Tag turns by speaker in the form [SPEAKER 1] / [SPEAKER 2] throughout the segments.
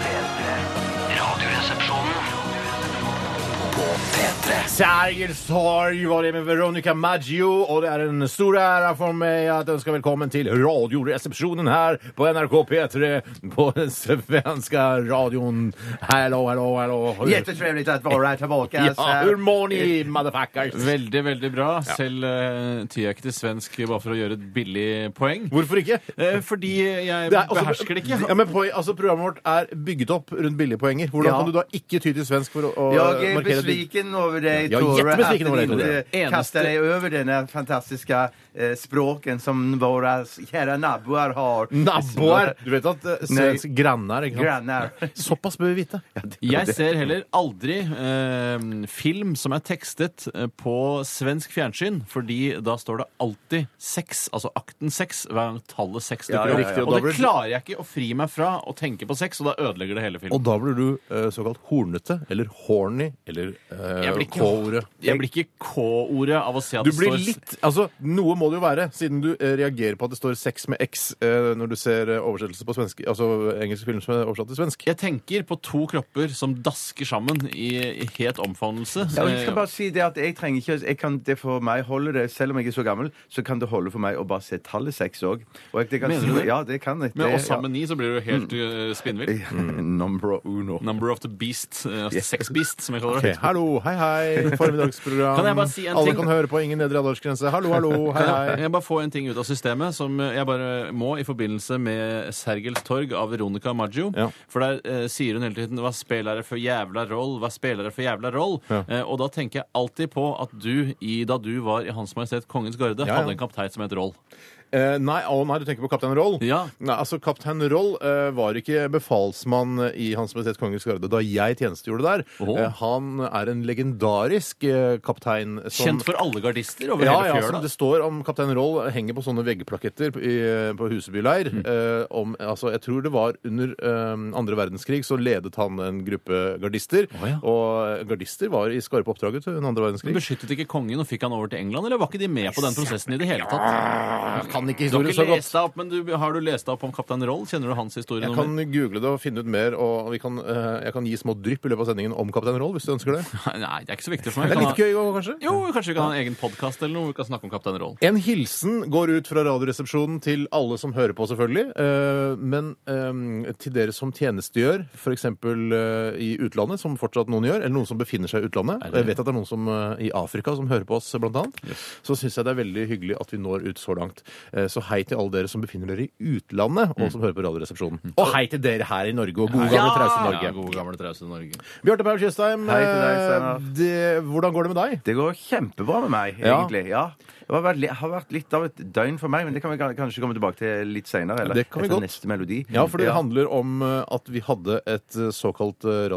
[SPEAKER 1] P3. Radioresepsjonen på P3.
[SPEAKER 2] Sergel Sorg var det med Veronica Maggio, og det er en stor ære for meg at ønske velkommen til Radioresepsjonen her på NRK P3 på den svenske radioen. Hallo, hallo, hallo.
[SPEAKER 3] Jättetrevligt att vara här tillbaka. Så
[SPEAKER 2] Ja,
[SPEAKER 3] här-
[SPEAKER 2] hur mår ni, motherfuckers?
[SPEAKER 4] Veldig, veldig bra. Selv uh, tyr jeg ikke til svensk bare for å gjøre et billig poeng.
[SPEAKER 2] Hvorfor ikke?
[SPEAKER 4] Eh, fordi jeg
[SPEAKER 2] Det er også-
[SPEAKER 4] behersker det ikke.
[SPEAKER 2] Ja, men poeng- altså, Programmet vårt er bygget opp rundt billige poenger. Hvordan
[SPEAKER 3] Ja.
[SPEAKER 2] kan du da ikke ty til svensk for å, å
[SPEAKER 3] Jag är
[SPEAKER 2] markere din-
[SPEAKER 3] besviken över dig,
[SPEAKER 2] Jag är
[SPEAKER 3] Tore, att
[SPEAKER 2] jättebesviken över
[SPEAKER 3] du
[SPEAKER 2] dig, Tore.
[SPEAKER 3] inte kastar dig över den här fantastiska eh, språken som våra kära nabboar har.
[SPEAKER 2] Nabboer! Du vet at eh, svensk
[SPEAKER 3] Nei.
[SPEAKER 2] grannar ikke sant?
[SPEAKER 3] Grannar.
[SPEAKER 2] Såpass bør vi vite.
[SPEAKER 4] Jeg ser heller aldri eh, film som er tekstet eh, på svensk fjernsyn, fordi da står det alltid seks, altså akten seks, hver gang tallet seks
[SPEAKER 2] Ja, ja,
[SPEAKER 4] dukker opp.
[SPEAKER 2] ja, ja. Og
[SPEAKER 4] Og
[SPEAKER 2] da
[SPEAKER 4] det
[SPEAKER 2] blir-
[SPEAKER 4] klarer jeg ikke å fri meg fra å tenke på sex, og da ødelegger det hele
[SPEAKER 2] Og
[SPEAKER 4] filmen.
[SPEAKER 2] da blir du eh, såkalt hornete, eller horny, eller
[SPEAKER 4] Jeg
[SPEAKER 2] uh,
[SPEAKER 4] blir ikke-
[SPEAKER 2] K-ordet.
[SPEAKER 4] Jeg blir ikke K-ordet av å se at
[SPEAKER 2] Du
[SPEAKER 4] det
[SPEAKER 2] blir
[SPEAKER 4] står
[SPEAKER 2] litt Altså, noe må det jo være, siden du eh, reagerer på at det står sex med X eh, når du ser eh, oversettelse på svensk, altså engelske film som er oversatt til svensk.
[SPEAKER 4] Jeg tenker på to kropper som dasker sammen i, i het omfavnelse.
[SPEAKER 3] Ja, og jeg skal
[SPEAKER 4] Eh,
[SPEAKER 3] bare si det at jeg trenger ikke jeg kan, Det for meg holder det, selv om jeg er så gammel, så kan det holde for meg å bare se tallet seks òg.
[SPEAKER 4] Mener du det?
[SPEAKER 3] Ja, det kan jeg.
[SPEAKER 4] Men
[SPEAKER 3] Det-
[SPEAKER 4] oss sammen ni, så blir du helt
[SPEAKER 2] Mm.
[SPEAKER 4] uh,
[SPEAKER 3] ja.
[SPEAKER 4] spinnvill.
[SPEAKER 3] Number uno.
[SPEAKER 4] Number of the beast. eh, altså sex beast, som jeg kaller
[SPEAKER 2] Ok,
[SPEAKER 4] det.
[SPEAKER 2] Hallo, hei, hei, formiddagsprogram.
[SPEAKER 4] Kan jeg bare si en
[SPEAKER 2] Alle
[SPEAKER 4] ting?
[SPEAKER 2] kan høre på, ingen nedre aldersgrense. Hallo, hallo, hei,
[SPEAKER 4] Kan jeg,
[SPEAKER 2] hei.
[SPEAKER 4] jeg bare få en ting ut av systemet som eh, jeg bare må i forbindelse med Sergels torg av Veronica Maggio.
[SPEAKER 2] Ja.
[SPEAKER 4] For der eh, sier hun hele tiden 'hva spiller det for jævla roll', 'hva spiller det for jævla roll'?
[SPEAKER 2] Ja.
[SPEAKER 4] Eh, og da tenker jeg alltid på at du, i, da du var i Hans Majestet Kongens Garde,
[SPEAKER 2] ja.
[SPEAKER 4] hadde en kaptein som het Roll.
[SPEAKER 2] Eh, nei, å nei, du tenker på Kaptein Roll?
[SPEAKER 4] Ja.
[SPEAKER 2] Nei, altså, Kaptein Roll eh, var ikke befalsmann i Hans Majestet Kongens Garde da jeg tjenestegjorde der.
[SPEAKER 4] Åhå.
[SPEAKER 2] Eh, han er en legendarisk eh, kaptein som
[SPEAKER 4] Kjent for alle gardister over
[SPEAKER 2] Ja,
[SPEAKER 4] hele
[SPEAKER 2] ja,
[SPEAKER 4] fjøla.
[SPEAKER 2] som det står om Kaptein Roll eh, henger på sånne veggplaketter i, på Huseby leir.
[SPEAKER 4] Mm.
[SPEAKER 2] Eh, om, altså, jeg tror det var under eh, andre verdenskrig så ledet han en gruppe gardister.
[SPEAKER 4] ja.
[SPEAKER 2] Og gardister var i skarpe oppdrag vet du, under andre
[SPEAKER 4] Men
[SPEAKER 2] verdenskrig.
[SPEAKER 4] Beskyttet ikke kongen og fikk han over til England, eller var ikke de med på den prosessen i det hele tatt?
[SPEAKER 2] Jeg kan ikke
[SPEAKER 4] Du har ikke lest deg opp, men du, har du lest deg opp om kaptein Roll? Kjenner du hans historie?
[SPEAKER 2] Jeg
[SPEAKER 4] noe
[SPEAKER 2] kan
[SPEAKER 4] mer?
[SPEAKER 2] google det og finne ut mer, og vi kan, eh, jeg kan gi små drypp i løpet av sendingen om Kaptein Roll, hvis du ønsker det.
[SPEAKER 4] Nei, det er ikke så viktig for meg.
[SPEAKER 2] Det er litt
[SPEAKER 4] Kan
[SPEAKER 2] gøy òg, kanskje?
[SPEAKER 4] ha- Jo, kanskje vi kan ha en egen podkast eller noe hvor vi kan snakke om kaptein Roll.
[SPEAKER 2] En hilsen går ut fra Radioresepsjonen til alle som hører på, selvfølgelig. eh, Men eh, til dere som tjenestegjør, f.eks. i utlandet, som fortsatt noen gjør, eller noen som befinner seg i utlandet.
[SPEAKER 4] Er det-
[SPEAKER 2] Og jeg vet at det er noen som eh, i Afrika som hører på oss, blant annet. Så syns jeg det er veldig hyggelig at vi når ut så langt. Eh, Så hei til alle dere som befinner dere i utlandet, og som hører på Radioresepsjonen. Og hei til dere her i Norge, og gode gamle trause
[SPEAKER 4] Mm. Ja,
[SPEAKER 2] Norge.
[SPEAKER 4] gode gamle trause Norge.
[SPEAKER 2] Bjarte Paul Tjøstheim,
[SPEAKER 3] Hei til deg,
[SPEAKER 2] eh,
[SPEAKER 3] Steinar. Mm,
[SPEAKER 2] det- hvordan går det med deg?
[SPEAKER 3] Det går kjempebra med meg,
[SPEAKER 2] Ja.
[SPEAKER 3] egentlig. Ja. Det har vært, li- har vært litt av et døgn for meg, men det kan vi kan- kanskje komme tilbake til litt seinere. Eller
[SPEAKER 2] Det kan vi
[SPEAKER 3] etter
[SPEAKER 2] godt.
[SPEAKER 3] neste melodi.
[SPEAKER 2] Ja, for det handler om eh, at vi hadde et eh, såkalt eh,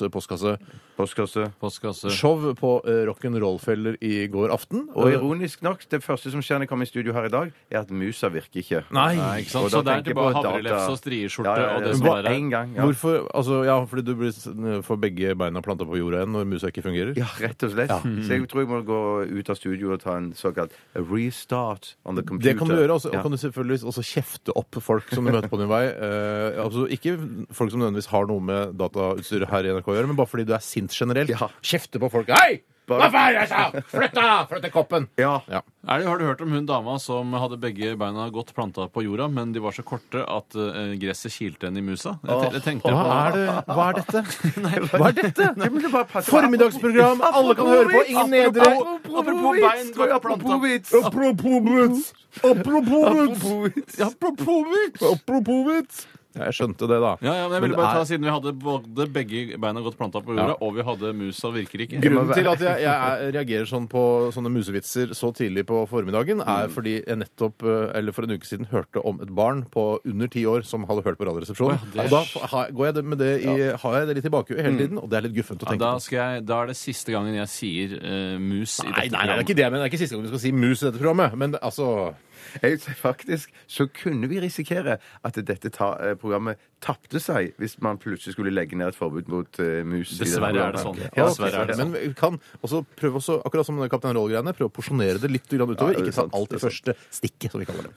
[SPEAKER 2] radioresepsjonspostkasse-show
[SPEAKER 3] Postkasse.
[SPEAKER 4] Postkasse.
[SPEAKER 2] på eh, rock'n'roll-feller i går aften.
[SPEAKER 3] Og
[SPEAKER 2] Eh,
[SPEAKER 3] ironisk nok, det første som skjer når jeg kommer i studio her i dag, er at musa virker ikke.
[SPEAKER 2] Nei!
[SPEAKER 4] Nei, ikke sant?
[SPEAKER 3] Og
[SPEAKER 4] Så
[SPEAKER 3] da
[SPEAKER 4] det er
[SPEAKER 3] tenker jeg
[SPEAKER 4] tilbake
[SPEAKER 3] på data.
[SPEAKER 4] havrelefse og strieskjorte
[SPEAKER 3] Ja, ja, ja.
[SPEAKER 4] og det som
[SPEAKER 3] Hva-
[SPEAKER 4] er her.
[SPEAKER 3] En gang, ja.
[SPEAKER 2] Hvorfor? Altså, ja, fordi du blir, s- får begge beina planta på jorda igjen når musa ikke fungerer?
[SPEAKER 3] Ja, rett og slett.
[SPEAKER 4] Mm.
[SPEAKER 3] Så jeg tror jeg må gå ut av studio og ta en såkalt restart on the computer.
[SPEAKER 2] Det kan du gjøre, også, og
[SPEAKER 3] Ja.
[SPEAKER 2] kan du selvfølgelig også kjefte opp folk som du møter på din vei. Eh, altså Ikke folk som nødvendigvis har noe med datautstyret her i NRK å gjøre, men bare fordi du er sint generelt.
[SPEAKER 3] Ja.
[SPEAKER 2] Kjefte på folk. Hei!
[SPEAKER 3] Bare-
[SPEAKER 2] Hva faen jeg sa? Flytt deg! Flytt deg koppen!
[SPEAKER 3] Ja.
[SPEAKER 2] Ja.
[SPEAKER 4] Er det, har du hørt om hun dama som hadde begge beina godt planta på jorda, men de var så korte at eh, gresset kilte henne i musa? Jeg, te- jeg tenkte
[SPEAKER 2] Hva
[SPEAKER 4] på
[SPEAKER 2] er, det, hva er dette?
[SPEAKER 3] Hva er dette? Det må du bare passe på.
[SPEAKER 2] Formiddagsprogram, alle kan høre på, ingen nedre.
[SPEAKER 3] Apropos
[SPEAKER 4] bein,
[SPEAKER 3] vits, tror jeg, apropos vits.
[SPEAKER 2] Apropos vits! Apropos vits!
[SPEAKER 3] Apropos vits.
[SPEAKER 4] Apropos vits!
[SPEAKER 2] Apropos vits! Ja, jeg skjønte det, da.
[SPEAKER 4] Ja, ja, men jeg
[SPEAKER 2] Men
[SPEAKER 4] ville
[SPEAKER 2] er-
[SPEAKER 4] bare ta Siden vi hadde både begge beina godt planta på jorda, og vi hadde musa virker ikke.
[SPEAKER 2] Grunnen til at jeg, jeg er- reagerer sånn på sånne musevitser så tidlig på formiddagen, er fordi jeg nettopp, eh, eller for en uke siden, hørte om et barn på under ti år som hadde hørt på Radioresepsjonen.
[SPEAKER 4] Å ja,
[SPEAKER 2] Og
[SPEAKER 4] det-
[SPEAKER 2] da f- har- går jeg det med det i, har jeg det litt i bakhuet hele tiden, og det er litt guffent å
[SPEAKER 4] Ja,
[SPEAKER 2] tenke
[SPEAKER 4] da,
[SPEAKER 2] på.
[SPEAKER 4] skal jeg, da er det siste gangen jeg sier eh, mus i
[SPEAKER 2] Nei,
[SPEAKER 4] dette
[SPEAKER 2] nei, nei, det er ikke det, men det er ikke siste gang vi skal si mus i dette programmet. Men det- altså
[SPEAKER 3] Jeg ser faktisk så kunne vi risikere at dette ta, eh, programmet tapte seg hvis man plutselig skulle legge ned et forbud mot eh, mus. i dette
[SPEAKER 4] Dessverre er
[SPEAKER 3] programmet.
[SPEAKER 4] det sånn.
[SPEAKER 3] Ja,
[SPEAKER 4] Dessverre er det
[SPEAKER 3] ja.
[SPEAKER 2] Men vi kan også prøve også, akkurat som med Kaptein Roll-greiene, prøve å porsjonere det litt grann utover.
[SPEAKER 3] Ja, det er
[SPEAKER 2] ikke ta
[SPEAKER 3] sant,
[SPEAKER 2] alt i
[SPEAKER 3] det er
[SPEAKER 2] første stikket, som vi kaller det.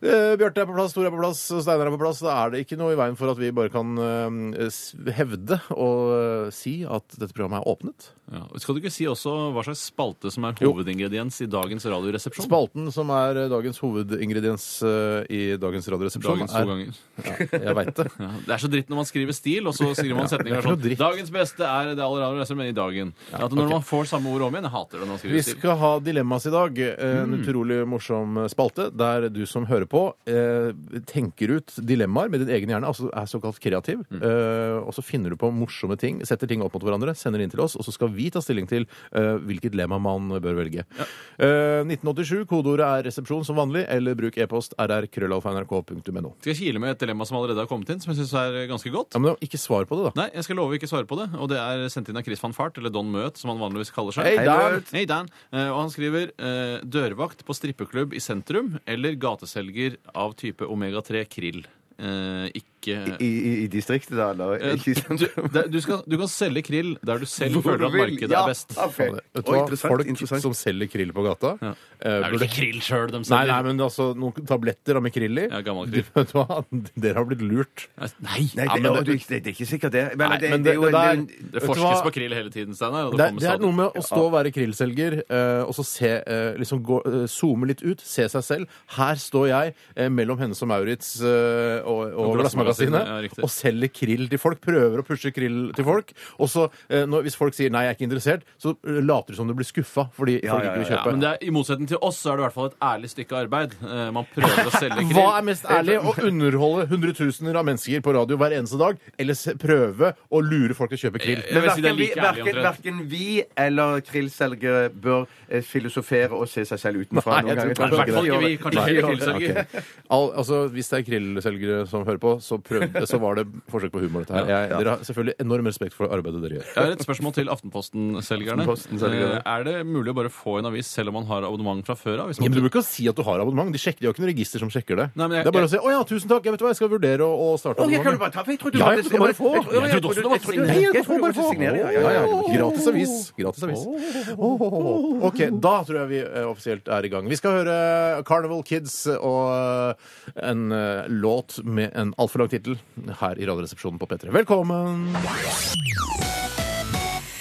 [SPEAKER 2] Eh, Bjarte er på plass, Tor er på plass, Steinar er på plass. Da er det ikke noe i veien for at vi bare kan eh, s- hevde og eh, si at dette programmet er åpnet.
[SPEAKER 4] Ja. Skal du ikke si også hva slags spalte som er
[SPEAKER 2] Jo.
[SPEAKER 4] hovedingrediens i dagens Radioresepsjon?
[SPEAKER 2] Spalten som er eh, dagens hovedingrediens eh, i dagens Radioresepsjon,
[SPEAKER 4] Dagens to
[SPEAKER 2] er
[SPEAKER 4] ganger.
[SPEAKER 2] Jeg veit det.
[SPEAKER 4] Ja, det er så dritt når man skriver stil, og så skriver man setninger
[SPEAKER 2] det er
[SPEAKER 4] sånn
[SPEAKER 2] noe dritt.
[SPEAKER 4] Dagens beste er det aller aller beste, men i dagen. At når
[SPEAKER 2] ok.
[SPEAKER 4] man får samme ord om igjen, jeg hater det når man
[SPEAKER 2] Vi
[SPEAKER 4] skriver stil.
[SPEAKER 2] skal ha Dilemmas i dag. Eh, En utrolig morsom eh, spalte der du som hører på, eh, tenker ut dilemmaer med din egen hjerne, altså er såkalt kreativ. Eh, og så finner du på morsomme ting, setter ting opp mot hverandre, sender det inn til oss, og så skal vi ta stilling til eh, hvilket dilemma man bør velge. Eh, 1987, kodeordet er 'resepsjon' som vanlig, eller bruk e-post rr.krøllalfa.nrk.no.
[SPEAKER 4] Skal jeg kile med et dilemma som allerede har kommet inn, som jeg syns er eh, ganske godt?
[SPEAKER 2] Ja, men ikke svar på det, da.
[SPEAKER 4] Nei, jeg skal love å ikke svare på det. Og det er sendt inn av Chris van Fart, eller Don Møt, som han vanligvis kaller seg.
[SPEAKER 2] Hei,
[SPEAKER 3] Hei,
[SPEAKER 2] Dan!
[SPEAKER 3] Bjørn.
[SPEAKER 4] Hei, Dan. Eh, og han skriver eh, 'dørvakt på strippeklubb i sentrum' eller 'gateselger av type omega-3 krill'. Eh, ikke
[SPEAKER 3] I, i, I distriktet, da? Eller?
[SPEAKER 4] Eh,
[SPEAKER 3] Ikke i
[SPEAKER 4] du,
[SPEAKER 3] sentrum?
[SPEAKER 4] det- du, skal, du kan selge krill der du selv
[SPEAKER 3] Hvor
[SPEAKER 4] føler
[SPEAKER 3] du
[SPEAKER 4] at
[SPEAKER 3] vil.
[SPEAKER 4] markedet
[SPEAKER 3] Ja,
[SPEAKER 4] er best.
[SPEAKER 3] ok.
[SPEAKER 2] Vet du
[SPEAKER 3] Oi,
[SPEAKER 2] hva?
[SPEAKER 3] interessant,
[SPEAKER 2] Folk
[SPEAKER 3] interessant.
[SPEAKER 2] som selger krill på gata eh,
[SPEAKER 4] Det er vel
[SPEAKER 2] burde-
[SPEAKER 4] ikke krill sjøl de
[SPEAKER 2] Nei,
[SPEAKER 4] selger?
[SPEAKER 2] nei, men altså, noen tabletter av McKrilli
[SPEAKER 4] Ja, gammel krill.
[SPEAKER 2] Vet du hva? Dere har blitt lurt.
[SPEAKER 4] Nei,
[SPEAKER 3] Nei,
[SPEAKER 4] ja,
[SPEAKER 3] det,
[SPEAKER 4] men
[SPEAKER 3] å, du,
[SPEAKER 4] det,
[SPEAKER 3] det, det er ikke sikkert, det. Men,
[SPEAKER 2] Nei,
[SPEAKER 3] det,
[SPEAKER 2] men
[SPEAKER 3] det, er
[SPEAKER 2] det-
[SPEAKER 3] jo
[SPEAKER 2] det
[SPEAKER 3] en-
[SPEAKER 2] der-
[SPEAKER 3] en-
[SPEAKER 4] det
[SPEAKER 2] Vet du
[SPEAKER 4] forskes
[SPEAKER 2] hva?
[SPEAKER 4] på krill hele tiden, Steinar.
[SPEAKER 2] Det,
[SPEAKER 4] og Det,
[SPEAKER 2] er- det er noe med å stå og være krillselger eh, og så se, eh, liksom gå, eh, zoome litt ut, se seg selv. Her står jeg eh, mellom Hennes og Maurits eh, og, og,
[SPEAKER 4] Og Glassmagasinet,
[SPEAKER 2] Glassmagasinet
[SPEAKER 4] ja, riktig.
[SPEAKER 2] og selger krill til folk. Prøver å pushe krill til folk. Og så, eh, når, hvis folk sier 'nei, jeg er ikke interessert', så eh, later du som du blir skuffa fordi
[SPEAKER 3] Ja,
[SPEAKER 2] folk
[SPEAKER 3] ja,
[SPEAKER 2] ikke vil
[SPEAKER 4] ja,
[SPEAKER 2] kjøpe.
[SPEAKER 4] men det er, I motsetning til oss så er det i hvert fall et ærlig stykke arbeid. Eh, man prøver å selge krill.
[SPEAKER 2] Hva er mest ærlig? Å underholde hundretusener av mennesker på radio hver eneste dag, eller se- prøve å lure folk til å kjøpe krill?
[SPEAKER 4] Jeg vil si
[SPEAKER 3] Verken
[SPEAKER 4] det er
[SPEAKER 3] vi,
[SPEAKER 4] like ærlig
[SPEAKER 3] verken,
[SPEAKER 4] omtrent.
[SPEAKER 3] verken vi eller krillselgere bør eh, filosofere og se seg selv utenfra.
[SPEAKER 2] Nei, jeg
[SPEAKER 3] noen
[SPEAKER 2] tror kanskje
[SPEAKER 3] ganger.
[SPEAKER 4] I hvert fall ikke vi. Kanskje
[SPEAKER 3] Nei, vi
[SPEAKER 4] ikke
[SPEAKER 3] gjør det.
[SPEAKER 4] krillselger.
[SPEAKER 2] Al altså, Hvis det er krillselgere som hører på, så, prøvde, så var det forsøk på humor. dette her. Jeg, dere har selvfølgelig enorm respekt for arbeidet dere gjør.
[SPEAKER 4] Jeg har et spørsmål til Aftenposten-selgerne.
[SPEAKER 3] Aftenposten-selgerne.
[SPEAKER 4] Eh, Er det mulig å bare få en avis selv om man har abonnement fra før av? hvis
[SPEAKER 2] Ja,
[SPEAKER 4] man-
[SPEAKER 2] men Du bruker å si at du har abonnement. De, sjekker, de har ikke noe register som sjekker det.
[SPEAKER 4] Nei, men jeg-
[SPEAKER 2] det er bare å si 'Å ja, tusen takk, jeg vet hva, jeg skal vurdere å, å starte
[SPEAKER 3] Å, jeg kan
[SPEAKER 2] abonnement'.
[SPEAKER 3] jo bare ta, for jeg trodde du
[SPEAKER 2] Ja,
[SPEAKER 3] måtte-
[SPEAKER 2] jeg kan bare få.
[SPEAKER 3] jeg trodde-
[SPEAKER 4] Jeg trodde også det var
[SPEAKER 3] jeg trodde-
[SPEAKER 4] signering.
[SPEAKER 3] jeg trodde du måtte signere, ja, ja, ja.
[SPEAKER 2] Åh, Gratis avis. Gratis avis. Åh. OK, da tror jeg vi eh, offisielt er i gang. Vi skal høre eh, Carnival Kids og eh, en eh, låt med en altfor lang tittel her i Radioresepsjonen på P3. Velkommen!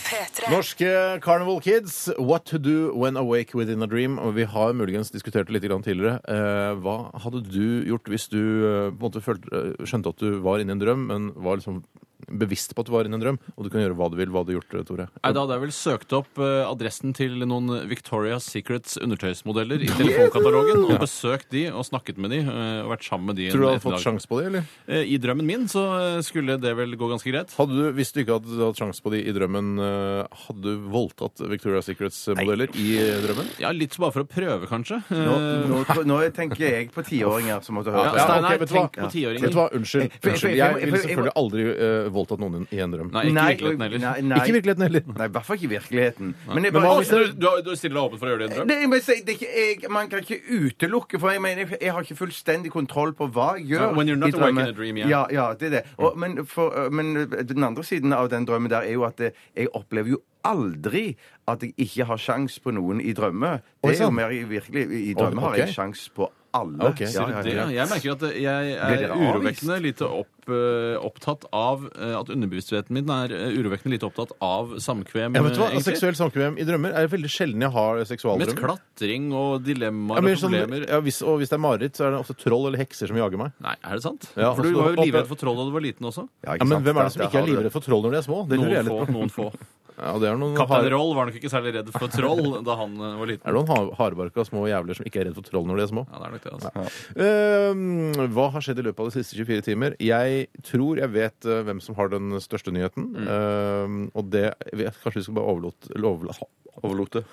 [SPEAKER 5] P3.
[SPEAKER 2] Norske Carnival Kids, What to do when awake within a dream. Og vi har muligens diskutert det litt grann tidligere. Eh, hva hadde du gjort hvis du eh, på en måte følte, eh, skjønte at du var inne i en drøm, men var liksom bevisst på at du var inne i en drøm? Og du kan gjøre hva du vil. Hva hadde du gjort, Tore?
[SPEAKER 4] Nei, Da hadde jeg vel søkt opp eh, adressen til noen Victoria's Secrets undertøysmodeller i telefonkatalogen og besøkt de og snakket med de eh, og vært sammen med de en
[SPEAKER 2] Tror du du hadde fått
[SPEAKER 4] ettermiddag.
[SPEAKER 2] sjanse på det, eller?
[SPEAKER 4] Eh, I drømmen min så eh, skulle det vel gå ganske greit.
[SPEAKER 2] Hadde du, Hvis du ikke hadde hatt sjanse på de i drømmen, eh, hadde du voldtatt Victoria Secrets-modeller i eh, drømmen?
[SPEAKER 4] Ja, Litt bare for å prøve, kanskje. Eh,
[SPEAKER 3] Nå, nå, nå tenker jeg på tiåringer som måtte høre
[SPEAKER 4] Ja,
[SPEAKER 3] på.
[SPEAKER 2] Ja, ok,
[SPEAKER 4] Steinar,
[SPEAKER 2] vet du hva?
[SPEAKER 4] tenk på tiåringen.
[SPEAKER 2] Vet du hva, Unnskyld.
[SPEAKER 3] for- for-
[SPEAKER 2] unnskyld. Jeg
[SPEAKER 3] for-
[SPEAKER 2] ville
[SPEAKER 3] for-
[SPEAKER 2] selvfølgelig aldri eh, voldtatt noen i en drøm.
[SPEAKER 4] Nei, ikke virkeligheten heller.
[SPEAKER 3] Nei,
[SPEAKER 2] Ikke i
[SPEAKER 3] nei,
[SPEAKER 2] virkeligheten heller.
[SPEAKER 3] nei, i hvert fall ikke i virkeligheten. Men jeg
[SPEAKER 4] Men
[SPEAKER 3] bare-
[SPEAKER 4] hva hvis du, du, du stiller deg åpen for å gjøre det i en drøm?
[SPEAKER 3] Nei, men jeg, det er ikke, jeg, man kan ikke utelukke, for jeg mener, jeg- jeg har ikke fullstendig kontroll på hva jeg gjør.
[SPEAKER 4] Ja, when you're not
[SPEAKER 3] i
[SPEAKER 4] awake in
[SPEAKER 3] drømmen.
[SPEAKER 4] a dream, Mm. ja.
[SPEAKER 3] ja, ja, det er det. Og, men, for, eh, men den andre siden av den drømmen der er jo at eh, jeg opplever jo aldri at jeg ikke har sjans på noen i drømme.
[SPEAKER 2] Oi,
[SPEAKER 3] Det er jo
[SPEAKER 2] sant.
[SPEAKER 3] mer i virkelig, i
[SPEAKER 2] Oi,
[SPEAKER 3] drømme har jeg
[SPEAKER 2] ok.
[SPEAKER 3] sjans på alle.
[SPEAKER 2] Ok,
[SPEAKER 3] Ja,
[SPEAKER 2] sier du
[SPEAKER 3] ja,
[SPEAKER 4] Det,
[SPEAKER 3] ja.
[SPEAKER 4] jeg merker at jeg
[SPEAKER 3] Blir
[SPEAKER 4] er
[SPEAKER 3] dere avvist?
[SPEAKER 4] urovekkende lite opp, eh, opptatt av eh, at underbevisstheten min er eh, urovekkende lite opptatt av samkvem.
[SPEAKER 2] Ja, vet du hva? Altså,
[SPEAKER 4] eh, egentlig.
[SPEAKER 2] Seksuelt samkvem i drømmer er veldig sjelden jeg har
[SPEAKER 4] Mest
[SPEAKER 2] seksualdrømmer.
[SPEAKER 4] klatring og
[SPEAKER 2] Ja,
[SPEAKER 4] dilemmaer
[SPEAKER 2] men
[SPEAKER 4] og
[SPEAKER 2] sånn,
[SPEAKER 4] problemer.
[SPEAKER 2] ja, hvis, og hvis det er mareritt, så er det ofte troll eller hekser som jager meg.
[SPEAKER 4] Nei, er det sant?
[SPEAKER 2] Ja, altså,
[SPEAKER 4] for du
[SPEAKER 2] også-
[SPEAKER 4] var jo livredd for troll da du var liten også.
[SPEAKER 3] Ja,
[SPEAKER 2] Ja,
[SPEAKER 3] ikke
[SPEAKER 2] men
[SPEAKER 3] sant?
[SPEAKER 2] hvem er
[SPEAKER 3] Der-
[SPEAKER 2] det som
[SPEAKER 3] der
[SPEAKER 2] ikke
[SPEAKER 3] har
[SPEAKER 2] er
[SPEAKER 3] du det.
[SPEAKER 2] livredd for troll når de er små? Det
[SPEAKER 4] Noen
[SPEAKER 2] lurer jeg
[SPEAKER 4] få.
[SPEAKER 2] litt på.
[SPEAKER 4] noen få.
[SPEAKER 2] Ja, det er noen,
[SPEAKER 4] Kaptein
[SPEAKER 2] har,
[SPEAKER 4] Roll var nok ikke særlig redd for troll da han eh, var liten.
[SPEAKER 2] er det noen har- hardbarka små jævler som ikke er redd for troll når de er små?
[SPEAKER 4] Ja, det er nok det, altså.
[SPEAKER 2] Ehm, hva har skjedd i løpet av de siste 24 timer? Jeg tror jeg vet eh, hvem som har den største nyheten. Ehm, og det jeg vet, Kanskje vi skal bare overlate eller overla- Overlate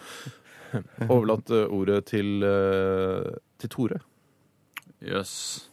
[SPEAKER 2] overlate ordet til, eh, til Tore.
[SPEAKER 4] Jøss.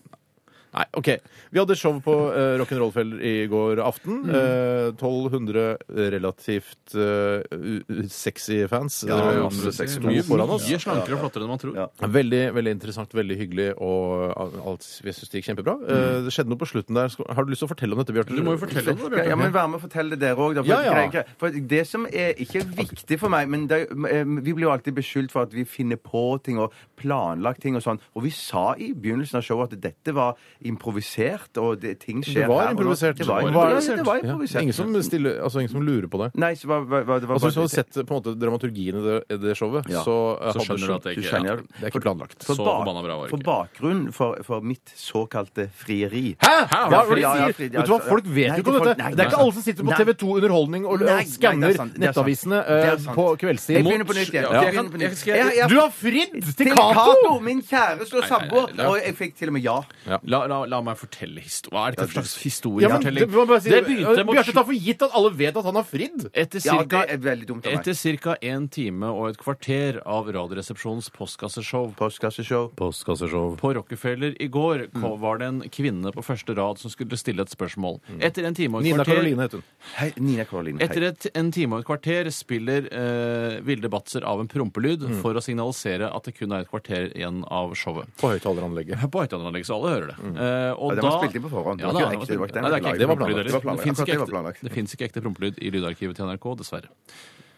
[SPEAKER 2] Nei, ok. Vi hadde show på uh, Rock'n'Roll-fell i går aften.
[SPEAKER 4] Mm.
[SPEAKER 2] Eh, 1200 relativt eh, u- u- sexy fans.
[SPEAKER 3] Ja,
[SPEAKER 2] Det var jo
[SPEAKER 3] masse
[SPEAKER 2] andre
[SPEAKER 3] sexy
[SPEAKER 2] to
[SPEAKER 4] Mye,
[SPEAKER 2] foran oss.
[SPEAKER 4] mye slankere og flottere enn man tror.
[SPEAKER 3] Ja.
[SPEAKER 2] Veldig veldig interessant, veldig hyggelig. og alt, Jeg syns det gikk kjempebra. Eh, Det skjedde noe på slutten der. Skal- Har du lyst til å fortelle om dette, Bjarte?
[SPEAKER 4] Mm. Du må jo fortelle om
[SPEAKER 3] Ja,
[SPEAKER 4] det,
[SPEAKER 3] ja,
[SPEAKER 4] Bjarte.
[SPEAKER 3] men Vær med og fortell det dere òg. For,
[SPEAKER 2] Ja, ja.
[SPEAKER 3] jeg greier ikke- for det som er ikke er viktig for meg men det, eh, Vi blir jo alltid beskyldt for at vi finner på ting og planlagt ting og sånn. Og vi sa i begynnelsen av showet at dette var improvisert, og det, ting skjer
[SPEAKER 2] Det var
[SPEAKER 3] her og nå.
[SPEAKER 2] improvisert.
[SPEAKER 3] Det var
[SPEAKER 2] Ja,
[SPEAKER 3] improvisert. Det var
[SPEAKER 2] Ja.
[SPEAKER 3] improvisert.
[SPEAKER 2] Ingen, som stiller, altså, ingen som lurer på det.
[SPEAKER 3] Nei, så hva, hva, hva, det var
[SPEAKER 2] Altså,
[SPEAKER 3] bare-
[SPEAKER 2] hvis du hadde sett på en måte, dramaturgien i det, i det showet,
[SPEAKER 3] Ja.
[SPEAKER 2] så, eh,
[SPEAKER 4] Så
[SPEAKER 2] hadde
[SPEAKER 4] skjønner du at det ikke-
[SPEAKER 2] skjønner
[SPEAKER 4] ja.
[SPEAKER 2] det. Det er ikke planlagt.
[SPEAKER 3] for,
[SPEAKER 4] Så
[SPEAKER 3] bak-
[SPEAKER 4] forbanna bra var det
[SPEAKER 3] for
[SPEAKER 4] ikke.
[SPEAKER 3] bakgrunn for, for mitt såkalte frieri.
[SPEAKER 2] Hæ?! Hva
[SPEAKER 3] Ja,
[SPEAKER 2] er det du
[SPEAKER 3] ja, altså, ja,
[SPEAKER 2] sier?
[SPEAKER 3] fordi-
[SPEAKER 2] Vet du hva, Folk vet
[SPEAKER 3] Nei,
[SPEAKER 2] jo ikke om
[SPEAKER 3] folk-
[SPEAKER 2] dette.
[SPEAKER 3] nei,
[SPEAKER 2] Det er ikke
[SPEAKER 3] nei.
[SPEAKER 2] alle som sitter på
[SPEAKER 3] Nei.
[SPEAKER 2] TV2 Underholdning og
[SPEAKER 3] Nei, nei, det er
[SPEAKER 2] skanner
[SPEAKER 3] sant, det er sant.
[SPEAKER 2] nettavisene
[SPEAKER 3] Det er
[SPEAKER 2] eh,
[SPEAKER 3] sant.
[SPEAKER 2] på
[SPEAKER 3] Jeg
[SPEAKER 2] kveldstid.
[SPEAKER 3] begynner på nytt igjen.
[SPEAKER 4] Ja.
[SPEAKER 3] Jeg begynner på nytt.
[SPEAKER 4] Jeg kan- jeg-
[SPEAKER 3] Jeg-
[SPEAKER 2] Du har fridd til
[SPEAKER 3] til
[SPEAKER 2] Cato!
[SPEAKER 3] Cato, min kjæreste og
[SPEAKER 4] Nei, nei, nei,
[SPEAKER 3] samboer.
[SPEAKER 4] nei.
[SPEAKER 3] Og jeg fikk til og med ja.
[SPEAKER 4] La, la, la meg fortelle historie. Hva er dette for slags
[SPEAKER 2] Ja, men,
[SPEAKER 4] historiefortelling?
[SPEAKER 2] det, må jeg bare si, Eh,
[SPEAKER 4] det begynte mot
[SPEAKER 2] Bjarte tar for gitt at alle vet at han har fridd.
[SPEAKER 4] Etter
[SPEAKER 3] Ja,
[SPEAKER 4] cirka,
[SPEAKER 3] det er veldig dumt av meg.
[SPEAKER 4] etter ca. en time og et kvarter av Radioresepsjonens postkasseshow
[SPEAKER 3] Postkasseshow.
[SPEAKER 2] Postkasseshow.
[SPEAKER 4] på Rockefeller i går
[SPEAKER 3] Mm.
[SPEAKER 4] ko- var det en kvinne på første rad som skulle stille et spørsmål.
[SPEAKER 3] Mm.
[SPEAKER 4] Etter en time og et
[SPEAKER 2] Nina
[SPEAKER 4] kvarter
[SPEAKER 2] Karoline heter hun.
[SPEAKER 3] Hei, Nina Karoline.
[SPEAKER 4] Etter et, en time og et kvarter spiller eh, Vilde Batzer av en prompelyd
[SPEAKER 3] Mm.
[SPEAKER 4] for å signalisere at det kun er et kvarter igjen av showet.
[SPEAKER 2] På høyttaleranlegget.
[SPEAKER 4] På høyttaleranlegget, så alle hører det. Eh, og
[SPEAKER 3] Mm. Ja, den var spilt inn på forhånd.
[SPEAKER 4] Ja,
[SPEAKER 3] Det var
[SPEAKER 4] da,
[SPEAKER 3] ikke ekte, det var ikke den
[SPEAKER 4] Nei, det
[SPEAKER 3] laget.
[SPEAKER 4] er ikke
[SPEAKER 3] Det
[SPEAKER 4] ekte
[SPEAKER 3] var
[SPEAKER 4] prompelyd
[SPEAKER 3] planlagt. Det var
[SPEAKER 4] heller.
[SPEAKER 3] planlagt.
[SPEAKER 4] Det fins
[SPEAKER 3] Akkurat det
[SPEAKER 4] ikke,
[SPEAKER 3] var planlagt.
[SPEAKER 4] ekte- det finnes ikke ekte prompelyd i lydarkivet til NRK, dessverre.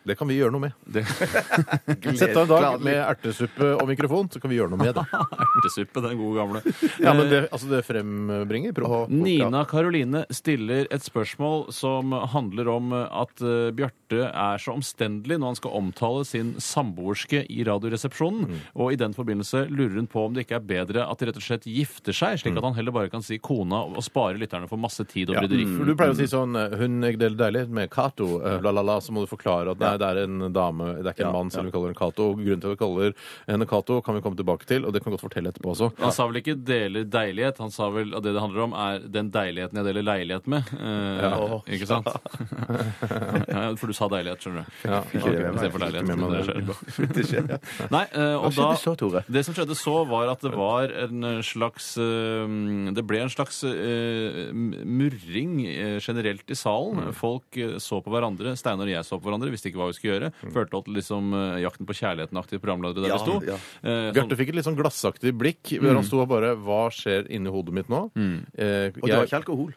[SPEAKER 2] Det kan vi gjøre noe med. Sett deg en dag med ertesuppe og mikrofon, så kan vi gjøre noe med det.
[SPEAKER 4] Ertesuppe, den gode gamle.
[SPEAKER 2] Ja, men det, altså, det frembringer pro-
[SPEAKER 4] Nina Karoline stiller et spørsmål som handler om at eh, Bjarte er så omstendelig når han skal omtale sin samboerske i Radioresepsjonen.
[SPEAKER 2] Mm.
[SPEAKER 4] Og i den forbindelse lurer hun på om det ikke er bedre at de rett og slett gifter seg, slik at han heller bare kan si kona og spare lytterne for masse tid og
[SPEAKER 2] Mm. Ja,
[SPEAKER 4] bryderi.
[SPEAKER 2] for du pleier å si sånn eh, 'Hun er del- deilig med Cato', eh, la, la, la, så må du forklare at nei, det er en dame, det er ikke en mann, selv om vi kaller henne Cato. Og Grunnen til at vi kaller henne Cato, kan vi komme tilbake til, og det kan vi godt fortelle etterpå også.
[SPEAKER 4] Han sa vel ikke 'deler deilighet', han sa vel at det det handler om, er den deiligheten jeg deler leilighet med. Eh, Ikke sant? ja, for du sa deilighet, skjønner du.
[SPEAKER 2] Ja,
[SPEAKER 4] Ikke
[SPEAKER 2] ok.
[SPEAKER 4] det med meg. Ikke det med meg.
[SPEAKER 2] Det skjer.
[SPEAKER 4] Nei, eh, og
[SPEAKER 3] skjedde
[SPEAKER 4] da,
[SPEAKER 3] så, Tore?
[SPEAKER 4] Det som skjedde så, var at det var en eh, slags eh, Det ble en slags eh, murring eh, generelt i salen.
[SPEAKER 3] Mm.
[SPEAKER 4] Folk eh, så på hverandre. Steinar og jeg så på hverandre, visste ikke hva vi skulle gjøre. Førte opp til liksom eh, Jakten på kjærligheten-aktige programledere der
[SPEAKER 3] Mm. Ja,
[SPEAKER 4] vi sto.
[SPEAKER 3] ja.
[SPEAKER 4] Eh, sånn-
[SPEAKER 2] Bjarte fikk et litt sånn glassaktig blikk. hvor Han sto og bare 'Hva skjer inni hodet mitt nå?' Eh,
[SPEAKER 3] Og det var
[SPEAKER 2] jeg,
[SPEAKER 3] ikke alkohol.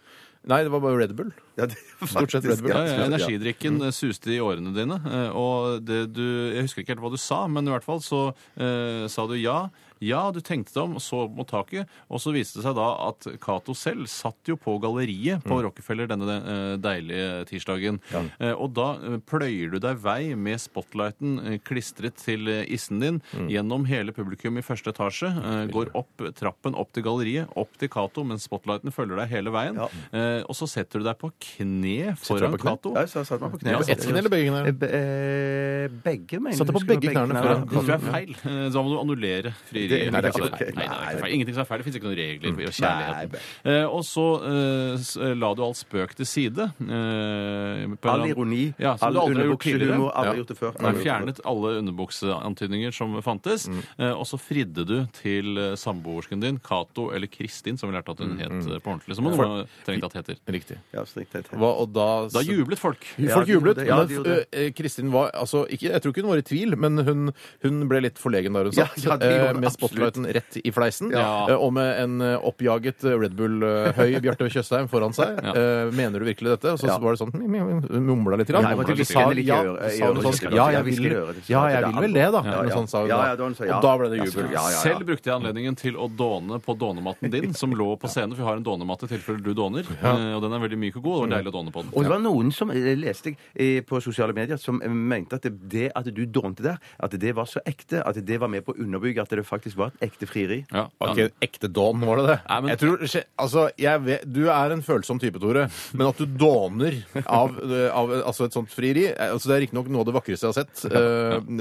[SPEAKER 2] nei, det var bare Red Bull.
[SPEAKER 3] Ja, det var
[SPEAKER 2] Stort sett Red Bull.
[SPEAKER 4] Ja, ja, energidrikken eh, suste i årene dine. eh, Og det du Jeg husker ikke helt hva du sa, men i hvert fall så eh, sa du ja. Ja, du tenkte deg om, så mot taket, og så viste det seg da at Cato selv satt jo på galleriet på Rockefeller denne eh, deilige tirsdagen. Eh, Og da eh, pløyer du deg vei med spotlighten eh, klistret til eh, issen din gjennom hele publikum i første etasje. eh, Går opp trappen opp til galleriet, opp til Cato, mens spotlighten følger deg hele veien. Eh, Og så setter du deg på kne
[SPEAKER 2] Setter deg
[SPEAKER 4] foran
[SPEAKER 2] på kne?
[SPEAKER 4] Cato.
[SPEAKER 3] Ja, så satte man på knærne.
[SPEAKER 4] Ja, på
[SPEAKER 2] Ett knell eller begge knær?
[SPEAKER 3] Be- eh, Begge, mener jeg.
[SPEAKER 2] Satte på
[SPEAKER 3] Husker du
[SPEAKER 2] begge knærne
[SPEAKER 4] Ja,
[SPEAKER 2] foran
[SPEAKER 4] det tror jeg er feil. Eh, Da må du annullere frieriet.
[SPEAKER 3] Det- nei, det er ikke
[SPEAKER 4] Altså,
[SPEAKER 3] ok.
[SPEAKER 4] nei, det er ikke feil. Ingenting som er feil. Det fins ikke noen regler for
[SPEAKER 3] Nei,
[SPEAKER 4] kjærligheten. Eh, Og så eh, s- la du all spøk til side. eh, på en
[SPEAKER 3] All
[SPEAKER 4] annen-
[SPEAKER 3] ironi,
[SPEAKER 4] Ja, som
[SPEAKER 3] all
[SPEAKER 4] du aldri har gjort
[SPEAKER 3] underbuksehumor.
[SPEAKER 4] tidligere.
[SPEAKER 3] Alle har
[SPEAKER 2] Ja.
[SPEAKER 3] gjort det før.
[SPEAKER 4] Nei, fjernet alle underbukseantydninger som fantes.
[SPEAKER 3] Mm.
[SPEAKER 4] eh, Og så fridde du til eh, samboersken din, Cato eller Kristin, som vi lærte at
[SPEAKER 3] Mm,
[SPEAKER 4] hun het eh, på ordentlig. Som hun nå trengt at heter.
[SPEAKER 2] Riktig.
[SPEAKER 3] Ja, strikt, det er helt-
[SPEAKER 2] Hva, og da
[SPEAKER 4] Da jublet folk.
[SPEAKER 3] Ja,
[SPEAKER 2] Folk
[SPEAKER 3] de gjorde
[SPEAKER 2] jublet,
[SPEAKER 3] det. Ja, de
[SPEAKER 2] men
[SPEAKER 3] gjorde det.
[SPEAKER 2] eh, Kristin var altså, ikke, Jeg tror ikke hun var i tvil, men hun, hun ble litt forlegen der hun
[SPEAKER 3] Ja,
[SPEAKER 2] satt.
[SPEAKER 3] ja, det gjorde
[SPEAKER 2] eh,
[SPEAKER 3] hun
[SPEAKER 2] med
[SPEAKER 3] absolutt.
[SPEAKER 2] spotlighten rett i fleisen.
[SPEAKER 4] Ja.
[SPEAKER 2] eh, Og med en eh, oppjaget eh, Red Bull-høy Bjarte Tjøstheim foran seg.
[SPEAKER 4] Ja.
[SPEAKER 2] Eh, Mener du virkelig dette? Og så
[SPEAKER 3] Ja.
[SPEAKER 2] var det sånn mm, mm, mm, Mumla litt. grann.
[SPEAKER 3] Nei, men
[SPEAKER 4] du
[SPEAKER 2] Så
[SPEAKER 4] hvisker
[SPEAKER 2] sa
[SPEAKER 3] henne litt i
[SPEAKER 2] ja,
[SPEAKER 3] øret, i
[SPEAKER 2] så sa hun
[SPEAKER 3] øret,
[SPEAKER 2] sånn,
[SPEAKER 3] hvisker du.
[SPEAKER 2] Ja,
[SPEAKER 3] Ja,
[SPEAKER 2] jeg vil,
[SPEAKER 3] hvisker i øret, du sa
[SPEAKER 2] ja,
[SPEAKER 3] at det
[SPEAKER 2] jeg vil
[SPEAKER 3] er
[SPEAKER 2] vel det, da.
[SPEAKER 3] Ja,
[SPEAKER 2] Noe
[SPEAKER 3] ja.
[SPEAKER 2] sånt sa hun
[SPEAKER 3] Ja,
[SPEAKER 2] da.
[SPEAKER 3] ja, da hun sa ja.
[SPEAKER 2] Og da ble det jubel.
[SPEAKER 3] Ja, ja, ja.
[SPEAKER 4] Selv brukte jeg anledningen til å dåne på dånematten din, som lå på scenen. For vi har en dånematte i tilfelle du dåner. eh, Og den er veldig myk og god. og Det var deilig å dåne på den.
[SPEAKER 3] Og det var noen som eh, leste jeg eh, på sosiale medier som eh, mente at det, det at du dånte der, at det var så ekte, at det var med på å underbygge at det faktisk var et ekte frieri.
[SPEAKER 4] Ja.
[SPEAKER 2] Var ikke en ekte dån, var det det?
[SPEAKER 4] Nei, men-
[SPEAKER 2] jeg tror, altså, jeg vet, du er en følsom type, Tore, men at du dåner av, av altså et sånt frieri eh, altså Det er riktignok noe av det vakreste jeg har sett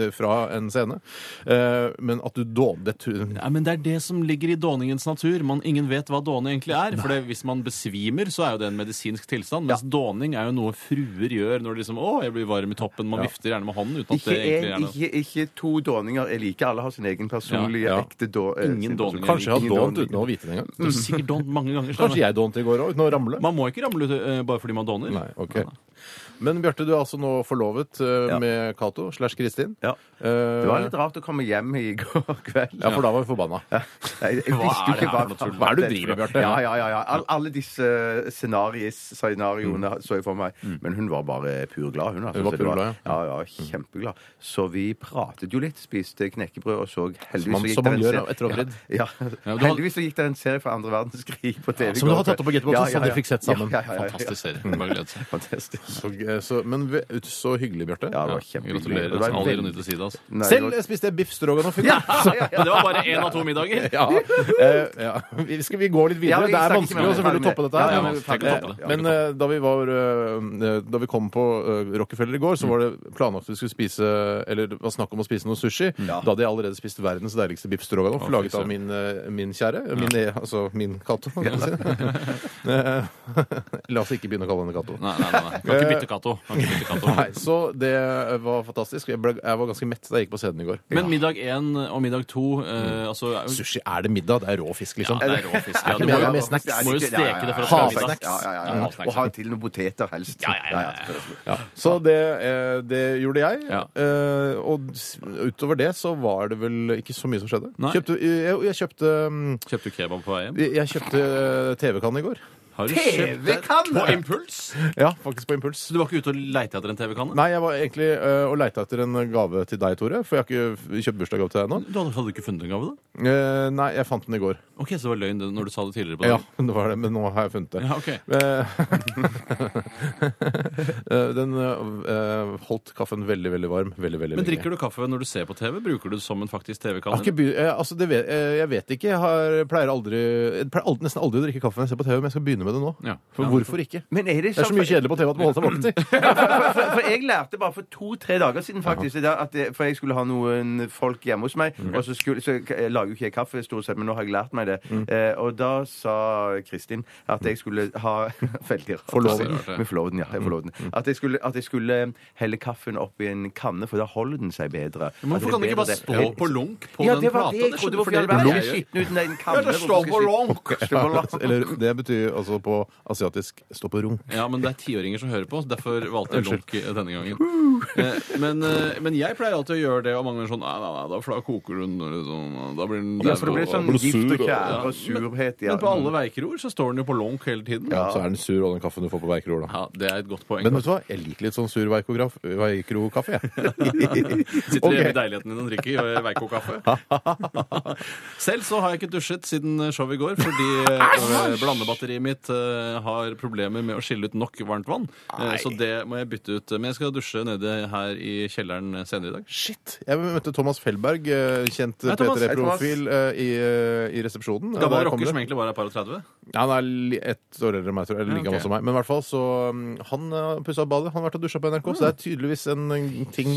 [SPEAKER 2] eh, fra en scene, eh, men at du dåner det tror-
[SPEAKER 4] Nei, men Det er det som ligger i dåningens natur. Man, ingen vet hva dåne egentlig er. For det, hvis man besvimer, så er jo det en medisinsk tilstand. Mens dåning er jo noe fruer gjør når de liksom Å, jeg blir varm i toppen. Man vifter gjerne med hånden uten at
[SPEAKER 3] Ikke,
[SPEAKER 4] det egentlig
[SPEAKER 3] en,
[SPEAKER 4] er noe.
[SPEAKER 3] ikke, ikke to dåninger er like. Alle har sin egen personlige
[SPEAKER 4] Ja,
[SPEAKER 2] Ja.
[SPEAKER 3] ekte da, eh,
[SPEAKER 4] Ingen
[SPEAKER 3] sinneperson.
[SPEAKER 4] dåning.
[SPEAKER 2] Kanskje jeg har
[SPEAKER 3] Ingen
[SPEAKER 2] dånt
[SPEAKER 3] dåning.
[SPEAKER 2] uten å vite det engang.
[SPEAKER 4] Det er sikkert dånt mange ganger.
[SPEAKER 2] Kanskje
[SPEAKER 4] Steinar.
[SPEAKER 2] jeg dånte i går òg, uten å ramle.
[SPEAKER 4] Man må ikke ramle ut eh, bare fordi man doner.
[SPEAKER 2] Nei, ok. Men Bjarte, du er altså nå forlovet eh,
[SPEAKER 3] Ja.
[SPEAKER 2] med Cato slash Kristin. Eh,
[SPEAKER 3] Ja. Det var litt rart å komme hjem i går kveld.
[SPEAKER 2] Ja, for da var vi forbanna.
[SPEAKER 3] Nei, jeg
[SPEAKER 4] Hva
[SPEAKER 3] visste jo
[SPEAKER 4] er det
[SPEAKER 3] ikke
[SPEAKER 4] her for noe tull?
[SPEAKER 2] Hva er det du driver med, Bjarte?
[SPEAKER 3] Ja, ja, ja. ja. All, alle disse scenarios, scenarioene så jeg for meg. Men hun var bare pur glad, hun. Altså.
[SPEAKER 2] Mm. Hun var
[SPEAKER 3] Så det
[SPEAKER 2] pur glad, Mm.
[SPEAKER 3] ja. Ja, Kjempeglad. Så vi pratet jo litt, spiste knekkebrød og så heldigvis
[SPEAKER 2] man-
[SPEAKER 3] så gikk
[SPEAKER 2] som
[SPEAKER 3] det
[SPEAKER 2] man
[SPEAKER 3] en
[SPEAKER 2] gjør
[SPEAKER 3] serie-
[SPEAKER 2] etter å ha vridd.
[SPEAKER 3] Ja,
[SPEAKER 4] Ja,
[SPEAKER 3] ja.
[SPEAKER 4] du har-
[SPEAKER 3] Heldigvis så gikk det en serie fra andre verdenskrig på TV.
[SPEAKER 2] Som du har
[SPEAKER 3] går.
[SPEAKER 2] tatt opp på Getboxen, så dere fikk sett sammen.
[SPEAKER 3] Ja, ja, ja, ja.
[SPEAKER 4] Fantastisk serie. Bare glede seg.
[SPEAKER 3] Fantastisk.
[SPEAKER 2] Så, g- så, men vi- ut- så hyggelig, Bjarte.
[SPEAKER 3] Ja, det var kjempehyggelig.
[SPEAKER 4] Gratulerer.
[SPEAKER 3] Det var
[SPEAKER 4] altså, All
[SPEAKER 3] veldig-
[SPEAKER 4] ironi til side. Altså.
[SPEAKER 3] Nei, det
[SPEAKER 2] Selv
[SPEAKER 3] var-
[SPEAKER 2] spiste jeg biff stroganoff i går.
[SPEAKER 3] Ja, ja, ja, ja.
[SPEAKER 4] Men det var bare én av to middager.
[SPEAKER 2] Ja, eh, ja. Vi- Skal vi gå litt
[SPEAKER 3] Ja,
[SPEAKER 2] videre?
[SPEAKER 3] vi
[SPEAKER 2] det er
[SPEAKER 3] snakker
[SPEAKER 2] vanskelig
[SPEAKER 3] med-
[SPEAKER 2] å selvfølgelig å toppe dette
[SPEAKER 3] Ja,
[SPEAKER 2] her.
[SPEAKER 3] ja,
[SPEAKER 4] men-
[SPEAKER 2] men-
[SPEAKER 4] vi kan ikke toppe det.
[SPEAKER 2] Eh, Men eh, da vi, var, eh, da vi kom på eh, Rockefeller i går,
[SPEAKER 4] Mm.
[SPEAKER 2] så var det planlagt at vi skulle spise Eller det var snakk om å spise noe sushi. Da hadde jeg allerede spist verdens deiligste biff stroganoff,
[SPEAKER 4] Å, fy
[SPEAKER 2] laget av
[SPEAKER 4] søren.
[SPEAKER 2] min, eh, min kjære. Min, eh, altså min Cato. kan man si. Eh, La oss ikke begynne å kalle henne Cato.
[SPEAKER 4] Nei, nei, nei, nei. Kan ikke bytte Cato. Kan ikke bytte Cato.
[SPEAKER 2] Nei, så det var fantastisk. Jeg, ble, jeg var ganske mett da jeg gikk på scenen i går.
[SPEAKER 4] Men middag én og middag to eh, altså,
[SPEAKER 2] Sushi, er det middag? Det er rå fisk,
[SPEAKER 4] Ja,
[SPEAKER 2] liksom.
[SPEAKER 4] det er rå fisk. Ja,
[SPEAKER 2] ikke
[SPEAKER 4] du
[SPEAKER 2] mer
[SPEAKER 4] må
[SPEAKER 2] enn
[SPEAKER 4] jo,
[SPEAKER 2] med snacks.
[SPEAKER 4] du må jo steke det for å
[SPEAKER 2] Ha
[SPEAKER 4] spise middag.
[SPEAKER 2] snacks.
[SPEAKER 3] Ja, ja, ja,
[SPEAKER 4] Ja,
[SPEAKER 3] ja.
[SPEAKER 4] ha snacks,
[SPEAKER 3] Og ha til noen poteter helst.
[SPEAKER 4] Ja, ja, ja, ja.
[SPEAKER 3] selvfølgelig.
[SPEAKER 2] Så det, eh, det gjorde jeg.
[SPEAKER 4] Ja.
[SPEAKER 2] Eh, og s- utover det så var det vel ikke så mye som skjedde.
[SPEAKER 4] Nei.
[SPEAKER 2] Kjøpte, jeg, jeg kjøpte mm,
[SPEAKER 4] Kjøpte du kebab på vei hjem?
[SPEAKER 2] jeg kjøpte eh, TV-kanne i går.
[SPEAKER 4] Har du kjøpt det
[SPEAKER 3] TV-kanne!
[SPEAKER 4] på impuls?
[SPEAKER 2] Ja, faktisk på impuls.
[SPEAKER 4] Så du var ikke ute og leite etter en TV-kanne?
[SPEAKER 2] Nei, jeg var egentlig eh, og leita etter en gave til deg, Tore. For jeg har ikke f- kjøpt bursdagsgave til deg ennå.
[SPEAKER 4] Du hadde, hadde du ikke funnet en gave, da?
[SPEAKER 2] Eh, nei, jeg fant den i går.
[SPEAKER 4] Ok, Så det var løgn det, når du sa det tidligere på
[SPEAKER 2] Ja,
[SPEAKER 4] dagen?
[SPEAKER 2] det var det, men nå har jeg funnet det.
[SPEAKER 4] Ja, ok.
[SPEAKER 2] Eh, eh, den eh, holdt kaffen veldig, veldig varm. Veldig, veldig
[SPEAKER 4] Men
[SPEAKER 2] lenge.
[SPEAKER 4] drikker du kaffe når du ser på TV? Bruker du det som en faktisk
[SPEAKER 2] Jeg, har
[SPEAKER 4] TV-kanne?
[SPEAKER 2] ikke begy- eh, altså det vet, eh, jeg vet ikke. Jeg, har, pleier aldri, jeg pleier aldri, nesten aldri å drikke kaffe når jeg ser på TV, men jeg skal begynne med det nå.
[SPEAKER 4] Ja.
[SPEAKER 2] For
[SPEAKER 4] Ja.
[SPEAKER 2] hvorfor ikke?
[SPEAKER 3] Men er det, sånn
[SPEAKER 2] Det er så mye kjedelig på TV at man holder seg våken.
[SPEAKER 3] for, for, for jeg lærte bare for to-tre dager siden, faktisk, det der at jeg, for jeg skulle ha noen folk hjemme hos meg. Og så, skulle, så jeg lager jo ikke jeg kaffe, stort sett, men nå har jeg lært meg det. Eh, og da sa Kristin at jeg skulle ha Veldig rart.
[SPEAKER 2] Forloven.
[SPEAKER 3] å si. Med forloven, ja. Jeg forloven. At, jeg skulle, at jeg skulle helle kaffen opp i en kanne, for da holder den seg bedre.
[SPEAKER 4] Men
[SPEAKER 3] At det
[SPEAKER 4] Hvorfor kan du ikke
[SPEAKER 3] bedre
[SPEAKER 4] bare
[SPEAKER 3] det-
[SPEAKER 4] stå på lunk på
[SPEAKER 3] ja,
[SPEAKER 4] den
[SPEAKER 3] det var
[SPEAKER 4] plata?
[SPEAKER 3] det jeg
[SPEAKER 4] Det
[SPEAKER 3] trodde.
[SPEAKER 4] skjønner- for
[SPEAKER 3] Hvorfor i all
[SPEAKER 4] det-
[SPEAKER 3] verden er
[SPEAKER 4] det
[SPEAKER 3] jeg
[SPEAKER 4] er jo-
[SPEAKER 3] skitten uten en kanne?
[SPEAKER 4] Ja, det
[SPEAKER 3] Hvorfor
[SPEAKER 4] står
[SPEAKER 3] skal
[SPEAKER 4] på
[SPEAKER 3] jeg-
[SPEAKER 4] lunk.
[SPEAKER 3] Stå på lunk.
[SPEAKER 2] Eller det betyr altså på asiatisk stå på runk.
[SPEAKER 4] Ja, men det er tiåringer som hører på, så derfor valgte jeg lunk denne gangen. Eh, Men, eh, men jeg pleier alltid å gjøre det, og mange ganger sånn Nei, nei, nei, da, for da koker hun liksom, Da blir den
[SPEAKER 3] Ja, for det blir sånn
[SPEAKER 4] og-
[SPEAKER 3] gift og
[SPEAKER 4] Ja,
[SPEAKER 3] kjære og
[SPEAKER 4] men-
[SPEAKER 3] surhet i
[SPEAKER 4] Men på alle veikerord så står den jo på lunk hele tiden.
[SPEAKER 2] Ja. Så er den sur, og den kaffen du får på Veikeror, da.
[SPEAKER 4] Ja, Det er et godt poeng.
[SPEAKER 2] Men vet du hva? Jeg liker litt sånn sur veikograf- veikro-kaffe, jeg.
[SPEAKER 4] Sitter
[SPEAKER 2] Ok.
[SPEAKER 4] hjemme i leiligheten din og drikker eh, veikokaffe. Selv så har jeg ikke dusjet siden showet i går, fordi eh, blandebatteriet mitt eh, har problemer med å skille ut nok varmt vann. Eh, Så det må jeg bytte ut. Men jeg skal dusje nede her i kjelleren eh, senere i dag.
[SPEAKER 2] Shit! Jeg møtte Thomas Fellberg, eh, kjent
[SPEAKER 4] Hei, Thomas.
[SPEAKER 2] P3-profil, eh, i, eh, i resepsjonen. Og
[SPEAKER 4] Gammel
[SPEAKER 2] der kom
[SPEAKER 4] rocker
[SPEAKER 2] det.
[SPEAKER 4] som egentlig bare er par og 30.
[SPEAKER 2] Ja, han er li- ett år eldre enn meg, tror jeg. Eller like
[SPEAKER 4] Ja, ok.
[SPEAKER 2] gammel som meg. Men i hvert fall så um, Han uh, pussa opp badet. Han har vært og dusja på NRK, så det er tydeligvis en en ting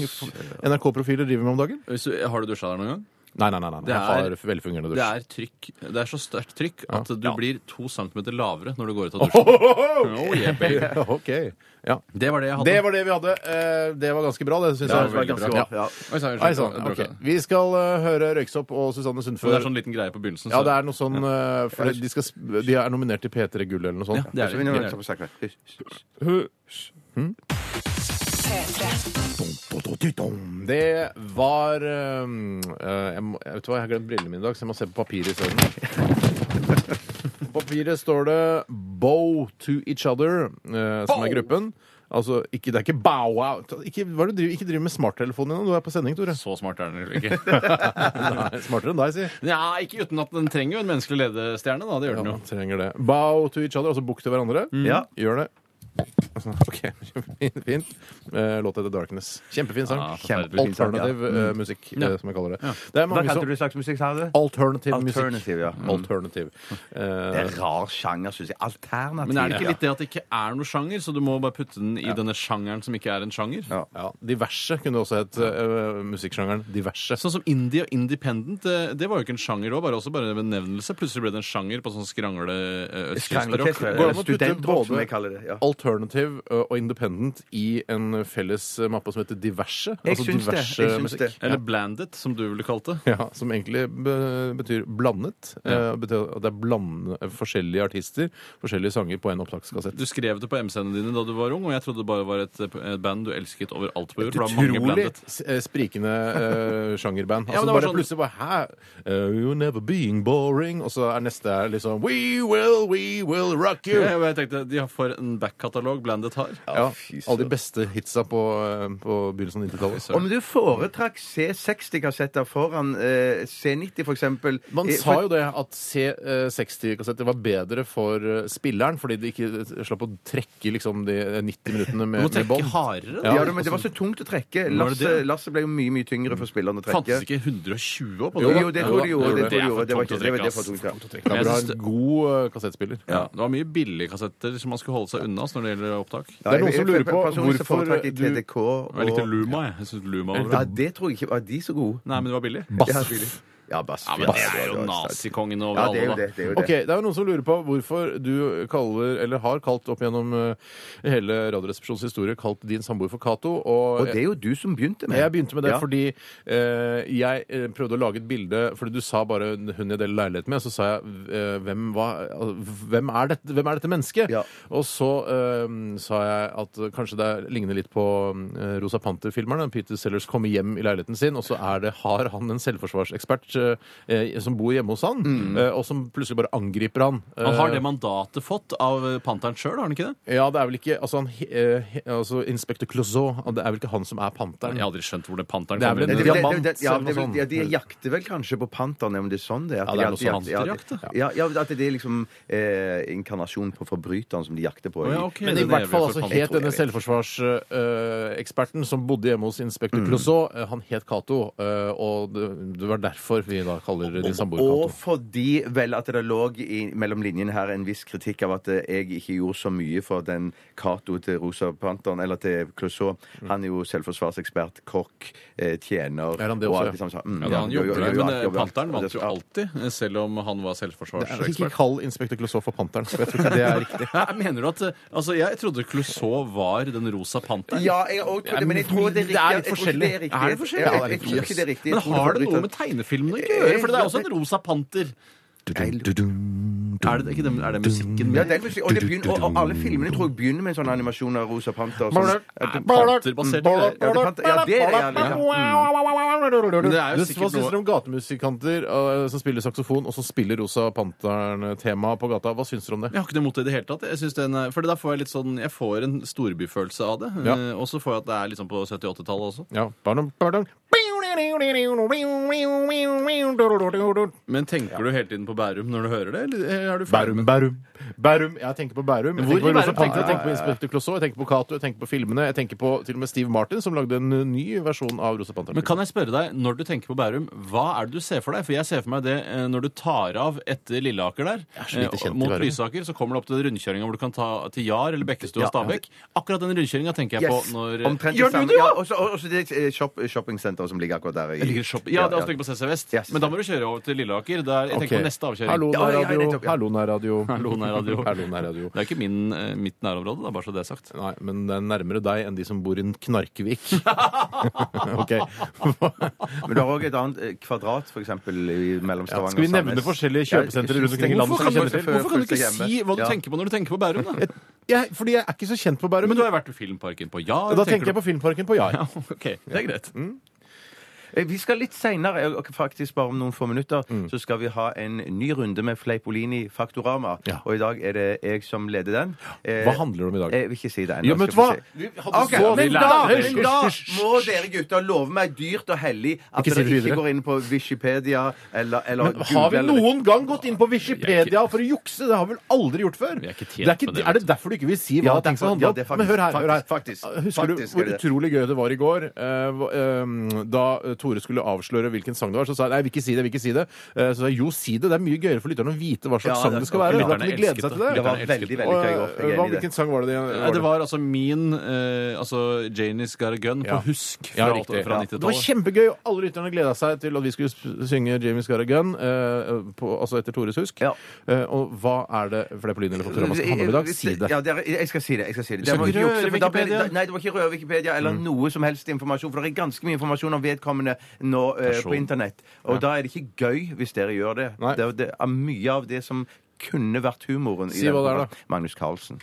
[SPEAKER 2] NRK-profiler driver med om dagen.
[SPEAKER 4] Hvis du- Har du dusja der noen gang?
[SPEAKER 2] Nei, nei, nei. nei.
[SPEAKER 4] Det
[SPEAKER 2] Jeg
[SPEAKER 4] er-
[SPEAKER 2] har velfungerende
[SPEAKER 4] Det
[SPEAKER 2] dusj.
[SPEAKER 4] er trykk. Det er så sterkt trykk at du blir to centimeter lavere når du går ut av
[SPEAKER 2] Ho,
[SPEAKER 4] dusjen.
[SPEAKER 2] ho, ho!
[SPEAKER 4] Oh, yeah, baby.
[SPEAKER 2] OK. Ja.
[SPEAKER 4] det var det jeg hadde.
[SPEAKER 2] Det var det vi hadde. Eh, Det var ganske bra, det syns
[SPEAKER 4] Ja,
[SPEAKER 2] jeg.
[SPEAKER 3] Det var ganske bra. Ja.
[SPEAKER 4] Oi, sann,
[SPEAKER 2] Nei,
[SPEAKER 4] unnskyld.
[SPEAKER 2] sånn.
[SPEAKER 4] Jeg bråker.
[SPEAKER 2] ok. Vi skal eh, høre Røyksopp og Susanne
[SPEAKER 4] Men
[SPEAKER 2] Sundfør.
[SPEAKER 4] det er sånn liten greie på begynnelsen.
[SPEAKER 2] Ja,
[SPEAKER 4] så-
[SPEAKER 2] det er noe sånn eh, for de, skal, sp- de er nominert til P3 Gull eller noe
[SPEAKER 4] Ja,
[SPEAKER 2] sånt.
[SPEAKER 4] det er
[SPEAKER 3] Så
[SPEAKER 4] det.
[SPEAKER 3] vi nå
[SPEAKER 4] Greier.
[SPEAKER 3] tar på sakene. Hysj, hysj.
[SPEAKER 2] Det var um, eh, jeg, må, jeg vet hva, jeg har glemt brillene mine i dag, så jeg må se på papiret isteden. På papiret står det 'Bow to each other', eh, som er gruppen. Altså, ikke, det er ikke bow out. Ikke, hva er det du driver, ikke driver med smarttelefonen din nå, du er på sending, Tore.
[SPEAKER 4] Så smart er den vel ikke.
[SPEAKER 2] Nei, smartere enn deg, si.
[SPEAKER 4] ja, ikke uten at den trenger jo en menneskelig ledestjerne, da. Det gjør
[SPEAKER 2] Ja,
[SPEAKER 4] den jo.
[SPEAKER 2] man trenger det. Bow to each other, altså bukk til hverandre.
[SPEAKER 4] Mm.
[SPEAKER 3] Ja.
[SPEAKER 2] Gjør det. Altså, OK, fint. fint. Eh, Låt heter 'Darkness'. Kjempefin sang.
[SPEAKER 4] Ja, Mm.
[SPEAKER 3] Kjempefin.
[SPEAKER 4] forferdelig.
[SPEAKER 2] Alternativ eh, musikk, eh, som jeg kaller det. Det er
[SPEAKER 3] Hva
[SPEAKER 2] mange
[SPEAKER 3] kalte
[SPEAKER 2] som
[SPEAKER 3] du slags musikk, sa du?
[SPEAKER 2] Alternativ, musikk.
[SPEAKER 3] Alternative, ja.
[SPEAKER 2] Alternativ.
[SPEAKER 3] Mm. Det
[SPEAKER 2] Eh,
[SPEAKER 3] er rar sjanger, syns jeg. Alternativ.
[SPEAKER 4] Men er det ikke litt det at det ikke er noe sjanger, så du må bare putte den i denne sjangeren som ikke er en sjanger?
[SPEAKER 3] Ja.
[SPEAKER 2] ja, diverse kunne det også hett eh, musikksjangeren. Diverse.
[SPEAKER 4] Sånn som indie og independent, det, det var jo ikke en sjanger òg, bare også bare en benevnelse. Plutselig ble det en sjanger på sånn skrangle eh, østkøsterrock.
[SPEAKER 3] Skranglefest,
[SPEAKER 2] Går det an
[SPEAKER 3] eller
[SPEAKER 2] å putte
[SPEAKER 3] studentrock, som
[SPEAKER 2] både-
[SPEAKER 3] jeg kaller det. Ja.
[SPEAKER 2] alternative ø, eh, og independent i en felles ø, mappe som heter Diverse. Altså
[SPEAKER 3] Jeg syns det, jeg
[SPEAKER 2] diverse
[SPEAKER 3] syns
[SPEAKER 2] musikk.
[SPEAKER 3] det.
[SPEAKER 4] Eller blandet, som du ville kalt det.
[SPEAKER 2] Ja, som egentlig be betyr blandet. Eh, betyr at det er blandende, forskjellige artister, forskjellige sanger på en opptakskassett.
[SPEAKER 4] Du skrev det på MC-ene dine da du var ung, og jeg trodde det bare var et, et band du elsket over alt på jord. for det var mange
[SPEAKER 2] Utrolig
[SPEAKER 4] blandet.
[SPEAKER 2] s- eh, sprikende eh, sjangerband.
[SPEAKER 4] Ja,
[SPEAKER 2] Altså
[SPEAKER 4] men det var
[SPEAKER 2] bare
[SPEAKER 4] sånn-
[SPEAKER 2] plutselig bare Hæ? Eh, you're never being boring. Og så er neste er liksom We will, we will rock you.
[SPEAKER 4] Ja, og jeg tenkte, De har for en backkatalog Blandet har.
[SPEAKER 2] Ja, Alle de beste hitsa på, eh, på begynnelsen av 90-tallet.
[SPEAKER 3] Om du foretrakk C60-kassetter foran eh, C90, for eksempel
[SPEAKER 2] Man
[SPEAKER 3] eh,
[SPEAKER 2] sa
[SPEAKER 3] for-
[SPEAKER 2] jo det at C60-kassetter var bedre for eh, spilleren, fordi de ikke eh, slapp å trekke liksom de eh, 90 minuttene
[SPEAKER 4] Du må
[SPEAKER 2] med, med
[SPEAKER 4] trekke
[SPEAKER 2] bånd.
[SPEAKER 4] hardere.
[SPEAKER 3] ja,
[SPEAKER 4] da.
[SPEAKER 3] men Det var så tungt å trekke.
[SPEAKER 4] altså- Var det
[SPEAKER 3] Lasse,
[SPEAKER 4] det?
[SPEAKER 3] Lasse ble jo mye mye tyngre for spilleren å trekke.
[SPEAKER 4] Fantes ikke 120 opp? altså.
[SPEAKER 3] Jo, jo, det tror jeg de gjorde. Det
[SPEAKER 4] Det
[SPEAKER 3] tror jeg de
[SPEAKER 4] er for
[SPEAKER 3] gjorde. Det var ikke-
[SPEAKER 4] tungt å
[SPEAKER 3] det var- det var
[SPEAKER 4] trekke, ass.
[SPEAKER 3] tungt, ja.
[SPEAKER 2] Det er
[SPEAKER 4] Jeg
[SPEAKER 2] bra
[SPEAKER 4] synes
[SPEAKER 2] en
[SPEAKER 4] det-
[SPEAKER 2] god eh, kassettspiller.
[SPEAKER 4] Ja, det var mye billige kassetter som man skulle holde seg unna altså, når det gjelder opptak.
[SPEAKER 3] Ja,
[SPEAKER 2] Det er
[SPEAKER 3] jeg-
[SPEAKER 2] noen som
[SPEAKER 3] jeg-
[SPEAKER 2] lurer på
[SPEAKER 3] personlig så
[SPEAKER 2] hvorfor
[SPEAKER 3] foretrakk jeg
[SPEAKER 2] du-
[SPEAKER 3] TDK og
[SPEAKER 4] Jeg likte Luma, jeg. jeg synes Luma var
[SPEAKER 3] Ja,
[SPEAKER 4] bra.
[SPEAKER 3] det tror jeg ikke Var de så gode?
[SPEAKER 4] Nei, men det var billig.
[SPEAKER 3] Ja,
[SPEAKER 2] Bass.
[SPEAKER 3] billig. Ja, bass.
[SPEAKER 4] Ja, men
[SPEAKER 3] Bass.
[SPEAKER 4] det er jo
[SPEAKER 3] Ja,
[SPEAKER 4] nazikongen over
[SPEAKER 3] Ja, det er jo det.
[SPEAKER 4] alle, da.
[SPEAKER 3] det, er jo det.
[SPEAKER 2] Ok, Det er jo noen som lurer på hvorfor du kaller, eller har kalt opp gjennom eh, hele Radioresepsjonens historie, kalt din samboer for Cato. Og,
[SPEAKER 3] Og det er jo du som begynte med
[SPEAKER 2] jeg begynte med det
[SPEAKER 3] Ja.
[SPEAKER 2] fordi eh, jeg eh, prøvde å lage et bilde Fordi du sa bare hun jeg deler leilighet med, og så sa jeg eh, hvem, hva, al- hvem, er dette, hvem er dette mennesket?
[SPEAKER 3] Ja.
[SPEAKER 2] Og så eh, sa jeg at kanskje det ligner litt på eh, Rosa Panther-filmerne. Peter Sellers kommer hjem i leiligheten sin, og så er det, har han en selvforsvarsekspert eh, som bor hjemme hos han,
[SPEAKER 3] Mm.
[SPEAKER 2] eh, og som plutselig bare angriper han.
[SPEAKER 4] Han har
[SPEAKER 2] Eh,
[SPEAKER 4] det mandatet fått av eh, Panteren sjøl, har han ikke det?
[SPEAKER 2] ja, det er vel ikke altså, han, he- eh, he- altså, Inspektør Clouseau, det er vel ikke han som er panteren?
[SPEAKER 4] Jeg har aldri skjønt hvor det Panteren
[SPEAKER 2] Det er vel
[SPEAKER 3] Det-
[SPEAKER 4] kommer inn.
[SPEAKER 3] det- det-
[SPEAKER 4] i.
[SPEAKER 2] Diamant,
[SPEAKER 3] det- ja,
[SPEAKER 2] eller noe
[SPEAKER 3] det-
[SPEAKER 2] sånt.
[SPEAKER 3] ja, De jakter vel kanskje på panterne, om det er sånn det er. at
[SPEAKER 2] Ja,
[SPEAKER 3] de
[SPEAKER 2] det er noe
[SPEAKER 3] jakter-
[SPEAKER 4] sånn
[SPEAKER 3] ja,
[SPEAKER 4] panterjakt,
[SPEAKER 3] det- Ja, ja, at det er liksom eh, inkarnasjonen på forbryteren som de jakter på.
[SPEAKER 4] Å, ja, ok.
[SPEAKER 2] Men
[SPEAKER 4] Det
[SPEAKER 2] i
[SPEAKER 4] er
[SPEAKER 2] hvert
[SPEAKER 4] det
[SPEAKER 2] fall
[SPEAKER 4] vi
[SPEAKER 2] altså
[SPEAKER 4] får
[SPEAKER 2] het
[SPEAKER 3] pantro,
[SPEAKER 2] denne
[SPEAKER 3] jeg vet.
[SPEAKER 2] selvforsvarseksperten som bodde hjemme hos inspektør Clouseau, eh, han het Cato. eh, Og det det var derfor vi da kaller din samboer
[SPEAKER 3] Og
[SPEAKER 2] Cato.
[SPEAKER 3] fordi vel at det lå i, mellom linjene her en viss kritikk av at eh, jeg ikke gjorde så mye for den Cato til Rosa Panteren, eller til Clouseau. Han er jo selvforsvarsekspert, kokk, eh, tjener
[SPEAKER 2] Er han det
[SPEAKER 3] og
[SPEAKER 2] også,
[SPEAKER 3] alt
[SPEAKER 2] ja?
[SPEAKER 3] samme. Mm,
[SPEAKER 4] Ja, da, han
[SPEAKER 3] jo, jo,
[SPEAKER 4] jobber der,
[SPEAKER 3] jo,
[SPEAKER 4] men
[SPEAKER 3] alt,
[SPEAKER 4] eh,
[SPEAKER 3] jobber alt.
[SPEAKER 4] Panteren vant jo
[SPEAKER 3] Ja.
[SPEAKER 4] alltid, eh, selv om han var
[SPEAKER 2] Ikke
[SPEAKER 4] selvforsvarsekspert.
[SPEAKER 2] kall inspektør Clouseau for panteren. for Jeg tror ikke det er riktig.
[SPEAKER 4] Hæ, Mener du at eh, Altså, jeg trodde Clouseau var den rosa panteren.
[SPEAKER 3] Ja, jeg har også trodd det, men jeg
[SPEAKER 2] men
[SPEAKER 3] tror det
[SPEAKER 2] det
[SPEAKER 3] er riktig.
[SPEAKER 2] er litt
[SPEAKER 3] Jeg tror ikke det er
[SPEAKER 2] forskjellig.
[SPEAKER 3] riktig.
[SPEAKER 2] Er det forskjellig?
[SPEAKER 3] Jeg-
[SPEAKER 2] Ja, det er
[SPEAKER 3] Jeg tror ikke det er riktig.
[SPEAKER 4] Men har det noe med tegnefilmene å gjøre? For det er også en rosa panter. Er det, ikke det, er det musikken
[SPEAKER 3] Ja,
[SPEAKER 4] med?
[SPEAKER 3] det er musikk, og, det begynner, og, og alle filmene tror jeg begynner med en sånn animasjon av Rosa Panter. Sånn, at det-
[SPEAKER 4] panterbasert.
[SPEAKER 3] Ja, det er panter- ja, det er det, ja, Mm.
[SPEAKER 4] Men det er jo
[SPEAKER 2] Du,
[SPEAKER 4] sikkert
[SPEAKER 2] Hva syns
[SPEAKER 4] noe-
[SPEAKER 2] dere om gatemusikanter eh, som spiller saksofon, og som spiller Rosa Panteren-tema på gata? Hva syns dere om det?
[SPEAKER 4] Jeg har ikke noe mot det i det hele tatt. Jeg synes den er, fordi da får jeg litt sånn, jeg får en storbyfølelse av det.
[SPEAKER 2] Ja.
[SPEAKER 4] Eh, Og så får jeg at det er liksom på 70-80-tallet også.
[SPEAKER 2] Ja. Pardon, pardon.
[SPEAKER 4] Men tenker du hele tiden på Bærum når du hører det, eller er du ferdig
[SPEAKER 2] Bærum,
[SPEAKER 4] med
[SPEAKER 2] Bærum, Bærum. Jeg tenker på Bærum. Jeg
[SPEAKER 4] Hvor
[SPEAKER 2] tenker på
[SPEAKER 4] i Bærum
[SPEAKER 2] Rosa Panter,
[SPEAKER 4] tenker du?
[SPEAKER 2] jeg tenker på Inspektør Clouseau, jeg tenker på Cato, jeg tenker på filmene. Jeg tenker på til og med Steve Martin, som lagde en uh, ny versjon av Rosa Panter.
[SPEAKER 4] Men kan jeg spørre deg, når du tenker på Bærum, hva er det du ser for deg? For jeg ser for meg det eh, når du tar av etter Lilleaker der,
[SPEAKER 2] så lite
[SPEAKER 4] eh,
[SPEAKER 2] kjent i
[SPEAKER 4] mot
[SPEAKER 2] Bærum.
[SPEAKER 4] Lysaker, så kommer du opp til rundkjøringa hvor du kan ta til Jar eller Bekkestua
[SPEAKER 3] Ja,
[SPEAKER 4] og Stabekk. Akkurat den rundkjøringa tenker jeg
[SPEAKER 3] Yes.
[SPEAKER 4] på når
[SPEAKER 3] Omtrent det
[SPEAKER 4] Gjør du
[SPEAKER 3] samme.
[SPEAKER 4] det,
[SPEAKER 3] Ja,
[SPEAKER 4] ja?
[SPEAKER 3] og så- og og så det eh, shop, shoppingsenteret som ligger akkurat der. i-
[SPEAKER 4] Jeg ligger i shop- Ja, det er også tenkt på CC Vest.
[SPEAKER 3] Yes.
[SPEAKER 4] Men da må du kjøre over til Lilleaker. Der, jeg tenker på neste avkjøring.
[SPEAKER 2] Hallo,
[SPEAKER 3] Ja, ja, ja,
[SPEAKER 2] nærradio.
[SPEAKER 3] nettopp, ja.
[SPEAKER 2] Hallo, nærradio.
[SPEAKER 4] Hallo, nærradio.
[SPEAKER 2] Hallo, nærradio.
[SPEAKER 4] Det er ikke min, eh, mitt nærområde, da, bare så det er sagt.
[SPEAKER 2] Nei, men det er nærmere deg enn de som bor i en Knarkevik. ok.
[SPEAKER 3] Men du har òg et annet eh, kvadrat, for eksempel, i- mellom Stavanger og
[SPEAKER 2] Skal vi nevne
[SPEAKER 3] Sandnes.
[SPEAKER 2] forskjellige
[SPEAKER 3] Ja,
[SPEAKER 2] kjøpesentre rundt omkring i landet som
[SPEAKER 4] Hvorfor kan,
[SPEAKER 2] vi
[SPEAKER 4] du,
[SPEAKER 2] kjenner til?
[SPEAKER 4] hvorfor kan du ikke
[SPEAKER 3] Følelse
[SPEAKER 4] si
[SPEAKER 3] hjemme.
[SPEAKER 4] hva du
[SPEAKER 3] Ja.
[SPEAKER 4] tenker på når du tenker på Bærum, da?
[SPEAKER 2] Jeg, fordi jeg er ikke så kjent på Bærum.
[SPEAKER 4] Men du har jo vært i Filmparken på Ja.
[SPEAKER 2] da tenker jeg på Filmparken på Jar.
[SPEAKER 4] ja, OK, det er greit.
[SPEAKER 3] Eh, Vi skal litt seinere, faktisk bare om noen få minutter,
[SPEAKER 2] Mm.
[SPEAKER 3] så skal vi ha en ny runde med Fleipolini Faktorama.
[SPEAKER 2] Ja.
[SPEAKER 3] Og i dag er det jeg som leder den. Eh,
[SPEAKER 2] Hva handler det om i dag?
[SPEAKER 3] Jeg vil ikke si det
[SPEAKER 2] Ja,
[SPEAKER 3] ennå.
[SPEAKER 2] men vet du hva?
[SPEAKER 3] skal vi se. Ok,
[SPEAKER 2] så-
[SPEAKER 3] men,
[SPEAKER 2] Vi
[SPEAKER 3] da,
[SPEAKER 2] lærer det.
[SPEAKER 3] men da
[SPEAKER 2] Hysj, hysj, hysj.
[SPEAKER 3] må dere gutter love meg dyrt og hellig
[SPEAKER 2] Ikke
[SPEAKER 3] at
[SPEAKER 2] si
[SPEAKER 3] dere
[SPEAKER 2] det
[SPEAKER 3] ikke
[SPEAKER 2] videre.
[SPEAKER 3] går inn på Wikipedia eller, eller
[SPEAKER 2] Men har vi
[SPEAKER 3] Google eller-
[SPEAKER 2] noen gang gått inn på Wikipedia for å jukse? Det har vi vel aldri gjort før?
[SPEAKER 4] Vi er ikke tjent
[SPEAKER 2] det er, ikke,
[SPEAKER 4] med det,
[SPEAKER 2] er det
[SPEAKER 4] vet du.
[SPEAKER 2] derfor du ikke vil si hva
[SPEAKER 3] Ja,
[SPEAKER 2] ting skal
[SPEAKER 3] derfor-
[SPEAKER 2] handle
[SPEAKER 3] ja,
[SPEAKER 2] om?
[SPEAKER 3] det er faktisk-
[SPEAKER 2] Men hør her, hør her.
[SPEAKER 3] faktisk- faktisk-
[SPEAKER 2] Husker
[SPEAKER 3] faktisk
[SPEAKER 2] du
[SPEAKER 3] er
[SPEAKER 2] hvor
[SPEAKER 3] det det.
[SPEAKER 2] utrolig gøy det var i går eh, hva- eh, da eh, Tore skulle avsløre hvilken sang det var, så sa jeg nei, jeg vil ikke si det, jeg vil ikke si det. Eh, Så sa jeg jo, si det. Det er mye gøyere for lytterne å vite hva slags
[SPEAKER 3] Ja,
[SPEAKER 2] sang
[SPEAKER 3] det-
[SPEAKER 2] det skal være.
[SPEAKER 4] lytterne
[SPEAKER 2] Da kan de glede
[SPEAKER 4] elsket
[SPEAKER 2] seg til det.
[SPEAKER 4] det.
[SPEAKER 3] Det var veldig, veldig
[SPEAKER 2] Og,
[SPEAKER 3] gøy. Godt. Jeg
[SPEAKER 2] eh, hva,
[SPEAKER 3] er enig i det.
[SPEAKER 2] hvilken sang var det? det-
[SPEAKER 4] Nei, Det var altså min eh, altså Janie's Got a Gun
[SPEAKER 2] Ja.
[SPEAKER 4] på husk
[SPEAKER 2] Ja,
[SPEAKER 4] fra,
[SPEAKER 2] riktig.
[SPEAKER 4] fra
[SPEAKER 2] Det var
[SPEAKER 4] 90-tallet.
[SPEAKER 2] kjempegøy, og alle lytterne gleda seg til at vi skulle s- synge Jamie Scaragun, eh, på, altså etter Tores husk.
[SPEAKER 3] Ja. Eh,
[SPEAKER 2] Eh, og hva er det for det på lyden eller Faktorama skal handle om i dag? Si det.
[SPEAKER 3] Ja, dere- jeg skal si det. Jeg skal si det.
[SPEAKER 2] skal
[SPEAKER 3] Det var
[SPEAKER 2] ikke
[SPEAKER 3] jukse,
[SPEAKER 2] røre
[SPEAKER 3] for da ble det-
[SPEAKER 2] Wikipedia. Mm.
[SPEAKER 3] Nei, det var ikke røre Wikipedia eller noe som helst informasjon, for det er ganske mye informasjon om vedkommende nå eh,
[SPEAKER 2] Person.
[SPEAKER 3] på internett. Og da er det ikke gøy hvis dere gjør det.
[SPEAKER 2] Nei.
[SPEAKER 3] Det, er- det er mye av det som kunne vært humoren. i
[SPEAKER 2] Si
[SPEAKER 3] den
[SPEAKER 2] hva det er,
[SPEAKER 3] programmet.
[SPEAKER 2] da.
[SPEAKER 3] Magnus Carlsen.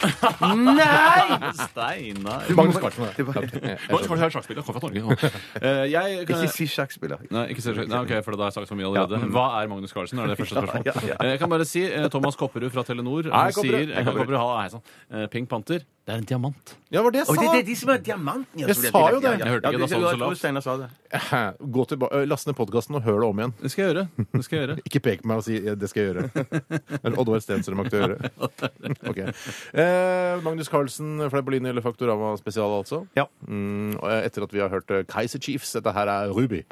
[SPEAKER 3] Nei!
[SPEAKER 4] Steinar.
[SPEAKER 2] Magnus Carlsen.
[SPEAKER 3] Det var-
[SPEAKER 2] ja.
[SPEAKER 4] Oi, kanskje jeg er sjakkspiller. Kom fra Norge. Eh, jeg kan-
[SPEAKER 3] Ikke si sjakkspiller.
[SPEAKER 4] Nei, ikke se, nei, ok, for da har jeg sagt så mye allerede. Hva er Magnus Carlsen? Er det første spørsmål.
[SPEAKER 3] Ja, ja, ja.
[SPEAKER 4] Eh, Jeg kan bare si eh, Thomas Kopperud fra Telenor
[SPEAKER 2] Hei,
[SPEAKER 4] han
[SPEAKER 2] Kopperud.
[SPEAKER 4] sier
[SPEAKER 2] Hei,
[SPEAKER 4] Hei,
[SPEAKER 2] Kopperud.
[SPEAKER 4] Kopperud, ha, hei, sånn. Eh, Pink Panther, det er en diamant.
[SPEAKER 2] Ja, var det jeg sa!
[SPEAKER 3] Og det, det er de som er diamanten.
[SPEAKER 2] Jeg sa jo det.
[SPEAKER 4] Jeg hørte ikke, da
[SPEAKER 2] sånn
[SPEAKER 4] sa du så lavt.
[SPEAKER 3] Steinar sa det.
[SPEAKER 2] Gå tilba- eh, Last ned podkasten og hør det om igjen.
[SPEAKER 4] Det skal jeg gjøre. Det skal jeg gjøre.
[SPEAKER 2] Ikke pek på meg og si eh, 'det skal jeg gjøre'. Eller Oddvar Stensrud makter å gjøre. Ok. Eh, Magnus Carlsen, Fleipolini eller Faktorama spesial, altså.
[SPEAKER 3] Ja.
[SPEAKER 2] Mm, og, eh, etter at vi har hørt eh, Kaiser Chiefs. Dette her er Ruby.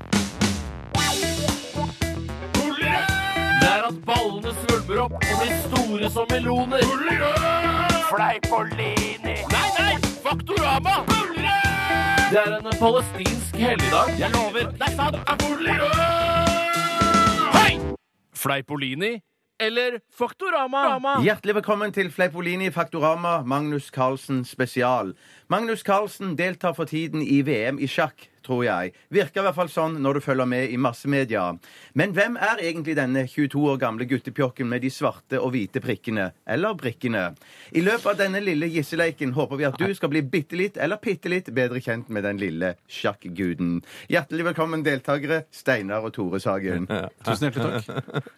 [SPEAKER 5] Det er at ballene svulmer opp og blir store som meloner. Fleipolini. Nei, nei! Faktorama! Det er en palestinsk helligdag. Jeg lover. Det er sant. Hei! Fleipolini eller Faktorama?
[SPEAKER 3] Hjertelig velkommen til Fleipolini Faktorama Magnus Carlsen spesial. Magnus Carlsen deltar for tiden i VM i sjakk, tror jeg. Virker i hvert fall sånn når du følger med i massemedia. Men hvem er egentlig denne 22 år gamle guttepjokken med de svarte og hvite prikkene? Eller brikkene? I løpet av denne lille gisseleiken håper vi at du skal bli bitte litt eller bitte litt bedre kjent med den lille sjakkguden. Hjertelig velkommen, deltakere Steinar og Tore Sagen.
[SPEAKER 4] Tusen hjertelig takk.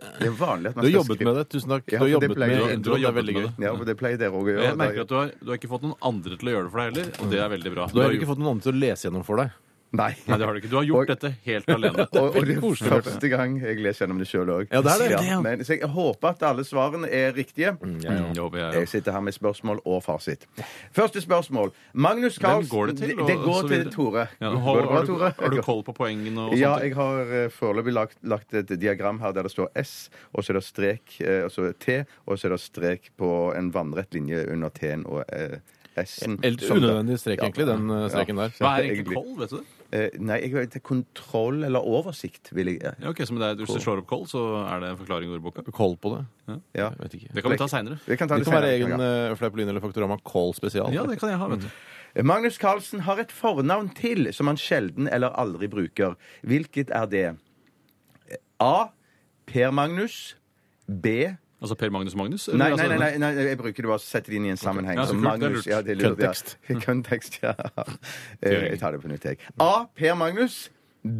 [SPEAKER 3] Det er vanlig at man
[SPEAKER 2] Du har
[SPEAKER 3] skal
[SPEAKER 2] jobbet
[SPEAKER 3] skrive-
[SPEAKER 2] med det. Tusen takk.
[SPEAKER 3] Ja,
[SPEAKER 2] du har
[SPEAKER 3] det
[SPEAKER 2] jobbet
[SPEAKER 3] pleier
[SPEAKER 2] med
[SPEAKER 3] jeg.
[SPEAKER 4] Du har
[SPEAKER 2] introen. Det er
[SPEAKER 4] jobbet
[SPEAKER 2] veldig
[SPEAKER 4] med
[SPEAKER 2] gøy.
[SPEAKER 4] det.
[SPEAKER 3] Ja, for det pleier dere òg å gjøre.
[SPEAKER 4] Jeg merker at du har, du har ikke fått noen andre til å gjøre det for deg heller, og det er veldig bra.
[SPEAKER 2] Du har
[SPEAKER 4] Du
[SPEAKER 2] ikke
[SPEAKER 4] har gjort-
[SPEAKER 2] fått noen andre til å lese gjennom for deg.
[SPEAKER 3] Nei.
[SPEAKER 4] Nei, det har du ikke. Du har gjort
[SPEAKER 3] Og-
[SPEAKER 4] dette helt alene.
[SPEAKER 3] Og, og det er første gang jeg leser gjennom det sjøl òg.
[SPEAKER 2] Ja, det er det.
[SPEAKER 3] men- Så jeg håper at alle svarene er riktige.
[SPEAKER 4] Mm, jo, jeg-
[SPEAKER 3] Jeg sitter her med spørsmål og fasit. Første spørsmål. Magnus Carlsen
[SPEAKER 4] Hvem går det til?
[SPEAKER 3] Det,
[SPEAKER 4] og
[SPEAKER 3] det går
[SPEAKER 4] så
[SPEAKER 3] til
[SPEAKER 4] videre?
[SPEAKER 3] Tore.
[SPEAKER 4] Ja,
[SPEAKER 3] Går
[SPEAKER 4] har,
[SPEAKER 3] det bra,
[SPEAKER 4] har, du,
[SPEAKER 3] Tore?
[SPEAKER 4] har du koll på poengene og sånt?
[SPEAKER 3] Ja, jeg har eh, foreløpig lagt, lagt et diagram her der det står S, og så er det strek, eh, og så er det T, og så er det strek på en vannrett linje under T-en og eh, S-en.
[SPEAKER 2] Helt
[SPEAKER 3] som det-
[SPEAKER 2] unødvendig strek, egentlig, den eh, streken der.
[SPEAKER 4] Hva er egentlig
[SPEAKER 3] egentlig.
[SPEAKER 4] koll, vet du det?
[SPEAKER 3] Eh, Nei, jeg vet ikke. Kontroll eller oversikt, vil jeg
[SPEAKER 4] Ja, ok, så men det er, Hvis du slår opp koll, så er det en forklaring i ordboka?
[SPEAKER 2] Koll på det.
[SPEAKER 3] Ja.
[SPEAKER 2] Jeg vet ikke.
[SPEAKER 4] Det kan vi ta seinere.
[SPEAKER 3] Vi kan ta
[SPEAKER 2] Det
[SPEAKER 3] det
[SPEAKER 2] kan være
[SPEAKER 3] senere.
[SPEAKER 2] egen
[SPEAKER 3] Ja.
[SPEAKER 2] eh, Fleipolini eller Faktorama Call spesial.
[SPEAKER 4] Ja, det kan jeg ha, vet du.
[SPEAKER 3] Magnus Carlsen har et fornavn til som han sjelden eller aldri bruker. Hvilket er det? A. Per Magnus. B.
[SPEAKER 4] Altså Per Magnus Magnus? eller
[SPEAKER 3] Nei,
[SPEAKER 4] altså
[SPEAKER 3] nei, nei,
[SPEAKER 4] denne-
[SPEAKER 3] nei, nei jeg bruker det bare å sette det inn i en sammenheng.
[SPEAKER 4] Ja,
[SPEAKER 3] Så
[SPEAKER 4] så kult, det er
[SPEAKER 3] Magnus,
[SPEAKER 4] lurt.
[SPEAKER 3] ja, det er lurt, ja. Kontekst, ja. Eh, Jeg tar det på nytt, jeg. A. Per Magnus.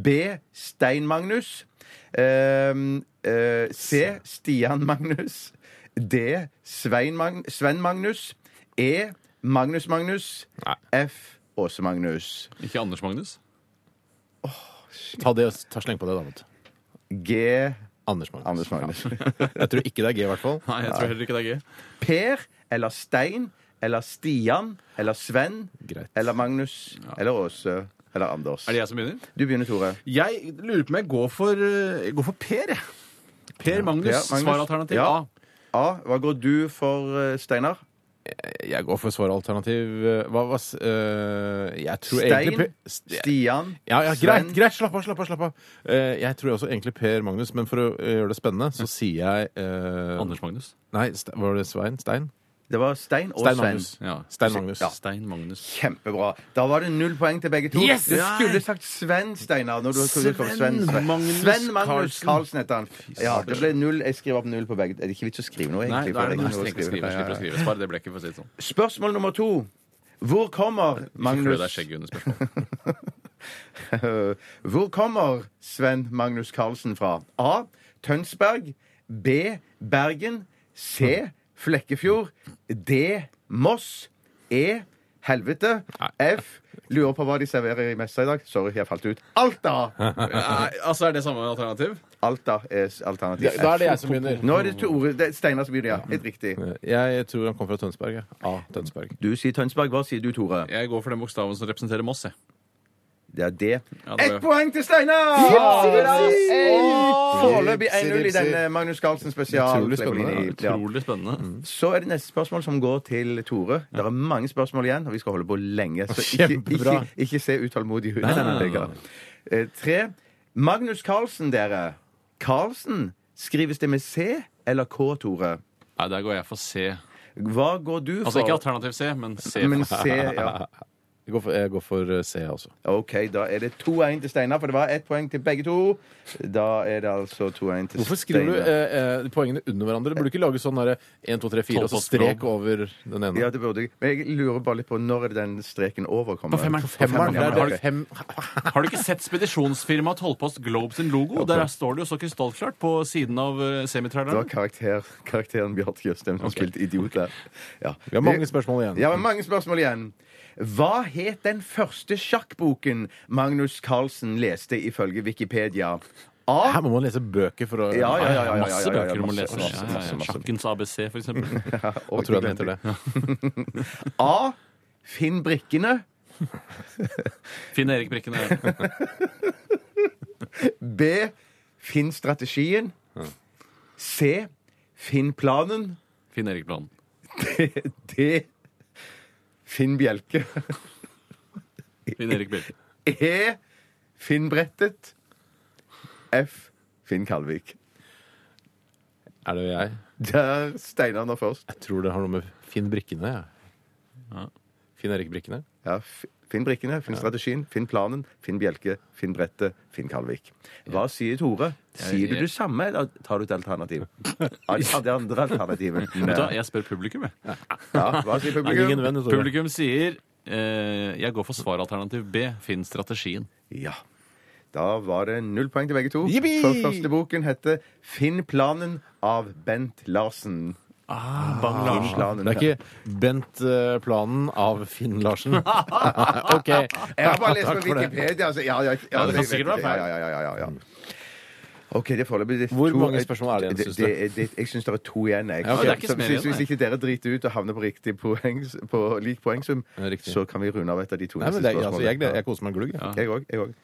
[SPEAKER 3] B. Stein Magnus. Ehm, eh, C. Stian Magnus. D. Svein Mag Sven Magnus. E. Magnus Magnus. F. Åse Magnus.
[SPEAKER 4] Ikke Anders Magnus?
[SPEAKER 2] Ta det, ta sleng på det, da. vet du.
[SPEAKER 3] G.
[SPEAKER 2] Anders Magnus.
[SPEAKER 3] Anders Magnus.
[SPEAKER 2] Jeg tror ikke det er G, i hvert fall.
[SPEAKER 4] Nei, jeg tror heller ikke det er gøy.
[SPEAKER 3] Per eller Stein eller Stian eller Sven
[SPEAKER 2] Greit.
[SPEAKER 3] eller Magnus eller Åse eller Anders.
[SPEAKER 4] Er det jeg som begynner?
[SPEAKER 3] Du begynner, Tore.
[SPEAKER 4] Jeg lurer på om jeg går for, eh, går for Per, jeg. Per Magnus,
[SPEAKER 3] Per Magnus.
[SPEAKER 4] svaralternativ
[SPEAKER 3] Ja.
[SPEAKER 4] A.
[SPEAKER 3] A. Hva går du for, eh, Steinar?
[SPEAKER 2] Jeg går for svaralternativ eh, Hva var s- eh, Jeg tror
[SPEAKER 3] Stein?
[SPEAKER 2] egentlig Pe- St-
[SPEAKER 3] Stian?
[SPEAKER 2] ja, ja,
[SPEAKER 3] Sven?
[SPEAKER 2] greit, greit, slapp av, slapp av. slapp av Eh, Jeg tror også egentlig Per Magnus, men for å eh, gjøre det spennende, så sier jeg eh,
[SPEAKER 4] Ah, Anders Magnus.
[SPEAKER 2] Nei, Ste- var det Svein? Stein?
[SPEAKER 3] Det var Stein og
[SPEAKER 2] Stein
[SPEAKER 3] Sven.
[SPEAKER 2] Magnus.
[SPEAKER 4] Ja.
[SPEAKER 2] Stein Magnus.
[SPEAKER 4] Stein Magnus.
[SPEAKER 3] Kjempebra. Da var det null poeng til begge to.
[SPEAKER 4] Yes!
[SPEAKER 3] Du skulle sagt Sven, Steinar. Når du skulle sagt Sven,
[SPEAKER 4] Sven
[SPEAKER 3] Sven.
[SPEAKER 4] Magnus
[SPEAKER 3] Sven Magnus
[SPEAKER 4] Carlsen.
[SPEAKER 3] Carlsen heter han. Ja, det ble null. Jeg skriver opp null på begge. Er det ikke vits å skrive noe,
[SPEAKER 4] Nei,
[SPEAKER 3] egentlig?
[SPEAKER 4] da
[SPEAKER 3] for
[SPEAKER 4] er det
[SPEAKER 3] det er ikke noe
[SPEAKER 4] noe
[SPEAKER 3] å
[SPEAKER 4] skrive,
[SPEAKER 3] skrive.
[SPEAKER 4] skrive,
[SPEAKER 3] Ja, ja,
[SPEAKER 4] skrive,
[SPEAKER 3] ja.
[SPEAKER 4] skrive. Spar det blekket, for å si det sånn.
[SPEAKER 3] Spørsmål nummer to. Hvor kommer
[SPEAKER 4] Fordi det er
[SPEAKER 3] Magnus
[SPEAKER 4] skjegg under spørsmålet.
[SPEAKER 3] Eh, Hvor kommer Sven Magnus Carlsen fra? A. Tønsberg. B. Bergen. C. Flekkefjord. D. Moss. E. Helvete. F. Lurer på hva de serverer i messa i dag. Sorry, jeg falt ut. Alta!
[SPEAKER 4] Nei, altså, er det samme alternativ?
[SPEAKER 3] Alta er
[SPEAKER 2] Da
[SPEAKER 3] alternativ
[SPEAKER 2] da er det
[SPEAKER 3] F.
[SPEAKER 2] jeg som begynner.
[SPEAKER 3] Nå er det Tore det er Steinar som begynner, ja. Helt riktig.
[SPEAKER 2] Jeg tror han kommer fra Tønsberg. Ja. A. Tønsberg.
[SPEAKER 3] Du sier Tønsberg. Hva sier du, Tore?
[SPEAKER 4] Jeg går for den bokstaven som representerer Moss, jeg.
[SPEAKER 3] Det er det.
[SPEAKER 4] Ja, det var-
[SPEAKER 3] Ett poeng til Steinar! Åh, Foreløpig 1-0 i
[SPEAKER 2] Vipsi, vipsi.
[SPEAKER 3] denne Magnus Carlsen spesial.
[SPEAKER 2] Utrolig spennende.
[SPEAKER 3] Clementine. Ja.
[SPEAKER 4] Utrolig spennende.
[SPEAKER 3] Så er det neste spørsmål som går til Tore. Det er mange spørsmål igjen, og vi skal holde på lenge. Så ikke, ikke,
[SPEAKER 2] Kjempebra.
[SPEAKER 3] ikke se utålmodig ut.
[SPEAKER 4] Nei, nei, nei, nei.
[SPEAKER 3] Eh, Tre. Magnus Carlsen, dere. Carlsen, skrives det med C eller K, Tore?
[SPEAKER 4] Nei, der går jeg for C.
[SPEAKER 3] Hva går du for?
[SPEAKER 4] Altså ikke alternativ C, men C.
[SPEAKER 3] Men C, ja.
[SPEAKER 2] Jeg går for, jeg går for eh, C, altså.
[SPEAKER 3] OK, da er det 2-1 til Steinar, for det var ett poeng til begge to. Da er det altså 2-1 til Steinar.
[SPEAKER 2] Hvorfor skriver du eh, eh, poengene under hverandre? Burde du ikke lage sånn derre 1, 2, 3, 4 og så strek over den ene?
[SPEAKER 3] Ja, det burde jeg. Men jeg lurer bare litt på når er det den streken overkommer.
[SPEAKER 4] På femmeren.
[SPEAKER 3] På
[SPEAKER 2] Femmeren,
[SPEAKER 3] ja,
[SPEAKER 2] der har du
[SPEAKER 3] ok.
[SPEAKER 2] fem
[SPEAKER 4] Har du ikke sett spedisjonsfirmaet Tollpost Globe sin logo? Der står det jo så krystallklart på siden av eh,
[SPEAKER 3] Det var
[SPEAKER 4] semitraileren.
[SPEAKER 3] karakter, karakteren Bjarte Tjøstheim som spilte idiot der. Ja.
[SPEAKER 2] Vi har mange spørsmål igjen.
[SPEAKER 3] Ja, men mange spørsmål igjen. Hva het den første sjakkboken Magnus Carlsen leste ifølge Wikipedia? A.
[SPEAKER 2] Her må man lese bøker for å
[SPEAKER 3] Ja, ja, ja, ja, ja, ja,
[SPEAKER 4] Masse
[SPEAKER 3] ja, ja,
[SPEAKER 4] bøker du må
[SPEAKER 3] masse,
[SPEAKER 4] lese. Ja,
[SPEAKER 3] masse,
[SPEAKER 4] ja,
[SPEAKER 3] masse,
[SPEAKER 4] ja.
[SPEAKER 3] masse.
[SPEAKER 4] Sjakkens ABC, for eksempel.
[SPEAKER 2] Hva tror jeg den heter det?
[SPEAKER 3] A. Finn brikkene.
[SPEAKER 4] Finn Erik Brekken er
[SPEAKER 3] B. Finn strategien. C. Finn planen.
[SPEAKER 4] Finn Erik Planen.
[SPEAKER 3] D. Finn bjelke.
[SPEAKER 4] Finn Erik Bjelke.
[SPEAKER 3] E. Finn brettet. F. Finn Kalvik.
[SPEAKER 2] Er det jeg?
[SPEAKER 3] Der Steinar nå først.
[SPEAKER 2] Jeg tror det har noe med Finn Brikkene, jeg. Finn Erik Brikkene.
[SPEAKER 3] Ja, f- finn brikkene, finn strategien, finn planen, finn bjelke, finn brettet, finn Kalvik. Hva sier Tore? Sier du det samme, eller tar du et alternativ? Ja, ta det andre alternativet.
[SPEAKER 4] Vet du hva, jeg spør publikum, jeg.
[SPEAKER 3] Ja, hva sier
[SPEAKER 2] Er det ingen
[SPEAKER 3] publikum?
[SPEAKER 2] venn, Tore?
[SPEAKER 4] Publikum sier eh, jeg går for svaralternativ B. Finn strategien.
[SPEAKER 3] Ja. Da var det null poeng til begge to.
[SPEAKER 2] Jippi!
[SPEAKER 3] For første boken heter Finn planen av Bent Larsen.
[SPEAKER 4] Bang
[SPEAKER 3] Finn
[SPEAKER 4] Larsen.
[SPEAKER 3] planen.
[SPEAKER 2] Det er ikke Bent eh, Planen av Finn Larsen. OK.
[SPEAKER 3] Jeg har bare lest
[SPEAKER 2] Takk for
[SPEAKER 3] på
[SPEAKER 2] det.
[SPEAKER 3] Wikipedia. Altså, ja, ja, ja,
[SPEAKER 4] Ja, det kan sikkert være feil.
[SPEAKER 3] Ja, ja, ja, ja, ja. Mm. OK, det er foreløpig det er
[SPEAKER 2] Hvor
[SPEAKER 3] to-
[SPEAKER 2] mange spørsmål er det igjen,
[SPEAKER 3] det,
[SPEAKER 2] synes
[SPEAKER 3] det, det, Jeg syns det er to igjen. Jeg.
[SPEAKER 2] Ja, ok.
[SPEAKER 4] Det er ikke
[SPEAKER 3] Så
[SPEAKER 4] mer
[SPEAKER 3] hvis,
[SPEAKER 4] igjen,
[SPEAKER 3] hvis
[SPEAKER 4] nei.
[SPEAKER 3] ikke dere driter ut og havner på riktig poeng, på lik poengsum,
[SPEAKER 2] Ja, riktig.
[SPEAKER 3] så kan vi runde av et av de to
[SPEAKER 2] Nei, men
[SPEAKER 3] neste
[SPEAKER 2] det, er- altså, jeg, gleder-
[SPEAKER 3] spørsmålene.
[SPEAKER 2] jeg koser meg glugg. jeg.
[SPEAKER 4] Ja.
[SPEAKER 3] Jeg òg. Jeg òg.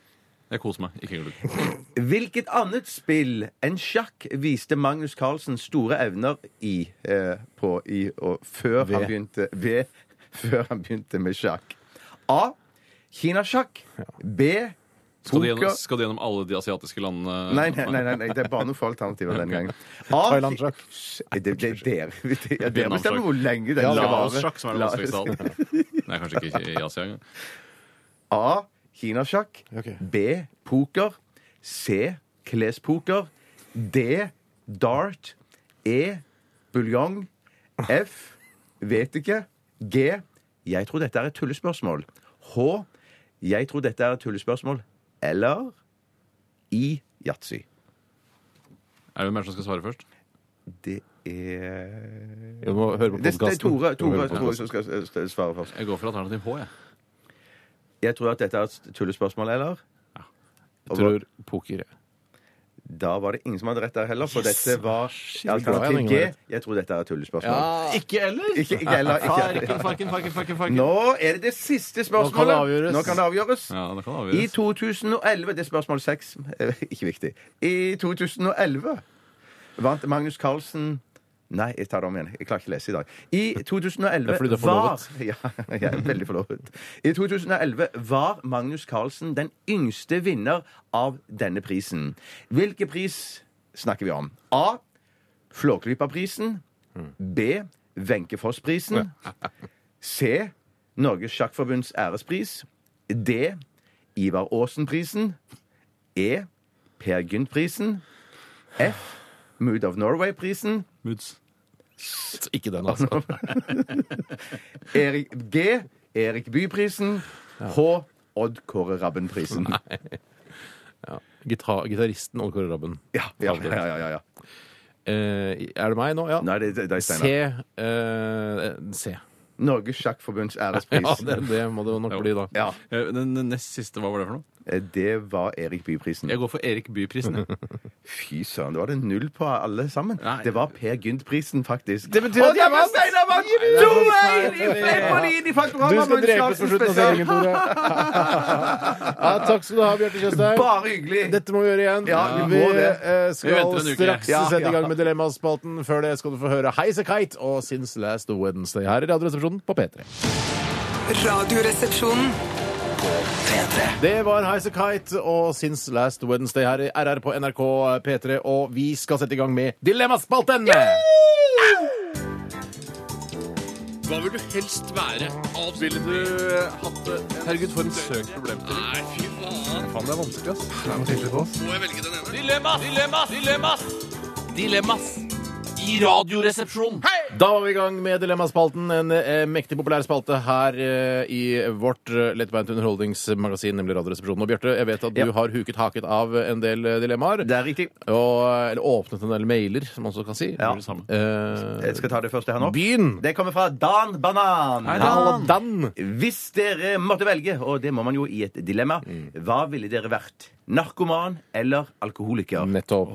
[SPEAKER 4] Jeg koser meg. Ikke glugg.
[SPEAKER 3] Hvilket annet spill enn sjakk viste Magnus Carlsen store evner i, eh, på, i og før han
[SPEAKER 2] Ved.
[SPEAKER 3] begynte ved, før han begynte med sjakk? A. Kinasjakk. B.
[SPEAKER 4] Skal du,
[SPEAKER 3] Poker.
[SPEAKER 4] gjennom, skal du gjennom alle de asiatiske landene?
[SPEAKER 3] Nei, nei, nei, nei, nei, det er bare noen få alternativer denne gangen. A.
[SPEAKER 2] Thailand-sjakk.
[SPEAKER 3] Det, det er dere. Ja, dere bestemmer
[SPEAKER 4] Vietnam-sjakk.
[SPEAKER 3] hvor lenge den
[SPEAKER 4] Ja,
[SPEAKER 3] skal
[SPEAKER 4] La
[SPEAKER 3] vare.
[SPEAKER 4] oss sjakk, som er det
[SPEAKER 3] La-
[SPEAKER 4] vanskeligste av alt. Nei, kanskje ikke i Asia engang.
[SPEAKER 3] A. Kinasjakk.
[SPEAKER 2] Ok.
[SPEAKER 3] B. Poker. C. Klespoker. D. Dart. E. Buljong. F. Vet ikke. G. Jeg tror dette er et tullespørsmål. H. Jeg tror dette er et tullespørsmål. Eller I. Yatzy.
[SPEAKER 4] Er det hvem er det som skal svare først?
[SPEAKER 3] Det er
[SPEAKER 2] Du må høre på
[SPEAKER 3] Det, det er
[SPEAKER 2] podkasten.
[SPEAKER 3] Tore, Tore, Tore som skal s- s- svare først.
[SPEAKER 4] Jeg går for alternativ H, jeg.
[SPEAKER 3] Jeg tror at dette er et tullespørsmål, eller?
[SPEAKER 2] Jeg tror poker. jeg.
[SPEAKER 3] Da var det ingen som hadde rett der heller, for dette var
[SPEAKER 2] glad jeg
[SPEAKER 3] alternativ
[SPEAKER 2] hadde
[SPEAKER 3] G.
[SPEAKER 2] ingen rett.
[SPEAKER 3] Jeg tror dette er et tullespørsmål.
[SPEAKER 4] Ikke eller?
[SPEAKER 3] Ikke, ikke heller. Ikke.
[SPEAKER 4] Farken, farken, farken, farken, farken.
[SPEAKER 3] Nå er det det siste spørsmålet.
[SPEAKER 2] avgjøres.
[SPEAKER 3] Nå kan det avgjøres.
[SPEAKER 4] Ja, det kan
[SPEAKER 3] I
[SPEAKER 4] avgjøres.
[SPEAKER 3] 2011 Det er spørsmål seks. Eh, Ikke viktig. I 2011 vant Magnus Carlsen Nei, jeg tar det om igjen. Jeg klarer ikke å lese i dag. I 2011
[SPEAKER 2] Det er fordi du er
[SPEAKER 3] var
[SPEAKER 2] forlovet.
[SPEAKER 3] Ja, jeg er veldig forlovet. I 2011 var Magnus Carlsen den yngste vinner av denne prisen. Hvilken pris snakker vi om? A. Flåklypa-prisen. B. Wenche Foss-prisen. C. Norges Sjakkforbunds ærespris. D. Ivar Aasen-prisen. E. Per Gynt-prisen. F. Mood of Norway-prisen.
[SPEAKER 4] Muds.
[SPEAKER 2] Ikke den, altså.
[SPEAKER 3] Erik G. Erik Bye-prisen. H. Odd Kåre Rabben-prisen.
[SPEAKER 2] Gita- Gitaristen Odd Kåre Rabben.
[SPEAKER 3] Ja, ja, ja, ja, ja, ja.
[SPEAKER 2] Eh, er det meg nå? Ja.
[SPEAKER 3] Nei, det, det det er
[SPEAKER 2] C.
[SPEAKER 3] Steinar.
[SPEAKER 2] eh, C.
[SPEAKER 3] Norges Sjakkforbunds
[SPEAKER 2] Ja,
[SPEAKER 3] ærespris.
[SPEAKER 2] det, det må det nok
[SPEAKER 4] Jo.
[SPEAKER 2] bli, da.
[SPEAKER 3] Ja,
[SPEAKER 4] Eh, Den den nest siste, hva var det for noe?
[SPEAKER 3] det var Erik Bye-prisen.
[SPEAKER 4] Jeg går for Erik Bye-prisen. jeg.
[SPEAKER 3] Fy søren, det var det null på alle sammen.
[SPEAKER 4] Nei.
[SPEAKER 3] Det var Per Gynt-prisen, faktisk.
[SPEAKER 2] Det betyr at jeg vant!
[SPEAKER 3] Steinar vant!
[SPEAKER 2] det var
[SPEAKER 3] To-1 i
[SPEAKER 2] feil.
[SPEAKER 3] Flemmerlin i
[SPEAKER 2] Du
[SPEAKER 3] Faktorama
[SPEAKER 2] skal drepes på slutten av sendingen, Tore. ja, takk skal du ha, Bjarte Tjøstheim.
[SPEAKER 3] Bare hyggelig.
[SPEAKER 2] Dette må vi gjøre igjen.
[SPEAKER 3] Ja, vi må det.
[SPEAKER 2] eh,
[SPEAKER 4] Vi
[SPEAKER 2] skal
[SPEAKER 4] venter en uke.
[SPEAKER 2] straks
[SPEAKER 3] Ja,
[SPEAKER 2] sette i
[SPEAKER 3] ja.
[SPEAKER 2] gang med Dilemmaspalten. Før det skal du få høre Highasakite og Since Last Wednesday her i Radioresepsjonen på P3.
[SPEAKER 6] Radioresepsjonen.
[SPEAKER 1] P3.
[SPEAKER 2] Det var Highasakite og Since Last Wednesday her i RR på NRK P3, og vi skal sette i gang med Dilemmaspalten!
[SPEAKER 5] Hva vil du helst være? Ville du eh, hatt det? Herregud, for en søk problemstilling. Nei, fy faen. Faen, det er vanskelig, ass. Må jeg velge den ene? Dilemmas! Dilemmas! Dilemmas! Dilemmas! I radioresepsjonen.
[SPEAKER 2] Da var vi i gang med Dilemmaspalten, en eh, mektig populær spalte her eh, i vårt eh, lettbeint underholdningsmagasin, nemlig Radioresepsjonen. Og Bjarte, jeg vet at du
[SPEAKER 3] Ja.
[SPEAKER 2] har huket haket av en del eh, dilemmaer.
[SPEAKER 3] Det er riktig.
[SPEAKER 2] Og, eh, eller åpnet en del mailer, som man også kan si.
[SPEAKER 3] Ja.
[SPEAKER 2] Det samme. Eh,
[SPEAKER 3] Jeg skal ta det første her nå.
[SPEAKER 2] Begynn!
[SPEAKER 3] Det kommer fra Dan Banan.
[SPEAKER 4] Hei, Dan.
[SPEAKER 2] Halla, Dan!
[SPEAKER 3] Hvis dere måtte velge, og det må man jo i et dilemma, hva ville dere vært? Narkoman eller alkoholiker?
[SPEAKER 2] Nettopp.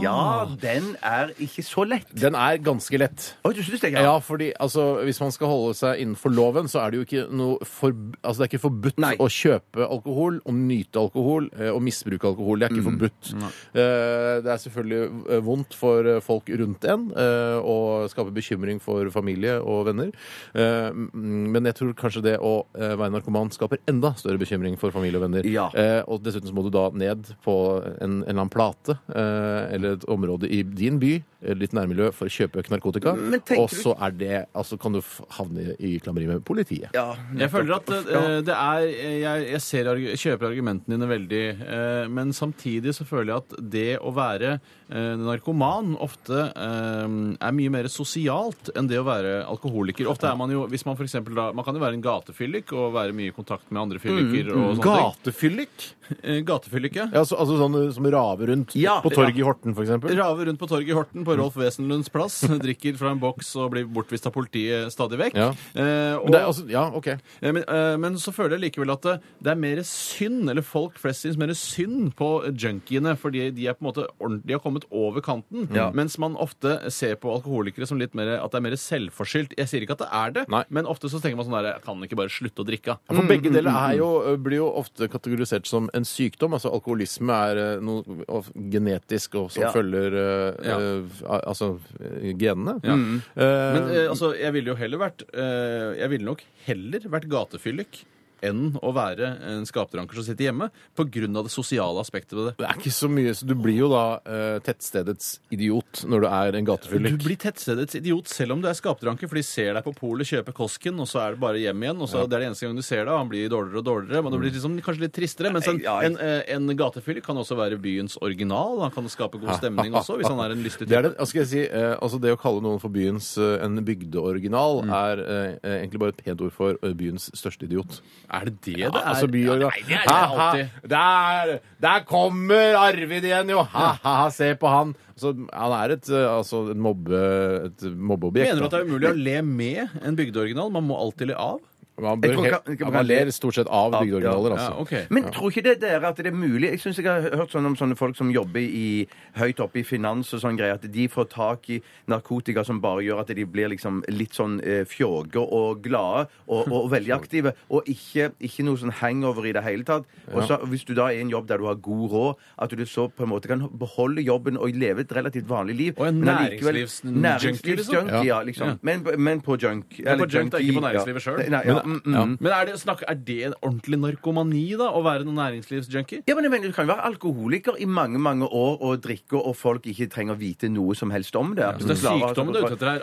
[SPEAKER 3] Ja, den er ikke så lett.
[SPEAKER 2] Den er ganske lett.
[SPEAKER 3] Oi, du synes det?
[SPEAKER 2] Ja, fordi altså, Hvis man skal holde seg innenfor loven, så er det jo ikke noe for, altså, det er ikke forbudt
[SPEAKER 3] Nei.
[SPEAKER 2] å kjøpe alkohol, å nyte alkohol eh, og misbruke alkohol. Det er ikke
[SPEAKER 3] Mm.
[SPEAKER 2] forbudt. Eh, Det er selvfølgelig eh, vondt for eh, folk rundt en eh, og skaper bekymring for familie og venner. Eh, m- Men jeg tror kanskje det å eh, være narkoman skaper enda større bekymring for familie og venner.
[SPEAKER 3] Ja.
[SPEAKER 2] Eh, Og dessuten så må du da ned på en, en eller annen plate eh, eller et område i din by, eller ditt nærmiljø, for å kjøpe narkotika.
[SPEAKER 3] Men tenker
[SPEAKER 2] Og
[SPEAKER 3] du-
[SPEAKER 2] så er det Altså kan du f- havne i klammeri med politiet.
[SPEAKER 3] Ja,
[SPEAKER 4] Jeg føler at eh, det er Jeg, jeg, ser, argu- jeg kjøper argumentene dine veldig, eh, men samtidig så føler jeg at det å være eh, narkoman ofte eh, er mye mer sosialt enn det å være alkoholiker. Ofte er man jo hvis Man for eksempel da, man kan jo være en gatefyllik og være mye i kontakt med andre fylliker. og sånne ting.
[SPEAKER 2] Mm, Gatefyllik?
[SPEAKER 4] Eh, Gatefyllik, ja.
[SPEAKER 2] Ja, så, altså sånn eh, som raver rundt
[SPEAKER 3] Ja,
[SPEAKER 2] på torget i Horten, for eksempel.
[SPEAKER 4] Rave rundt på torget i Horten på Rolf Wesenlunds plass, drikker fra en boks og blir bortvist av politiet stadig vekk.
[SPEAKER 2] Ja.
[SPEAKER 4] Eh, og-
[SPEAKER 2] Men det er, altså, ja, OK.
[SPEAKER 4] Ja, Men, eh, men så føler jeg likevel at det, det er mer synd, eller folk flest syns mer synd på junkiene, fordi de er på en måte ordent- de har kommet over kanten. Mens man ofte ser på alkoholikere som litt mer at det er mer selvforskyldt. Jeg sier ikke at det er det,
[SPEAKER 2] Nei.
[SPEAKER 4] men ofte så tenker man sånn der Jeg kan ikke bare slutte å drikke.
[SPEAKER 2] Ja, For
[SPEAKER 4] Mm,
[SPEAKER 2] begge deler er jo, eh, blir jo ofte kategorisert som en sykdom. Altså alkoholisme er eh, noe of- genetisk og som
[SPEAKER 3] Ja.
[SPEAKER 2] følger eh,
[SPEAKER 4] Ja.
[SPEAKER 2] eh, al- altså eh, genene.
[SPEAKER 4] Ja.
[SPEAKER 2] Eh,
[SPEAKER 4] Men eh, altså, jeg ville jo heller vært eh, Jeg ville nok heller vært gatefyllik enn å være en skapdranker som sitter hjemme, på grunn av det sosiale aspektet ved det.
[SPEAKER 2] det er ikke så mye, så du blir jo da eh, tettstedets idiot når du er en gatefyllik.
[SPEAKER 4] Du blir tettstedets idiot selv om du er skapdranker, for de ser deg på polet, kjøper Kosken, og så er det bare hjem igjen. og så Det er det eneste gang du ser deg, og han blir dårligere og dårligere. men
[SPEAKER 2] Mm.
[SPEAKER 4] det blir liksom kanskje litt tristere, Mens en,
[SPEAKER 3] Ja, jeg-
[SPEAKER 4] en, eh, en gatefyller kan også være byens original. Han kan skape god stemning også, hvis han er en lystig
[SPEAKER 2] Det, er
[SPEAKER 4] type.
[SPEAKER 2] det, altså, skal jeg si, eh, altså det å kalle noen for byens eh, en bygdeoriginal
[SPEAKER 4] Mm.
[SPEAKER 2] er eh, eh, egentlig bare et pent ord for eh, byens største idiot.
[SPEAKER 4] Er det det det er?
[SPEAKER 2] Altså
[SPEAKER 4] Ja,
[SPEAKER 2] byoriginal.
[SPEAKER 4] nei, det er det
[SPEAKER 2] Ha, ha,
[SPEAKER 4] alltid.
[SPEAKER 2] der, der kommer Arvid igjen, jo! Ha-ha, se på han! Så, han er et, eh, altså, et, mobbe, et mobbeobjekt.
[SPEAKER 4] Mener du at det
[SPEAKER 2] da.
[SPEAKER 4] er umulig å le med en bygdeoriginal? Man må alltid le av?
[SPEAKER 2] Man,
[SPEAKER 3] Jeg
[SPEAKER 2] bør,
[SPEAKER 3] tror
[SPEAKER 2] he-
[SPEAKER 3] ikke- ikke
[SPEAKER 2] ja,
[SPEAKER 3] man
[SPEAKER 2] man ler
[SPEAKER 3] kan-
[SPEAKER 2] stort sett av
[SPEAKER 3] Ja,
[SPEAKER 2] bygdeoriginaler,
[SPEAKER 4] Ja,
[SPEAKER 2] altså.
[SPEAKER 4] ok.
[SPEAKER 3] Men tror ikke det dere at det er mulig? Jeg synes jeg har hørt sånn om sånne folk som jobber i, høyt oppe i finans og sånn greier, at de får tak i narkotika som bare gjør at de blir liksom litt sånn eh, fjåge og glade og, og veldig aktive, og ikke, ikke noe sånn hangover i det hele tatt. Og så hvis du da er i en jobb der du har god råd, at du så på en måte kan beholde jobben og leve et relativt vanlig liv.
[SPEAKER 4] Og en
[SPEAKER 3] men allikevel-
[SPEAKER 4] næringslivs- junkie, liksom?
[SPEAKER 3] Næringslivsjunkie, ja, liksom.
[SPEAKER 4] Ja.
[SPEAKER 3] Men, men på junk.
[SPEAKER 4] på junk, da, ikke på næringslivet selv.
[SPEAKER 3] Nei, ja, mm, mm.
[SPEAKER 4] Men er det, snakk, er det en ordentlig narkomani, da? Å være noen næringslivsjunkie?
[SPEAKER 3] Ja, men jeg mener, Du kan jo være alkoholiker i mange mange år og drikke, og folk ikke trenger å vite noe som helst om det. altså
[SPEAKER 4] Så det er
[SPEAKER 2] Mm.
[SPEAKER 4] sykdommen du er ute etter her.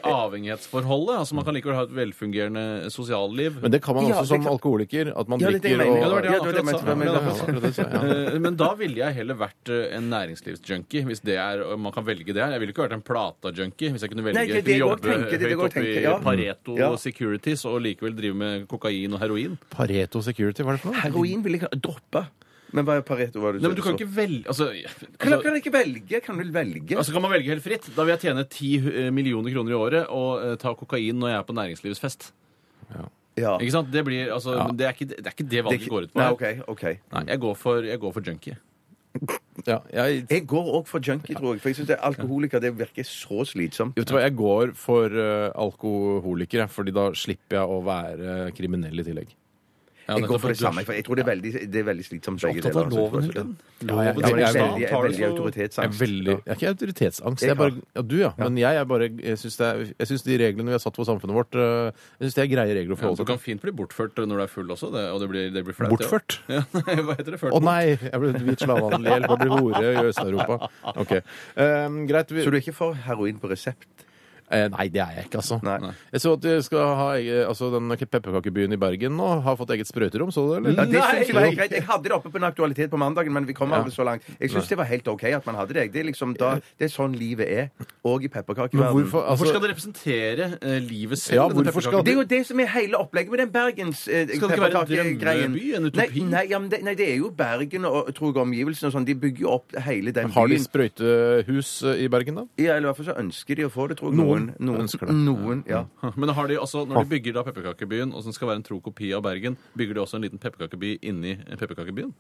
[SPEAKER 4] Avhengighetsforholdet. altså Man kan likevel ha et velfungerende sosialliv.
[SPEAKER 2] Men det kan man
[SPEAKER 3] Ja,
[SPEAKER 2] også
[SPEAKER 3] det
[SPEAKER 2] som
[SPEAKER 3] kan-
[SPEAKER 2] alkoholiker. At man
[SPEAKER 3] Ja, det er det jeg
[SPEAKER 2] drikker
[SPEAKER 3] mener.
[SPEAKER 4] Ja, det var
[SPEAKER 2] og
[SPEAKER 3] Ja,
[SPEAKER 4] det han
[SPEAKER 3] det var det
[SPEAKER 4] akkurat
[SPEAKER 3] jeg mente, det var det jeg
[SPEAKER 4] sa.
[SPEAKER 3] mente.
[SPEAKER 2] akkurat det, så, ja.
[SPEAKER 4] Eh, Men da ville jeg heller vært eh, en næringslivsjunkie, hvis det er og man kan velge det. her. Jeg ville ikke vært en plata-junkie hvis jeg kunne velge
[SPEAKER 3] Nei, det er
[SPEAKER 4] kunne
[SPEAKER 3] det jeg
[SPEAKER 4] jobbe
[SPEAKER 3] også tenker, det er det jeg
[SPEAKER 4] høyt
[SPEAKER 3] også
[SPEAKER 4] oppe i
[SPEAKER 3] tenker, ja.
[SPEAKER 4] Pareto
[SPEAKER 3] Ja.
[SPEAKER 4] Securities og likevel drive med kokain og heroin.
[SPEAKER 2] Pareto Security, hva er det for noe?
[SPEAKER 3] Heroin vil jeg droppe. Men hva er Pareto? Hva er det
[SPEAKER 4] Nei, men du kan ikke velge altså,
[SPEAKER 3] kan,
[SPEAKER 4] altså,
[SPEAKER 3] kan jeg ikke velge? Kan du velge?
[SPEAKER 4] altså kan man velge helt fritt? Da vil jeg tjene 10 millioner kroner i året og eh, ta kokain når jeg er på næringslivets fest.
[SPEAKER 3] ja.
[SPEAKER 4] Ikke sant? Det blir, altså, men det, er ikke, det er ikke det
[SPEAKER 3] Det er
[SPEAKER 4] valget
[SPEAKER 3] ikke-
[SPEAKER 4] går ut på.
[SPEAKER 3] Nei, OK. ok.
[SPEAKER 4] Nei, jeg går for, jeg går for junkie.
[SPEAKER 2] Ja, jeg,
[SPEAKER 3] Jeg går òg for junkie, tror jeg. For jeg syns alkoholiker det virker så slitsomt.
[SPEAKER 2] vet du hva, jeg går for eh, alkoholiker, jeg, fordi da slipper jeg å være kriminell i tillegg.
[SPEAKER 3] Jeg går for det samme. For jeg tror det er veldig, det er veldig slitsomt. begge
[SPEAKER 4] Opptatt
[SPEAKER 3] deler,
[SPEAKER 4] av
[SPEAKER 3] altså.
[SPEAKER 4] loven, Hilden.
[SPEAKER 2] Ja, jeg-
[SPEAKER 4] Loven
[SPEAKER 3] Ja, men jeg er
[SPEAKER 2] Jeg
[SPEAKER 3] veldig, jeg er
[SPEAKER 4] tar det
[SPEAKER 3] veldig
[SPEAKER 4] så-
[SPEAKER 2] Jeg er,
[SPEAKER 3] autoritetsangst.
[SPEAKER 2] veldig, jeg er ikke autoritetsangst. Jeg er bare, ja, du, ja. Men jeg, er bare, jeg syns det er- jeg syns de reglene vi har satt for samfunnet vårt, eh, jeg syns det er greie regler å
[SPEAKER 4] Ja,
[SPEAKER 2] forholde
[SPEAKER 4] du
[SPEAKER 2] seg til.
[SPEAKER 4] kan fint bli bortført når du er full også, det, og det blir, det blir flaut. ja.
[SPEAKER 2] Bortført?
[SPEAKER 4] Ja, hva heter det?
[SPEAKER 2] Å
[SPEAKER 4] Ført bort?
[SPEAKER 2] nei! Jeg ble hvit slavehandel i hjel. Hva blir hore i Øst-Europa? Ok. Um, greit. Vi,
[SPEAKER 3] Så du er ikke for heroin på resept?
[SPEAKER 2] eh, nei, det er jeg ikke, altså.
[SPEAKER 3] Nei.
[SPEAKER 2] Jeg så at de skal ha egen- altså, den pepperkakebyen i Bergen nå har fått eget sprøyterom, så du det?
[SPEAKER 3] Ja,
[SPEAKER 2] Eller?
[SPEAKER 3] det synes jeg, var helt greit. jeg hadde det oppe på en aktualitet på mandagen, men vi kom aldri så langt. Jeg syns det var helt OK at man hadde det. Det er, liksom da, det er sånn livet er. Og i
[SPEAKER 2] Men
[SPEAKER 3] pepperkakeverdenen.
[SPEAKER 2] hvorfor,
[SPEAKER 4] Hvorfor skal
[SPEAKER 2] altså,
[SPEAKER 4] det representere eh, livet selv?
[SPEAKER 2] Ja,
[SPEAKER 4] denne
[SPEAKER 2] hvorfor skal
[SPEAKER 4] pepperkaken?
[SPEAKER 3] Det er jo det som er hele opplegget med den Bergens eh,
[SPEAKER 4] Skal det ikke være en
[SPEAKER 3] pepperkakegreien.
[SPEAKER 4] drømmeby, en utopi?
[SPEAKER 3] Nei, nei, ja, men det, nei, det er jo Bergen og tror jeg, omgivelsene og sånn. De bygger jo opp hele den
[SPEAKER 2] har de
[SPEAKER 3] byen.
[SPEAKER 2] sprøytehus eh, i Bergen, da?
[SPEAKER 3] Ja, eller i hvert fall så ønsker de å få det, tror jeg.
[SPEAKER 2] Noen
[SPEAKER 3] noen
[SPEAKER 2] ønsker det.
[SPEAKER 3] Noen, ja.
[SPEAKER 4] Men har de altså,
[SPEAKER 2] Ah.
[SPEAKER 4] når de bygger da pepperkakebyen, og som skal være en tro kopi av Bergen, bygger de også en liten pepperkakeby inni pepperkakebyen?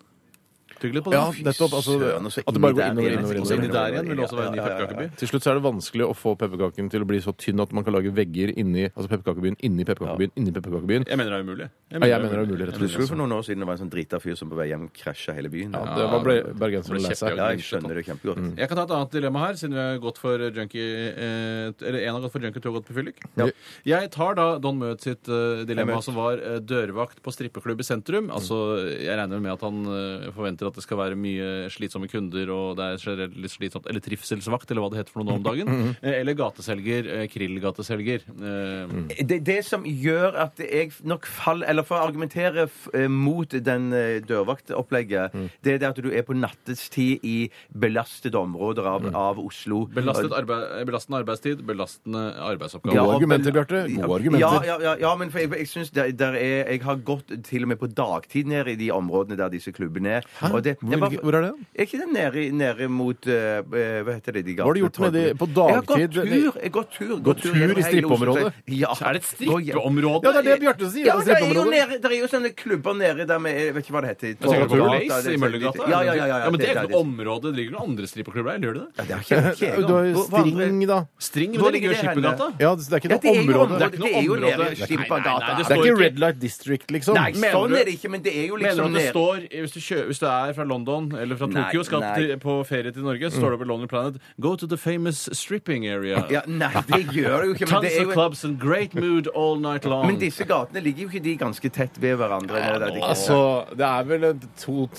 [SPEAKER 4] Tygg litt på det.
[SPEAKER 2] Ja, nettopp. Altså,
[SPEAKER 3] søren, og så
[SPEAKER 2] at det bare går
[SPEAKER 3] inni
[SPEAKER 2] innover,
[SPEAKER 3] der
[SPEAKER 2] innover,
[SPEAKER 3] igjen.
[SPEAKER 4] Også
[SPEAKER 2] innover.
[SPEAKER 4] inni der igjen vil det også være en ny
[SPEAKER 3] Ja, ja, ja, ja.
[SPEAKER 4] pepperkakeby.
[SPEAKER 2] Til slutt så er det vanskelig å få pepperkaken til å bli så tynn at man kan lage vegger inni altså pepperkakebyen inni pepperkakebyen. inni pepperkakebyen.
[SPEAKER 4] Jeg mener det er umulig.
[SPEAKER 2] Ja, jeg mener det er umulig, rett og
[SPEAKER 4] Jeg
[SPEAKER 3] Husker du
[SPEAKER 2] slett. altså.
[SPEAKER 3] for noen år siden det var en sånn drita fyr som på vei hjem krasja hele byen?
[SPEAKER 2] Ja,
[SPEAKER 3] Ja,
[SPEAKER 2] det var ble bergenserne
[SPEAKER 4] Ble
[SPEAKER 2] lei seg.
[SPEAKER 4] kjempejaget.
[SPEAKER 3] jeg skjønner det kjempegodt.
[SPEAKER 2] Mm.
[SPEAKER 4] Jeg kan ta et annet dilemma her, siden vi har gått for junkie eh, Eller én har gått for junkie, to har gått på fyllik.
[SPEAKER 2] Ja.
[SPEAKER 4] Jeg tar da Don Møth sitt eh, dilemma,
[SPEAKER 3] Møth.
[SPEAKER 4] som var eh, dørvakt på strippeklubb i sentrum. Altså, Jeg regner med at han eh, forventer at det skal være mye slitsomme kunder, og det er generelt litt slitsomt Eller trivselsvakt, eller hva det heter for noe nå om dagen.
[SPEAKER 2] Mm.
[SPEAKER 4] Eh, Eller gateselger. eh, Krillgateselger. Eh,
[SPEAKER 2] Mm.
[SPEAKER 3] Det, det som gjør at jeg nok faller Eller for å argumentere f eh, mot den eh, dørvaktopplegget,
[SPEAKER 2] Mm.
[SPEAKER 3] det er det at du er på nattestid i belastede områder
[SPEAKER 2] Mm.
[SPEAKER 3] av, av Oslo.
[SPEAKER 4] Belastet arbeid, belastende arbeidstid, belastende arbeidsoppgaver.
[SPEAKER 3] Ja,
[SPEAKER 2] Gode
[SPEAKER 3] og-
[SPEAKER 2] argumenter, Bjarte. Gode
[SPEAKER 3] Ja,
[SPEAKER 2] argumenter.
[SPEAKER 3] ja, ja, ja, men for jeg, jeg syns der, der er Jeg har gått til og med på dagtid ned i de områdene der disse klubbene er. Og det-
[SPEAKER 2] Hvor-
[SPEAKER 3] jeg bare-
[SPEAKER 2] hvor er det?
[SPEAKER 3] Er ikke det nede, nede mot eh, Hva heter det? De
[SPEAKER 2] Hva har du gjort nede i- på dagtid?
[SPEAKER 3] Jeg har gått tur. Jeg har gått tur, gått
[SPEAKER 2] Gått tur i
[SPEAKER 3] gjennom hele
[SPEAKER 2] strippeområdet?
[SPEAKER 3] Oslo. Ja.
[SPEAKER 4] Er det et strippeområde?
[SPEAKER 2] Ja, det er det Bjarte sier!
[SPEAKER 3] Ja,
[SPEAKER 2] det
[SPEAKER 3] det er, jo
[SPEAKER 2] strippeområdet.
[SPEAKER 3] nede, det er jo sånne klubber nede der med Jeg vet ikke hva det heter.
[SPEAKER 4] Jeg tenker på
[SPEAKER 2] Torgata,
[SPEAKER 4] Blaze
[SPEAKER 3] det er
[SPEAKER 4] i
[SPEAKER 3] så-
[SPEAKER 4] Møllergata.
[SPEAKER 3] Ja, ja, ja, ja,
[SPEAKER 4] Men det er
[SPEAKER 3] der
[SPEAKER 4] ikke noe område. Det ligger noen andre strippeklubber der, gjør det det?
[SPEAKER 3] Ja, det er ikke- ikke jeg,
[SPEAKER 2] Du har jo
[SPEAKER 3] Hvor- hvor andre-
[SPEAKER 2] String, da.
[SPEAKER 4] String, men
[SPEAKER 3] Hvor
[SPEAKER 4] det
[SPEAKER 3] ligger
[SPEAKER 4] ligger jo i
[SPEAKER 3] det
[SPEAKER 4] Skippergata.
[SPEAKER 2] Ja, det er ikke
[SPEAKER 3] Ja, det
[SPEAKER 2] noe
[SPEAKER 3] er jo
[SPEAKER 2] område.
[SPEAKER 3] område. Det er jo
[SPEAKER 4] område.
[SPEAKER 3] nede i
[SPEAKER 4] Nei, nei, nei,
[SPEAKER 3] Skippergata.
[SPEAKER 2] Det
[SPEAKER 4] det
[SPEAKER 2] er
[SPEAKER 4] står
[SPEAKER 2] ikke
[SPEAKER 4] ikke-
[SPEAKER 2] Red Light District, liksom.
[SPEAKER 3] Nei,
[SPEAKER 4] Mener
[SPEAKER 3] sånn
[SPEAKER 4] du-
[SPEAKER 3] er det ikke, men det er jo
[SPEAKER 4] Mener du
[SPEAKER 3] liksom
[SPEAKER 4] at det
[SPEAKER 3] ned-
[SPEAKER 4] står, hvis du, kjø, hvis du er fra London eller fra
[SPEAKER 3] Nei,
[SPEAKER 4] Tokyo skal
[SPEAKER 3] nei.
[SPEAKER 4] til, på ferie til Norge, så står det på Lonely Planet Go to the famous stripping area.
[SPEAKER 3] ja, Nei, det gjør det jo ikke. Men,
[SPEAKER 4] Tons
[SPEAKER 3] det er
[SPEAKER 4] of
[SPEAKER 3] jo,
[SPEAKER 4] clubs and great mood all night long.
[SPEAKER 3] men disse gatene ligger jo ikke de ganske tett ved hverandre. nede der de-
[SPEAKER 2] Altså, det er vel en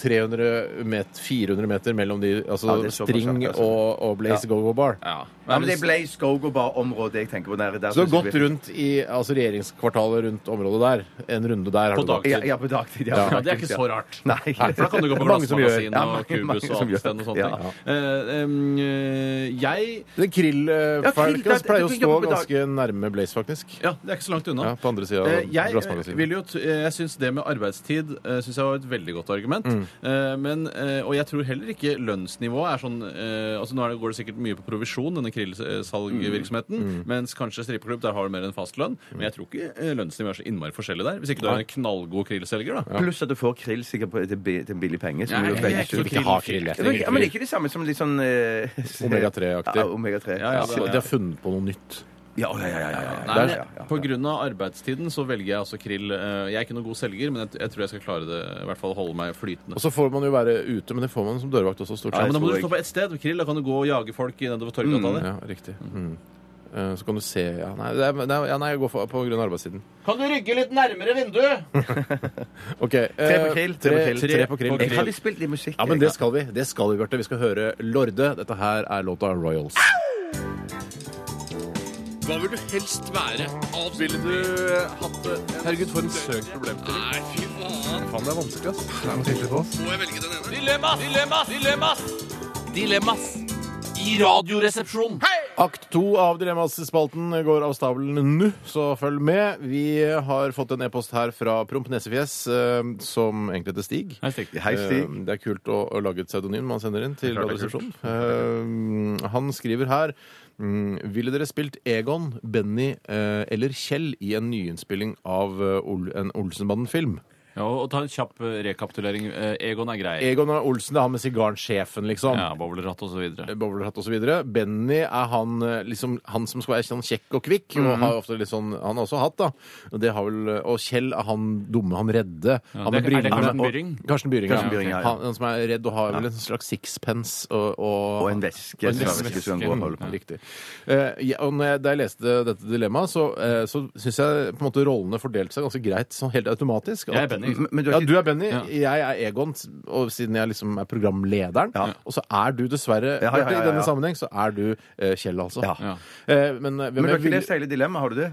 [SPEAKER 2] 200-300 meter, 400 meter mellom de altså,
[SPEAKER 3] Ja, det er såpass,
[SPEAKER 2] String
[SPEAKER 3] ja, altså.
[SPEAKER 2] og, og Blaze Go-Go Bar.
[SPEAKER 4] ja.
[SPEAKER 3] ja, men det ble skog og bar-området jeg tenker på. Der, der
[SPEAKER 2] Så du har gått rundt i altså, regjeringskvartalet rundt området der. En runde der. har
[SPEAKER 4] På
[SPEAKER 2] du gått.
[SPEAKER 4] dagtid.
[SPEAKER 3] Ja, ja, på dagtid. Ja,
[SPEAKER 4] Ja, det er ikke så rart.
[SPEAKER 3] Nei.
[SPEAKER 4] For da kan du gå på
[SPEAKER 2] Mange som gjør.
[SPEAKER 4] Glassmagasin
[SPEAKER 3] Ja,
[SPEAKER 4] og
[SPEAKER 3] mange- mange
[SPEAKER 4] Cubus og
[SPEAKER 3] som gjør.
[SPEAKER 4] Amstein og sånne
[SPEAKER 3] Ja.
[SPEAKER 4] ting. Eh, em, eh, jeg
[SPEAKER 2] Den
[SPEAKER 3] Ja, krill, det
[SPEAKER 2] Krill-felgen
[SPEAKER 3] er-
[SPEAKER 2] eh, pleier å
[SPEAKER 3] du
[SPEAKER 2] stå
[SPEAKER 3] jobber på dag-
[SPEAKER 2] ganske nærme Blaze, faktisk.
[SPEAKER 4] Ja, det er ikke så langt unna.
[SPEAKER 2] Ja, på andre siden av
[SPEAKER 4] Eh, jeg
[SPEAKER 2] glassmagasinet.
[SPEAKER 4] vil jo, t- eh, jeg syns det med arbeidstid eh, synes jeg var et veldig godt argument.
[SPEAKER 2] Mm.
[SPEAKER 4] Eh, Men, eh, og jeg tror heller ikke lønnsnivået er sånn eh, altså Nå er det, går det sikkert mye på provisjon, denne krillsalgvirksomheten,
[SPEAKER 2] Mm.
[SPEAKER 4] mens kanskje strippeklubb, der har du mer enn fast lønn. Men jeg tror ikke eh, lønnsnivået er så innmari forskjellig der. Hvis ikke du er en knallgod krillselger, da.
[SPEAKER 3] Pluss at du får krill sikkert på, til, bi- til en billig penge. Som
[SPEAKER 4] Nei,
[SPEAKER 3] er jo
[SPEAKER 4] jeg
[SPEAKER 3] veldig
[SPEAKER 4] er ikke så
[SPEAKER 3] sunt.
[SPEAKER 4] krill-
[SPEAKER 2] ha krill, jeg.
[SPEAKER 3] Ja, men- ja, men det er ikke det samme som litt sånn eh,
[SPEAKER 2] Omega-3-aktig.
[SPEAKER 3] Ja, omega-3.
[SPEAKER 4] Ja, ja,
[SPEAKER 2] Ja, de har funnet på noe nytt.
[SPEAKER 3] Ja, ja, ja, ja, ja, ja.
[SPEAKER 4] Nei,
[SPEAKER 3] Ja, ja,
[SPEAKER 4] men
[SPEAKER 3] ja.
[SPEAKER 4] på grunn av arbeidstiden så velger jeg altså krill. Eh, Jeg er ikke noen god selger, men jeg, jeg tror jeg skal klare det. I hvert fall holde meg flytende.
[SPEAKER 2] Og så får man jo være ute, men det får man som dørvakt også, stort
[SPEAKER 4] Ja, men
[SPEAKER 2] sett.
[SPEAKER 4] da må du
[SPEAKER 3] tror jeg-
[SPEAKER 4] stå på ett sted. Krill, da kan du gå og jage folk nedover Torggata der.
[SPEAKER 2] Ja, riktig. Mm. Eh, Så kan du se ja. Nei, det er, det er- ja, nei jeg går for, på grunn av arbeidstiden.
[SPEAKER 4] Kan du rygge litt nærmere vinduet?
[SPEAKER 2] Ok, eh,
[SPEAKER 3] Tre på krill, tre på krill.
[SPEAKER 2] Tre på krill.
[SPEAKER 4] På
[SPEAKER 3] Jeg hadde spilt litt musikk.
[SPEAKER 2] Ja, men det skal vi. Det skal vi, Bjarte. Vi skal høre Lorde. Dette her er låta Royals.
[SPEAKER 5] Hva vil du helst være? Alt ville du eh, hatt det? Herregud, for en søk problemstilling. Nei, fy faen. Faen, det er vanskelig, ass. Det er noe tydelig på oss. Må jeg velge den ene? Dilemmas! Dilemmas! Dilemmas! Dilemmas! I radioresepsjonen. Hei!
[SPEAKER 2] Akt to av Dilemmaspalten går av stabelen nå, så følg med. Vi har fått en e-post her fra Promp Nesefjes, eh, som egentlig heter Stig.
[SPEAKER 3] Hei, Stig.
[SPEAKER 2] Eh, Det er kult å, å lage et pseudonym man sender inn til
[SPEAKER 4] Klart det er
[SPEAKER 2] Radioresepsjonen. Eh, han skriver her mm, Ville dere spilt Egon, Benny eh, eller Kjell i en nyinnspilling av eh, Ol en Olsenbanden-film?
[SPEAKER 4] Ja, og og ta en kjapp eh, rekapitulering. Eh, Egon er grei.
[SPEAKER 2] Egon Olsen det er han med sigaren-sjefen, liksom.
[SPEAKER 4] Ja, Bowlerhatt og så videre.
[SPEAKER 2] Bowlerhatt og så videre. Benny er han, eh, liksom, han som skal være sånn kjekk og kvikk.
[SPEAKER 4] Mhm.
[SPEAKER 2] Og har ofte litt sånn, han har også hatt, da. Og, det har vel, og Kjell er han dumme, han redde. han
[SPEAKER 4] det-
[SPEAKER 2] med
[SPEAKER 4] er det
[SPEAKER 2] brillene.
[SPEAKER 4] Karsten Byring?
[SPEAKER 2] Og- Karsten Byring,
[SPEAKER 3] Karsten Byring, ja, ja.
[SPEAKER 2] Han, han som er redd og har vel en slags sixpence og, og,
[SPEAKER 3] Og en veske.
[SPEAKER 2] Og en
[SPEAKER 3] svær veske som han går og holder på.
[SPEAKER 2] Mm, Riktig. Eh, ja, og når jeg, da jeg leste dette dilemmaet, så, uh, så syns jeg på en måte rollene fordelte seg ganske greit sånn helt automatisk.
[SPEAKER 4] Jeg er Benny.
[SPEAKER 3] Men- Men du
[SPEAKER 2] Ja,
[SPEAKER 3] har
[SPEAKER 2] du
[SPEAKER 3] ikke
[SPEAKER 2] er Benny,
[SPEAKER 4] Ja.
[SPEAKER 2] jeg er Egon, og siden jeg liksom er programlederen,
[SPEAKER 3] Ja.
[SPEAKER 2] og så er du dessverre,
[SPEAKER 3] Ja, ja, ja,
[SPEAKER 2] Bjarte,
[SPEAKER 3] ja,
[SPEAKER 2] i denne
[SPEAKER 3] ja.
[SPEAKER 2] sammenheng, så er du eh, Kjell, altså.
[SPEAKER 3] Ja.
[SPEAKER 4] Ja.
[SPEAKER 2] Eh, men eh, hvem
[SPEAKER 3] Men du
[SPEAKER 2] jeg
[SPEAKER 3] har ikke
[SPEAKER 2] vil-
[SPEAKER 3] lest hele dilemmaet, har du det?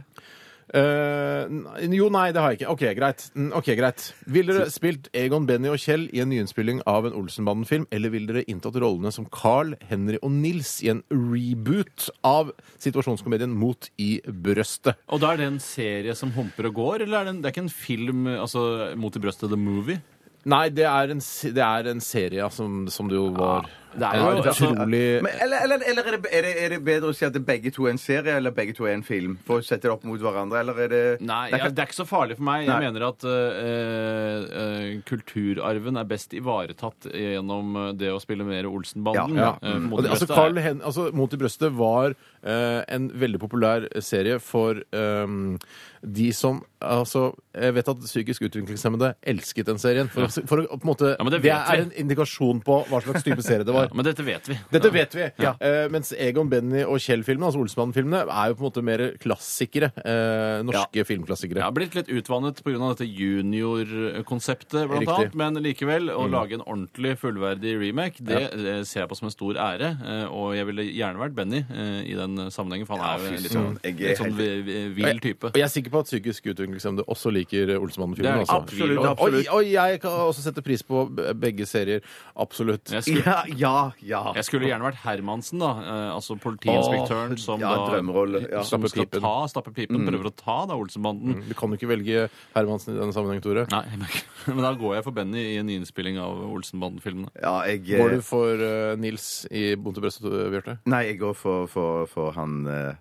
[SPEAKER 2] Eh, n- jo, nei, det har jeg ikke. OK, greit. Mm, Ok, greit. Ville dere spilt Egon, Benny og Kjell i en nyinnspilling av en Olsenbanden-film, eller ville dere inntatt rollene som Carl, Henry og Nils i en reboot av situasjonskomedien Mot i brøstet?
[SPEAKER 4] Og da er det en serie som humper og går, eller er det, en, det er ikke en film altså, mot i brøstet, the movie?
[SPEAKER 2] Nei, det er en, se- det er en serie ja, som, som det jo var.
[SPEAKER 4] det er
[SPEAKER 2] En
[SPEAKER 4] jo- altså-
[SPEAKER 2] utrolig
[SPEAKER 3] Men, eller eller, eller er, det, er, det, er det bedre å si at det begge to er en serie, eller begge to er en film? For å sette det opp mot hverandre, eller er det
[SPEAKER 4] Nei,
[SPEAKER 3] Det er
[SPEAKER 4] ja,
[SPEAKER 3] ikke-
[SPEAKER 4] det er ikke så farlig for meg. Jeg
[SPEAKER 3] Nei.
[SPEAKER 4] mener at eh, eh, kulturarven er best ivaretatt gjennom eh, det å spille mer Olsenbanden.
[SPEAKER 2] Ja.
[SPEAKER 4] eh, mot
[SPEAKER 2] Og
[SPEAKER 4] i
[SPEAKER 2] det, altså,
[SPEAKER 4] brøstet
[SPEAKER 2] Carl
[SPEAKER 4] er-
[SPEAKER 2] Hen altså, Mot i brøstet var eh, en veldig populær serie for ehm, de som Altså, jeg vet at psykisk utviklingshemmede elsket den serien. For, å- for å på en måte
[SPEAKER 4] Ja, men
[SPEAKER 2] Det,
[SPEAKER 4] det vet vi.
[SPEAKER 2] er en indikasjon på hva slags type serie det var.
[SPEAKER 4] ja, men dette vet vi.
[SPEAKER 2] Dette vet vi. Eh, mens Egon, Benny og Kjell-filmene, altså Olsmann-filmene, er jo på en måte mer klassikere. eh, norske
[SPEAKER 4] Jeg
[SPEAKER 2] filmklassikere.
[SPEAKER 4] har blitt litt utvannet pga. dette junior-konseptet, blant
[SPEAKER 2] Riktig. Mm.
[SPEAKER 4] annet. Men likevel, å lage en ordentlig, fullverdig remake, det eh, ser jeg på som en stor ære. eh, Og jeg ville gjerne vært Benny eh, i den sammenhengen, for han
[SPEAKER 3] Ja,
[SPEAKER 4] er jo
[SPEAKER 3] fy
[SPEAKER 4] en litt sånn,
[SPEAKER 3] søren, jeg er
[SPEAKER 4] litt sånn vi- vi- vill type.
[SPEAKER 2] Og jeg er sikker på at psykisk utviklingshemmede også liker
[SPEAKER 4] Det er
[SPEAKER 2] Olsmann-filmene.
[SPEAKER 4] det
[SPEAKER 2] Altså.
[SPEAKER 4] ikke tvil
[SPEAKER 3] Absolutt,
[SPEAKER 4] om.
[SPEAKER 3] absolutt.
[SPEAKER 2] Og, og jeg kan også sette pris på be- begge serier. Absolutt.
[SPEAKER 4] Jeg skulle,
[SPEAKER 3] Ja, ja. ja.
[SPEAKER 4] jeg skulle gjerne vært Hermansen, da. eh, Altså politiinspektøren som
[SPEAKER 3] ja, drømmerolle,
[SPEAKER 4] da
[SPEAKER 3] ja.
[SPEAKER 4] som
[SPEAKER 2] Stappe
[SPEAKER 4] skal
[SPEAKER 2] pipen. Mm.
[SPEAKER 4] ta stappe pipen, prøver å ta da Olsenbanden.
[SPEAKER 2] Du kan jo ikke velge Hermansen i denne sammenheng, Tore.
[SPEAKER 4] Nei, jeg merker- men da går jeg for Benny i en nyinnspilling av Olsenbanden-filmene.
[SPEAKER 3] ja jeg, eh,
[SPEAKER 2] Går du for eh, Nils i Bonde til brøstet, eh, Bjarte?
[SPEAKER 3] Nei, jeg går for, for, for han eh,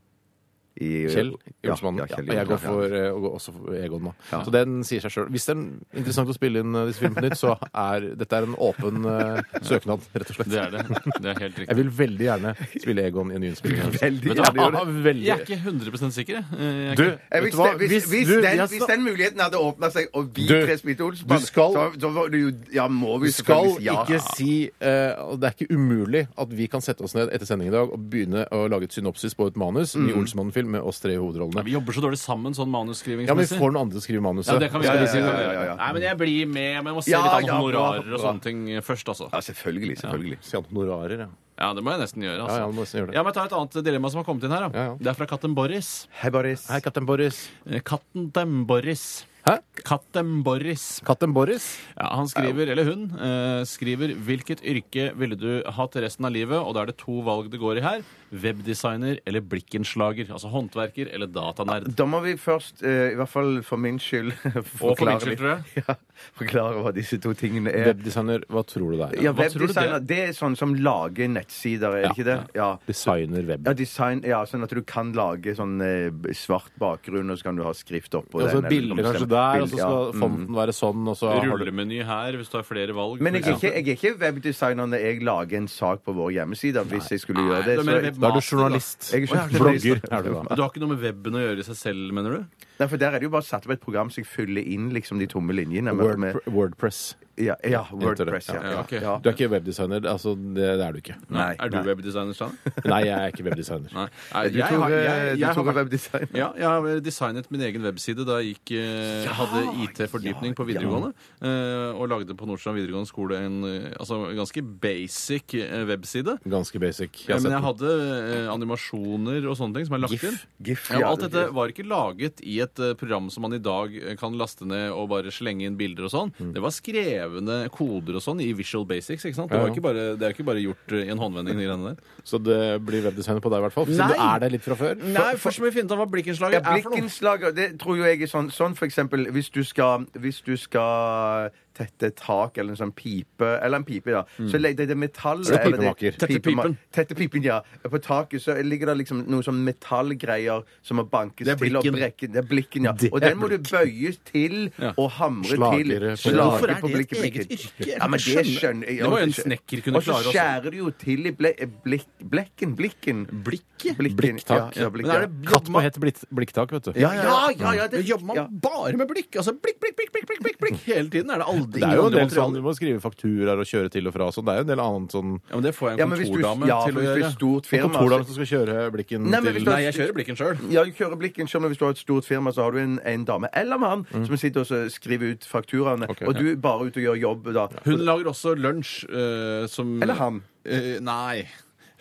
[SPEAKER 3] i
[SPEAKER 2] Kjell i
[SPEAKER 3] Ja,
[SPEAKER 2] Olsmannen.
[SPEAKER 3] ja, Kjell
[SPEAKER 2] og jeg går
[SPEAKER 3] Olsmannen, ja.
[SPEAKER 2] for, eh, og går også for Egon, da. Så den sier seg sjøl. Hvis det er interessant å spille inn eh, disse filmene på nytt, så er dette er en åpen eh, søknad, rett og slett.
[SPEAKER 4] Det er det. Det er helt riktig.
[SPEAKER 2] Jeg vil veldig gjerne spille Egon i en nyinnspilling.
[SPEAKER 3] Veldig
[SPEAKER 4] Men
[SPEAKER 3] gjerne
[SPEAKER 4] da-
[SPEAKER 3] gjør det.
[SPEAKER 2] Ja, veldig.
[SPEAKER 4] Jeg er ikke 100 sikker. jeg. Eh, Jeg
[SPEAKER 2] Du,
[SPEAKER 3] Eh,
[SPEAKER 2] vet
[SPEAKER 3] Hvis,
[SPEAKER 2] du hva?
[SPEAKER 3] det- hvis, hvis,
[SPEAKER 2] du,
[SPEAKER 3] den,
[SPEAKER 2] vi har
[SPEAKER 3] hvis
[SPEAKER 2] sna-
[SPEAKER 3] den muligheten hadde åpna seg, og vi
[SPEAKER 2] Du-
[SPEAKER 3] tre spilte Olsenband,
[SPEAKER 2] du skal-
[SPEAKER 3] så, så var det jo Ja, må
[SPEAKER 2] Du
[SPEAKER 3] vi
[SPEAKER 2] skal
[SPEAKER 3] selvfølgelig si ja.
[SPEAKER 2] ikke si eh, og Det er ikke umulig at vi kan sette oss ned etter sending i dag og begynne å lage et synopsis på et manus. Ny Olsenmann-film med oss tre i hovedrollene.
[SPEAKER 4] Mm. Vi jobber så dårlig sammen sånn
[SPEAKER 2] Ja, men vi
[SPEAKER 4] manusskrivingsmessig.
[SPEAKER 2] får noen andre til å skrive manuset.
[SPEAKER 4] Ja, det kan vi
[SPEAKER 3] Ja,
[SPEAKER 4] gjøre.
[SPEAKER 3] ja, ja, ja, ja, ja.
[SPEAKER 4] Nei, men jeg blir med. Men jeg må se
[SPEAKER 3] Ja,
[SPEAKER 4] litt an
[SPEAKER 3] ja, bra,
[SPEAKER 4] honorarer og
[SPEAKER 3] bra.
[SPEAKER 4] sånne ting først, altså.
[SPEAKER 3] Ja, selvfølgelig. selvfølgelig.
[SPEAKER 2] Si at honorarer, ja.
[SPEAKER 4] Ja, det må jeg nesten gjøre.
[SPEAKER 2] Ja, ja,
[SPEAKER 4] altså.
[SPEAKER 2] du må nesten gjøre det.
[SPEAKER 4] Ja, men Jeg tar et annet dilemma som har kommet inn her. da.
[SPEAKER 2] Ja, ja.
[SPEAKER 4] Det er fra katten Boris.
[SPEAKER 3] Hei, Boris.
[SPEAKER 2] Hei, Kaptein Boris.
[SPEAKER 4] Eh, Katten dem Boris.
[SPEAKER 2] Hæ?
[SPEAKER 4] Katten Boris.
[SPEAKER 2] Katten Boris?
[SPEAKER 4] Ja, han skriver, eller hun, eh, skriver 'Hvilket yrke ville du hatt resten av livet?' Og da er det to valg det går i her. Webdesigner eller blikkenslager. Altså håndverker eller datanerd.
[SPEAKER 3] Da må vi først, eh, i hvert fall for min skyld
[SPEAKER 4] Og for min
[SPEAKER 3] forklare
[SPEAKER 4] skyld,
[SPEAKER 3] litt-
[SPEAKER 4] tror jeg.
[SPEAKER 3] Ja, forklare hva disse to tingene er.
[SPEAKER 2] Webdesigner, hva tror du det er?
[SPEAKER 3] Ja,
[SPEAKER 4] Hva tror du det
[SPEAKER 3] Webdesigner,
[SPEAKER 4] er?
[SPEAKER 3] det er sånn som lager nettsider, er det ikke det? Ja.
[SPEAKER 2] Designer web.
[SPEAKER 3] Ja, design, ja, sånn at du kan lage sånn eh, b- svart bakgrunn, og så kan du ha skrift oppå
[SPEAKER 2] Altså
[SPEAKER 3] den. eller du
[SPEAKER 2] bilder
[SPEAKER 3] kan
[SPEAKER 2] kanskje
[SPEAKER 3] bestemme-
[SPEAKER 2] der,
[SPEAKER 3] bilder,
[SPEAKER 2] og så skal
[SPEAKER 3] ja. Mm.
[SPEAKER 2] fonten være sånn, og så har du
[SPEAKER 4] Rullemeny her, hvis du har flere valg.
[SPEAKER 3] Men jeg
[SPEAKER 4] for
[SPEAKER 3] er, ikke, jeg er ikke webdesigner når jeg lager en sak på vår hjemmeside. Hvis jeg skulle gjøre det,
[SPEAKER 4] det er
[SPEAKER 3] så
[SPEAKER 4] mer
[SPEAKER 3] jeg,
[SPEAKER 4] web-
[SPEAKER 2] Da er du
[SPEAKER 4] master, da.
[SPEAKER 2] journalist.
[SPEAKER 3] Jeg er journalist.
[SPEAKER 2] Blogger er du da.
[SPEAKER 4] Du har ikke noe med webben å gjøre i seg selv, mener du?
[SPEAKER 3] Nei, for Der er det jo bare satt opp et program så jeg fyller inn liksom de tomme linjene. med- med-
[SPEAKER 2] Wordpre- Wordpress.
[SPEAKER 3] ja, ja,
[SPEAKER 2] Heter det.
[SPEAKER 3] Wordpress. Ja,
[SPEAKER 2] Ja,
[SPEAKER 3] ja,
[SPEAKER 4] ok.
[SPEAKER 3] ja.
[SPEAKER 2] Du er ikke webdesigner. Altså, det, det er du ikke.
[SPEAKER 3] Nei,
[SPEAKER 4] er du
[SPEAKER 3] nei.
[SPEAKER 4] webdesigner, Steiner?
[SPEAKER 2] Nei, jeg er ikke webdesigner.
[SPEAKER 4] Nei.
[SPEAKER 3] Du tok,
[SPEAKER 4] har-
[SPEAKER 3] eh, du
[SPEAKER 4] jeg
[SPEAKER 3] tok
[SPEAKER 4] har vært-
[SPEAKER 3] webdesign.
[SPEAKER 4] ja, jeg har designet min egen webside da jeg gikk, eh, hadde IT-fordypning på videregående. eh, Og lagde på Nordstrand videregående skole en eh, altså, en ganske basic eh, webside.
[SPEAKER 2] Ganske basic. Jeg
[SPEAKER 4] Ja,
[SPEAKER 2] har
[SPEAKER 4] men
[SPEAKER 2] sett
[SPEAKER 4] jeg
[SPEAKER 2] den.
[SPEAKER 4] hadde eh, animasjoner og sånne ting som er lagt inn.
[SPEAKER 3] GIF,
[SPEAKER 4] Ja, og
[SPEAKER 3] ja,
[SPEAKER 4] alt
[SPEAKER 3] det-
[SPEAKER 4] dette var ikke laget i et eh, program som man i dag eh, kan laste ned og bare slenge inn bilder og sånn.
[SPEAKER 3] Mm.
[SPEAKER 4] Det var skrevne koder og sånn i Visual Basics. ikke sant? Det,
[SPEAKER 2] Ja,
[SPEAKER 4] var
[SPEAKER 2] ja.
[SPEAKER 4] ikke bare, det er ikke bare gjort eh, i en håndvending. de greiene der.
[SPEAKER 2] Så det blir webdesigner på deg, i hvert fall. Siden
[SPEAKER 4] Nei.
[SPEAKER 2] du er der litt fra før.
[SPEAKER 4] Nei, først må vi finne ut hva blikkenslaget
[SPEAKER 3] Ja, blikkenslager, det tror jo jeg er sånn, sånn for eksempel hvis du skal, hvis du skal tette tak eller en sånn pipe Eller en pipe, ja.
[SPEAKER 4] Mm.
[SPEAKER 3] Så legger det, det metallet
[SPEAKER 2] det
[SPEAKER 3] eller
[SPEAKER 2] pipemaker?
[SPEAKER 4] Tette
[SPEAKER 3] pipema-
[SPEAKER 4] pipen.
[SPEAKER 3] Tette pipen, ja. På taket så ligger det liksom noen sånn metallgreier som må bankes
[SPEAKER 2] Det er
[SPEAKER 3] til og
[SPEAKER 2] blikken.
[SPEAKER 3] brekke Det er blikken, ja.
[SPEAKER 2] Det
[SPEAKER 3] Og
[SPEAKER 2] er
[SPEAKER 3] den må du bøye til og hamre
[SPEAKER 2] Slagere på-
[SPEAKER 3] til.
[SPEAKER 2] Hvorfor
[SPEAKER 3] Slage på blikket. Ja, men det skjønner jeg.
[SPEAKER 4] Det må jo en snekker kunne
[SPEAKER 3] Og
[SPEAKER 4] klare
[SPEAKER 3] så
[SPEAKER 4] også.
[SPEAKER 3] skjærer du jo til i ble, blikk, blekken. Blikken.
[SPEAKER 4] Blikket?
[SPEAKER 3] Blikken,
[SPEAKER 2] Blikktak.
[SPEAKER 3] ja, ja, blikk,
[SPEAKER 4] Men er
[SPEAKER 3] ja.
[SPEAKER 4] det
[SPEAKER 2] Katt på hett blitt- blikktak, vet du.
[SPEAKER 3] Ja, ja, ja. ja, det,
[SPEAKER 4] Jobber man
[SPEAKER 3] ja. Mm.
[SPEAKER 4] bare med blikk? Altså blikk, blikk, blikk, blikk, blikk, blikk, blikk hele tiden? Er det aldri
[SPEAKER 2] Det er jo en
[SPEAKER 4] ingen andre
[SPEAKER 2] del sånn, Du
[SPEAKER 4] materialer?
[SPEAKER 2] må skrive fakturaer og kjøre til og fra og sånn. Det er jo en del annet sånn
[SPEAKER 4] Ja, men det får jeg
[SPEAKER 3] Ja,
[SPEAKER 4] en
[SPEAKER 3] men hvis du,
[SPEAKER 4] kontordame
[SPEAKER 3] ja,
[SPEAKER 4] til
[SPEAKER 3] for hvis du er
[SPEAKER 4] å gjøre. altså.
[SPEAKER 3] et stort firma
[SPEAKER 2] Kontordame
[SPEAKER 3] så-
[SPEAKER 2] som skal kjøre blikken
[SPEAKER 3] Nei, men hvis
[SPEAKER 2] til
[SPEAKER 3] du
[SPEAKER 4] Nei, jeg kjører blikken sjøl.
[SPEAKER 3] Ja, du kjører blikken selv, men hvis du har et stort firma, så har du en, en dame eller mann
[SPEAKER 4] Mm.
[SPEAKER 3] som sitter og så skriver ut fakturaene, og du er bare ute og gjør jobb da.
[SPEAKER 4] Hun lager også lunsj eh, som
[SPEAKER 3] Eller han.
[SPEAKER 4] Eh, nei.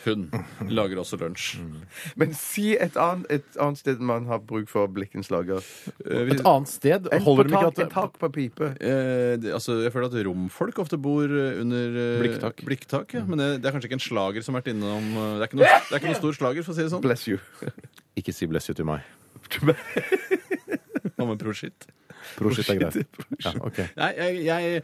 [SPEAKER 4] Hun lager også lunsj.
[SPEAKER 3] Men si et annet, et annet sted man har bruk for blikkens lager.
[SPEAKER 4] Eh, vi-
[SPEAKER 2] Et annet sted
[SPEAKER 3] En
[SPEAKER 2] holder
[SPEAKER 3] på
[SPEAKER 2] de
[SPEAKER 3] tak,
[SPEAKER 2] ikke
[SPEAKER 3] en
[SPEAKER 2] at
[SPEAKER 3] tak på pipe.
[SPEAKER 4] Eh, det- altså, jeg føler at romfolk ofte bor eh, under eh,
[SPEAKER 2] Blikktak.
[SPEAKER 4] ja.
[SPEAKER 3] Mm.
[SPEAKER 4] Men det, det er kanskje ikke en slager som har vært innom eh, det er, ikke noe, det er ikke noe stor slager, for å si det sånn.
[SPEAKER 3] Bless you.
[SPEAKER 2] Ikke si 'bless you' til meg.
[SPEAKER 4] Hva med prosjekt?
[SPEAKER 2] Prosjekt er greit. Ja, ok.
[SPEAKER 4] Nei, jeg, jeg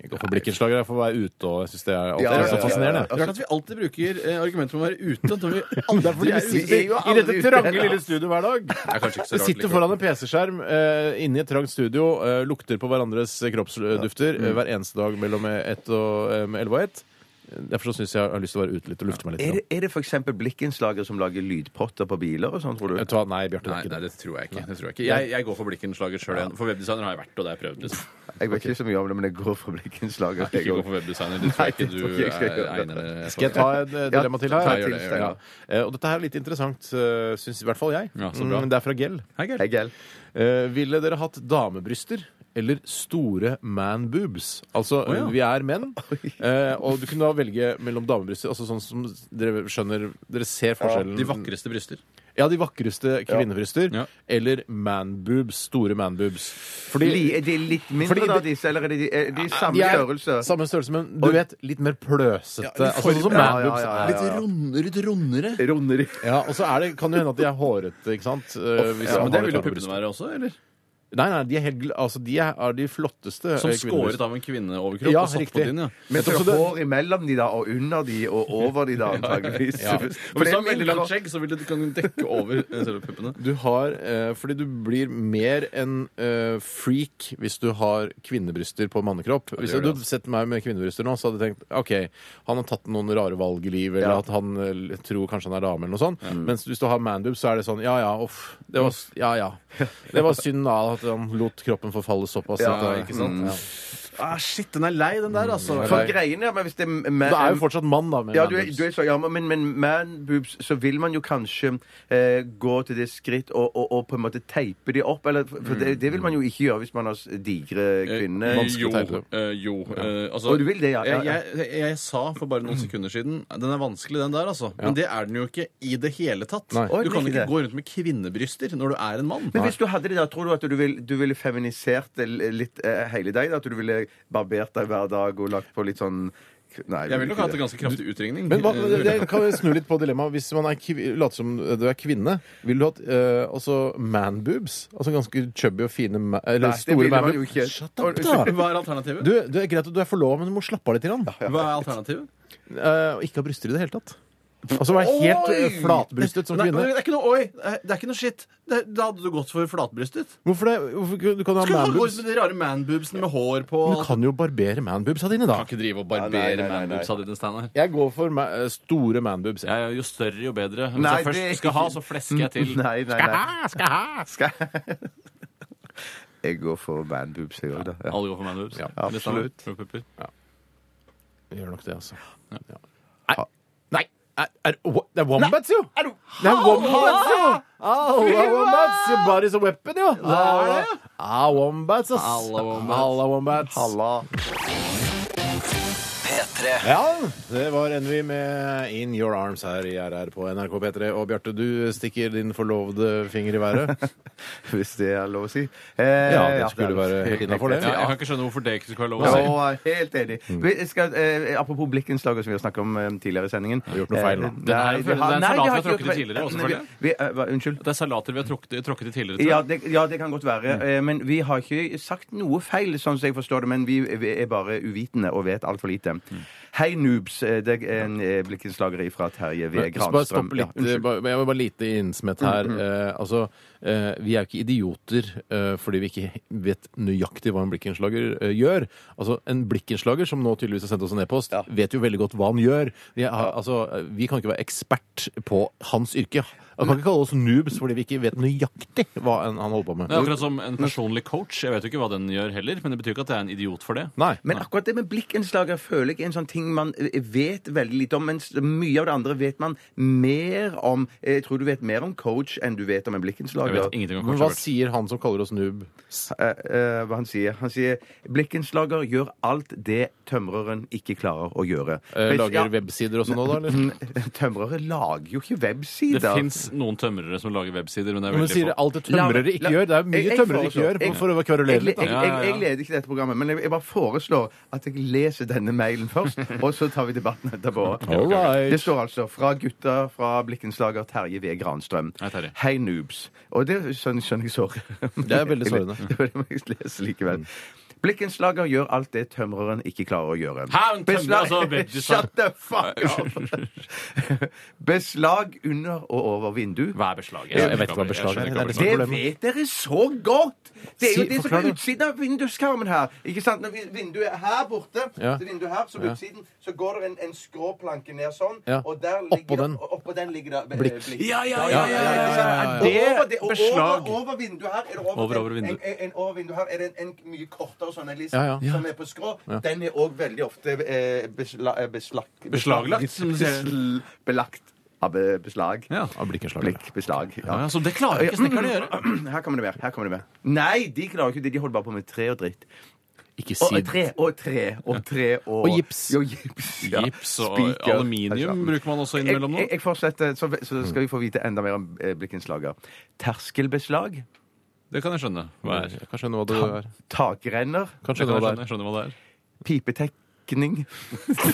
[SPEAKER 2] Jeg går for blikkenslager. Jeg får være ute og jeg syns det er alltid er så
[SPEAKER 3] Ja, ja, ja, altså- ja.
[SPEAKER 2] fascinerende.
[SPEAKER 4] Rart at vi alltid bruker eh, argumenter om å være ute. Når vi aldri er
[SPEAKER 3] vi
[SPEAKER 4] ute.
[SPEAKER 3] sitter-
[SPEAKER 2] I
[SPEAKER 3] jo
[SPEAKER 2] dette
[SPEAKER 3] aldri ute
[SPEAKER 2] trange
[SPEAKER 3] heller.
[SPEAKER 2] lille studioet hver dag.
[SPEAKER 4] Det er kanskje ikke så
[SPEAKER 2] Vi
[SPEAKER 4] rart
[SPEAKER 2] sitter
[SPEAKER 4] likevel.
[SPEAKER 2] foran en PC-skjerm eh, inne i et trangt studio, eh, lukter på hverandres
[SPEAKER 4] Mm.
[SPEAKER 2] kroppsdufter eh, hver eneste dag mellom ett og eh, med 11 og 1. Derfor så syns jeg jeg har lyst til å være ute litt og lufte meg litt.
[SPEAKER 3] Er det, er det for eksempel blikkens lager som lager lydpotter på biler og sånn, tror du?
[SPEAKER 2] Vet du hva? Nei, Bjarte, det
[SPEAKER 4] Nei,
[SPEAKER 2] er ikke
[SPEAKER 4] nei,
[SPEAKER 2] det.
[SPEAKER 4] det tror jeg ikke. Det tror jeg, ikke. jeg, jeg går for blikkenslager sjøl igjen. For webdesigner har jeg vært, og det har jeg prøvd. Liksom.
[SPEAKER 3] Jeg vet ikke så mye om det, men jeg går for blikkens lager.
[SPEAKER 4] Ikke gå for webdesigner. Det tror
[SPEAKER 3] Nei,
[SPEAKER 4] jeg ikke
[SPEAKER 3] det tror
[SPEAKER 4] du
[SPEAKER 3] jeg ikke jeg
[SPEAKER 4] er
[SPEAKER 3] gjør.
[SPEAKER 4] egnet
[SPEAKER 2] Skal jeg ta et eh, dilemma til her?
[SPEAKER 4] ta- gjør det, gjør det.
[SPEAKER 2] Ja. Eh, Og dette her er litt interessant, eh, syns i hvert fall jeg.
[SPEAKER 4] Ja, så bra.
[SPEAKER 2] Mm, Det er fra Gell.
[SPEAKER 4] Hei, Geir.
[SPEAKER 3] Jeg er
[SPEAKER 2] Eh, ville dere hatt damebryster eller store man boobs? Altså,
[SPEAKER 4] ja.
[SPEAKER 2] vi er menn, eh, og du kunne da velge mellom damebryster Altså sånn som dere skjønner Dere ser forskjellen.
[SPEAKER 4] De vakreste bryster.
[SPEAKER 2] Ja, de vakreste kvinnebryster.
[SPEAKER 4] Ja.
[SPEAKER 2] Eller man boobs. Store man boobs. Fordi
[SPEAKER 3] Li- Er de litt mindre
[SPEAKER 2] Fordi
[SPEAKER 3] da,
[SPEAKER 2] det-
[SPEAKER 3] disse, eller er de, er de samme
[SPEAKER 2] de er
[SPEAKER 3] størrelse?
[SPEAKER 4] sånn
[SPEAKER 2] Samme størrelse, men du vet, litt mer pløsete. altså sånn som
[SPEAKER 3] ja,
[SPEAKER 2] man
[SPEAKER 3] ja,
[SPEAKER 2] boobs
[SPEAKER 3] ja, ja.
[SPEAKER 2] er.
[SPEAKER 4] Litt, rund, litt rundere.
[SPEAKER 3] Runder de?
[SPEAKER 2] Ja, og så er det, kan det hende at de er hårete, ikke sant? Eh, hvis
[SPEAKER 4] Ja,
[SPEAKER 2] man
[SPEAKER 4] men det
[SPEAKER 2] har
[SPEAKER 4] vil
[SPEAKER 2] et
[SPEAKER 4] jo
[SPEAKER 2] hårete
[SPEAKER 4] puppene være også, eller?
[SPEAKER 2] bryst. Nei, nei, de er, helt, gl- altså, de er, er de flotteste
[SPEAKER 4] Som
[SPEAKER 2] eh, kvinnebryst.
[SPEAKER 4] skåret av en kvinneoverkropp
[SPEAKER 2] Ja,
[SPEAKER 4] og satt
[SPEAKER 2] riktig.
[SPEAKER 4] på din, ja.
[SPEAKER 3] Men
[SPEAKER 2] Jeg tror
[SPEAKER 3] så
[SPEAKER 2] også det-
[SPEAKER 3] sånn hår imellom de da, og under de, og over de da, antageligvis.
[SPEAKER 2] Ja.
[SPEAKER 3] For
[SPEAKER 4] Og hvis
[SPEAKER 3] det
[SPEAKER 4] du
[SPEAKER 3] er
[SPEAKER 4] har veldig
[SPEAKER 3] veldig
[SPEAKER 4] langt skjegg, så vil du kan du dekke over eh, selve puppene.
[SPEAKER 2] Du har, eh, fordi du blir mer en eh, freak hvis du har kvinnebryster på mannekropp. Hvis
[SPEAKER 4] gjør
[SPEAKER 2] du
[SPEAKER 4] det,
[SPEAKER 2] hadde sett meg med kvinnebryster nå, så hadde jeg tenkt OK, han har tatt noen rare valg i livet, eller
[SPEAKER 3] Ja. Mm.
[SPEAKER 2] at han eh, tror kanskje han er dame, eller noe sånt. Mens hvis du har manboob, så er det sånn ja ja, uff. Det var, ja, ja. Det var synd da at han lot kroppen forfalle såpass.
[SPEAKER 3] Ja,
[SPEAKER 2] at, eh,
[SPEAKER 4] ikke sant?
[SPEAKER 2] mm, ja.
[SPEAKER 4] Ah, shit, den er lei, den der, altså.
[SPEAKER 3] For greiene, ja, men hvis det er
[SPEAKER 2] Du er jo fortsatt mann, da. Med
[SPEAKER 3] ja, du er,
[SPEAKER 2] manboobs.
[SPEAKER 3] du er så, ja, men, men man boobs, så vil man jo kanskje eh, gå til det skritt og, og, og på en måte teipe de opp. Eller, for det, det vil man jo ikke gjøre hvis man har s- digre
[SPEAKER 4] Mm. Eh,
[SPEAKER 3] kvinner.
[SPEAKER 4] jo.
[SPEAKER 2] Vanskelig å tegne.
[SPEAKER 4] eh, jo eh, altså,
[SPEAKER 3] Og du vil det, ja, ja, ja.
[SPEAKER 4] Jeg, jeg, jeg sa for bare noen sekunder siden den er vanskelig, den der, altså. Men det er den jo ikke i det hele tatt.
[SPEAKER 2] Nei.
[SPEAKER 4] Du
[SPEAKER 3] Oi,
[SPEAKER 4] kan
[SPEAKER 3] ikke
[SPEAKER 4] ikke
[SPEAKER 3] det.
[SPEAKER 4] gå rundt med kvinnebryster når du er en mann.
[SPEAKER 3] Men hvis du hadde det da, tror du at du, vil, du ville feminisert det l- litt eh, hele deg? da? At du ville barbert deg hver dag og lagt på litt sånn Nei.
[SPEAKER 4] Jeg vil
[SPEAKER 3] ikke
[SPEAKER 4] nok ha hatt
[SPEAKER 3] det.
[SPEAKER 4] en ganske kraftig utringning.
[SPEAKER 2] Men hva,
[SPEAKER 4] Eh,
[SPEAKER 2] det, det kan vi snu litt på dilemmaet. Hvis man er kvi, later som du er kvinne, vil du ha uh, altså manboobs? Altså ganske chubby og fine ma Eller
[SPEAKER 3] Nei, det
[SPEAKER 2] store
[SPEAKER 3] ville man jo
[SPEAKER 2] manboobs?
[SPEAKER 3] ikke.
[SPEAKER 2] Shut up,
[SPEAKER 4] Hva
[SPEAKER 2] da!
[SPEAKER 4] er alternativet?
[SPEAKER 2] Du, du er greit at du er forlova, men du må slappe av litt. Grann.
[SPEAKER 4] Hva er alternativet?
[SPEAKER 2] Eh, og ikke ha bryster i det hele tatt. Altså være helt
[SPEAKER 4] Oi!
[SPEAKER 2] eh, flatbrystet som
[SPEAKER 4] Nei,
[SPEAKER 2] kvinne.
[SPEAKER 4] det er ikke noe oi! eh, Det er ikke noe shit. Det, da hadde du gått for flatbrystet.
[SPEAKER 2] Hvorfor det? Hvorfor, ikke- du kan ha
[SPEAKER 4] Skal du ha gått
[SPEAKER 2] manboobs.
[SPEAKER 4] med de rare manboobsene med hår på
[SPEAKER 2] Du kan jo barbere manboobsa dine, da.
[SPEAKER 4] Kan ikke drive og
[SPEAKER 3] Nei, nei,
[SPEAKER 4] barbere
[SPEAKER 3] nei, nei.
[SPEAKER 4] manboobsa dine, Steinar.
[SPEAKER 2] Jeg går for ma eh, store manboobs.
[SPEAKER 4] Ja, ja, jo større, jo bedre. Hvis
[SPEAKER 3] Nei, det er
[SPEAKER 4] jeg først skal ha,
[SPEAKER 3] ikke-
[SPEAKER 4] så flesker jeg til.
[SPEAKER 3] Nei, nei, nei.
[SPEAKER 2] skal ha!
[SPEAKER 3] Jeg går for man boobs, jeg òg, da. Ja.
[SPEAKER 4] Alle går for manboobs. Ja,
[SPEAKER 3] absolutt.
[SPEAKER 2] Gjør nok det, altså. Ja. Nei, nei er, er, det er wombats, jo! Det er wombats, jo! Ah, wombats, your body's a weapon, jo! Det er det. Ah, wombats, ass.
[SPEAKER 4] Halla, wombats.
[SPEAKER 2] Halla, wombats.
[SPEAKER 3] Halla.
[SPEAKER 1] P3. P3.
[SPEAKER 2] Ja, det var Envy med In Your Arms her i RR på NRK P3. Og Bjarte, du stikker din forlovede finger i været.
[SPEAKER 3] Hvis det er lov å si. Eh,
[SPEAKER 2] Ja, det skulle være helt innenfor det.
[SPEAKER 4] Ja, jeg kan ikke skjønne hvorfor det ikke skal være lov å si.
[SPEAKER 3] Ja, helt enig.
[SPEAKER 2] Mm.
[SPEAKER 3] Vi skal, eh, apropos blikkenslaget som vi har snakket om eh, tidligere i sendingen.
[SPEAKER 2] Har du gjort noe feil nå?
[SPEAKER 3] Eh,
[SPEAKER 4] Den her-
[SPEAKER 3] nei,
[SPEAKER 4] den
[SPEAKER 3] har-
[SPEAKER 4] salaten
[SPEAKER 3] nei, har
[SPEAKER 4] vi har
[SPEAKER 3] ikke gjort
[SPEAKER 4] trukket
[SPEAKER 3] noe
[SPEAKER 4] tidligere,
[SPEAKER 3] feil.
[SPEAKER 4] også
[SPEAKER 3] Nei,
[SPEAKER 4] for
[SPEAKER 3] vi-
[SPEAKER 4] det.
[SPEAKER 3] vi- eh, hva- Unnskyld?
[SPEAKER 4] Det er salater vi har trukket, tråkket i tidligere, tror
[SPEAKER 3] Ja
[SPEAKER 4] jeg.
[SPEAKER 3] det, ja, det kan godt
[SPEAKER 2] Mm.
[SPEAKER 3] være. eh, Men vi har ikke sagt noe feil, sånn som jeg forstår det. Men vi, vi er bare uvitende og vet altfor
[SPEAKER 2] Mm.
[SPEAKER 3] lite. Hei, noobs. eh, Det er en eh, blikkenslager fra Terje V.
[SPEAKER 2] Så bare
[SPEAKER 3] Granstrøm.
[SPEAKER 2] stoppe litt. eh,
[SPEAKER 3] Ja, unnskyld. Mm,
[SPEAKER 2] bare, jeg vil bare lite innsmett her. Eh, altså, eh, vi er jo ikke idioter eh, fordi vi ikke vet nøyaktig hva en blikkenslager eh, gjør. Altså, En blikkenslager, som nå tydeligvis har sendt oss en e-post, vet jo veldig godt hva han gjør. Vi, har, altså, eh, vi kan ikke være ekspert på hans yrke. Han kan ikke kalle oss noobs fordi vi ikke vet nøyaktig hva en, han holder på med.
[SPEAKER 4] Det er akkurat som en personlig coach. Jeg vet jo ikke hva den gjør heller, men det betyr ikke at jeg er en idiot for det.
[SPEAKER 2] Nei.
[SPEAKER 3] Men akkurat det med blikkenslager føler jeg er en sånn ting man eh, vet veldig lite om. Mens mye av det andre vet man mer om. Eh, Jeg tror du vet mer om coach enn du vet om en
[SPEAKER 4] Jeg
[SPEAKER 3] blikkenslager.
[SPEAKER 4] vet ingenting om
[SPEAKER 2] Men
[SPEAKER 4] coach.
[SPEAKER 2] hva
[SPEAKER 4] Robert.
[SPEAKER 2] sier han som kaller oss noob?
[SPEAKER 3] Eh, eh, hva han sier. Han sier blikkenslager gjør alt det tømreren ikke klarer å gjøre.
[SPEAKER 2] Eh,
[SPEAKER 3] Ja, Mm,
[SPEAKER 2] Lager websider og sånn nå, da? eller?
[SPEAKER 3] Tømrere lager jo ikke
[SPEAKER 4] Det
[SPEAKER 3] websider.
[SPEAKER 4] fins noen tømrere som lager websider, men det er
[SPEAKER 2] Men
[SPEAKER 4] veldig
[SPEAKER 2] sier
[SPEAKER 4] få.
[SPEAKER 2] alt det tømrere
[SPEAKER 3] La-
[SPEAKER 2] ikke gjør. Det er
[SPEAKER 3] Jeg-
[SPEAKER 2] mye
[SPEAKER 3] jeg
[SPEAKER 2] tømrere ikke
[SPEAKER 3] foreslår-
[SPEAKER 2] gjør,
[SPEAKER 3] jeg-
[SPEAKER 2] for å kverulere
[SPEAKER 3] Jeg,
[SPEAKER 2] litt.
[SPEAKER 3] jeg,
[SPEAKER 2] da.
[SPEAKER 3] jeg,
[SPEAKER 4] Ja, ja, ja.
[SPEAKER 3] jeg leder ikke dette programmet, men jeg, jeg bare foreslår at jeg leser denne mailen først, og så tar vi debatten etterpå.
[SPEAKER 2] All right.
[SPEAKER 3] Det står altså fra gutta fra Blikkenslager Terje V. Granstrøm.
[SPEAKER 4] Hei, Terje.
[SPEAKER 3] Hei, noobs. Og det skjønner, skjønner jeg såret.
[SPEAKER 2] Det er veldig sårende.
[SPEAKER 3] Det var det jeg leser likevel. Blikkenslager gjør alt det tømreren ikke klarer å gjøre.
[SPEAKER 4] Hæ, men tømrer, altså, vet du, sa-
[SPEAKER 3] Shut the fuck up! Beslag under og over vindu.
[SPEAKER 4] Hva er beslaget?
[SPEAKER 2] Jeg vet ikke hva beslag er. Det er det som
[SPEAKER 4] Jeg skjønner ikke hva beslag er.
[SPEAKER 2] er
[SPEAKER 3] Det
[SPEAKER 2] problemet.
[SPEAKER 3] vet dere så godt! Det er jo
[SPEAKER 2] Si-
[SPEAKER 3] det som
[SPEAKER 2] forklar
[SPEAKER 3] er
[SPEAKER 2] det.
[SPEAKER 3] utsiden av vinduskarmen her. Ikke sant? Når vi- vinduet er her borte,
[SPEAKER 2] Ja.
[SPEAKER 3] så vinduet her, så på utsiden, så går det en, en skråplanke ned sånn,
[SPEAKER 2] Ja.
[SPEAKER 3] og der
[SPEAKER 2] Oppå
[SPEAKER 3] ligger
[SPEAKER 2] den.
[SPEAKER 3] og Oppå den ligger det eh,
[SPEAKER 2] Blikk.
[SPEAKER 4] Ja, ja, ja,
[SPEAKER 3] Ja, ja, ja, ikke sant?
[SPEAKER 4] ja, ja.
[SPEAKER 3] Og
[SPEAKER 4] Er
[SPEAKER 3] over
[SPEAKER 4] det
[SPEAKER 3] og
[SPEAKER 4] beslag?
[SPEAKER 3] Over, over vinduet her er det over,
[SPEAKER 4] Over- over
[SPEAKER 3] en-
[SPEAKER 4] vinduet.
[SPEAKER 3] En, en, over vinduet her er det en, en mye kortere sånn en list
[SPEAKER 2] Ja, ja.
[SPEAKER 3] som er på skrå. Den er òg veldig ofte eh, besla, eh, beslag,
[SPEAKER 4] Beslaglagt, som du sier.
[SPEAKER 3] Besl- Belagt av eh, beslag.
[SPEAKER 4] Ja.
[SPEAKER 2] Ja, blikkenslager.
[SPEAKER 3] Blikk, beslag.
[SPEAKER 4] Ja, ja, så det klarer ikke snekkerne å gjøre.
[SPEAKER 3] Her kommer det mer. her kommer det mer. Nei, de klarer ikke det. De holder bare på med tre og dritt.
[SPEAKER 2] Ikke
[SPEAKER 3] Og
[SPEAKER 2] si
[SPEAKER 3] og tre og tre og tre og
[SPEAKER 2] Og gips.
[SPEAKER 3] Jo, gips, ja.
[SPEAKER 4] Gips og
[SPEAKER 3] Spiker.
[SPEAKER 4] aluminium bruker man også
[SPEAKER 3] Jeg,
[SPEAKER 4] innimellom
[SPEAKER 3] jeg,
[SPEAKER 4] nå.
[SPEAKER 3] jeg fortsetter, så, så skal vi få vite enda mer om eh, blikkenslager. Terskelbeslag,
[SPEAKER 4] Det kan jeg skjønne. Hva er.
[SPEAKER 2] Jeg kan skjønne hva det er.
[SPEAKER 3] takrenner,
[SPEAKER 2] Kan skjønne hva
[SPEAKER 4] Jeg, kan skjønne,
[SPEAKER 2] det er.
[SPEAKER 4] jeg skjønner hva det er.
[SPEAKER 3] pipetekning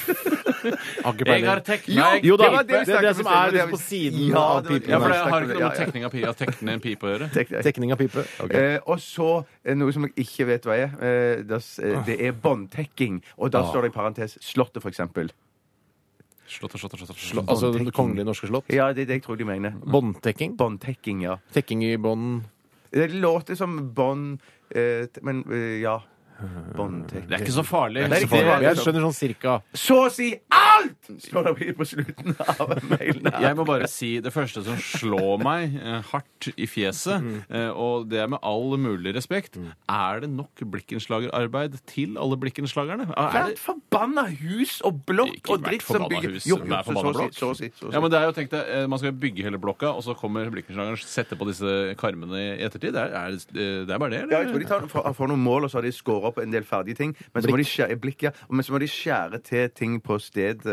[SPEAKER 2] Har ikke
[SPEAKER 4] Jeg
[SPEAKER 2] peiling.
[SPEAKER 4] har tekning.
[SPEAKER 2] Jo da,
[SPEAKER 3] var
[SPEAKER 2] det,
[SPEAKER 3] vi
[SPEAKER 2] er det
[SPEAKER 3] snakket
[SPEAKER 2] som
[SPEAKER 3] om i
[SPEAKER 2] er
[SPEAKER 3] sted,
[SPEAKER 2] litt på siden
[SPEAKER 3] Ja,
[SPEAKER 2] av
[SPEAKER 3] det var-
[SPEAKER 4] Ja,
[SPEAKER 2] pipen.
[SPEAKER 4] for det
[SPEAKER 2] her.
[SPEAKER 4] har ikke noe
[SPEAKER 3] Ja,
[SPEAKER 4] med
[SPEAKER 3] ja.
[SPEAKER 4] tekning av pi- av tekne en pipe å gjøre.
[SPEAKER 3] Tek-
[SPEAKER 2] Tekning av pipe. Ok.
[SPEAKER 3] Eh, og så eh, noe som jeg ikke vet hva er. Eh, det, s- eh, det er båndtekking. Og da står det i parentes Slottet, for eksempel.
[SPEAKER 4] Slått og slått og slått. og
[SPEAKER 2] Slå-
[SPEAKER 4] slått.
[SPEAKER 2] Altså Det kongelige norske slott.
[SPEAKER 3] Ja, det er det jeg tror de mener.
[SPEAKER 2] Båndtekking.
[SPEAKER 3] Båndtekking, ja.
[SPEAKER 2] Tekking i bånd.
[SPEAKER 3] Det låter som bånd eh, t- Men eh, ja.
[SPEAKER 4] Det er
[SPEAKER 3] Båndtekning.
[SPEAKER 4] ikke så farlig.
[SPEAKER 3] Det er ikke-
[SPEAKER 2] Jeg skjønner sånn cirka.
[SPEAKER 3] Så å si alt! Står det på slutten av mailen. her.
[SPEAKER 4] Jeg må bare si det første som slår meg eh, hardt i fjeset,
[SPEAKER 3] Mm.
[SPEAKER 4] eh, og det er med all mulig respekt Er det nok blikkenslagerarbeid til alle blikkenslagerne? Er
[SPEAKER 3] Hvert
[SPEAKER 4] det
[SPEAKER 3] forbanna hus og blokk
[SPEAKER 4] Ikke
[SPEAKER 3] og
[SPEAKER 4] hvert
[SPEAKER 3] dritt som
[SPEAKER 4] forbanna
[SPEAKER 3] bygger
[SPEAKER 4] hus.
[SPEAKER 3] Jo,
[SPEAKER 4] Det
[SPEAKER 3] jo,
[SPEAKER 4] er
[SPEAKER 3] så, så,
[SPEAKER 4] forbanna
[SPEAKER 3] å si,
[SPEAKER 4] blokk.
[SPEAKER 3] så å si. Så å si.
[SPEAKER 4] ja, men det er jo tenkt deg, eh, Man skal bygge hele blokka, og så kommer blikkenslageren og setter på disse karmene i ettertid. Det er, er, det- eh, det er bare det,
[SPEAKER 3] Ja, jeg tror de
[SPEAKER 4] eller?
[SPEAKER 3] tar, får, får noen mål, og så har de skåret opp en del ferdige ting. Men så må de skjære, blikk, ja, men så må de skjære til ting på stedet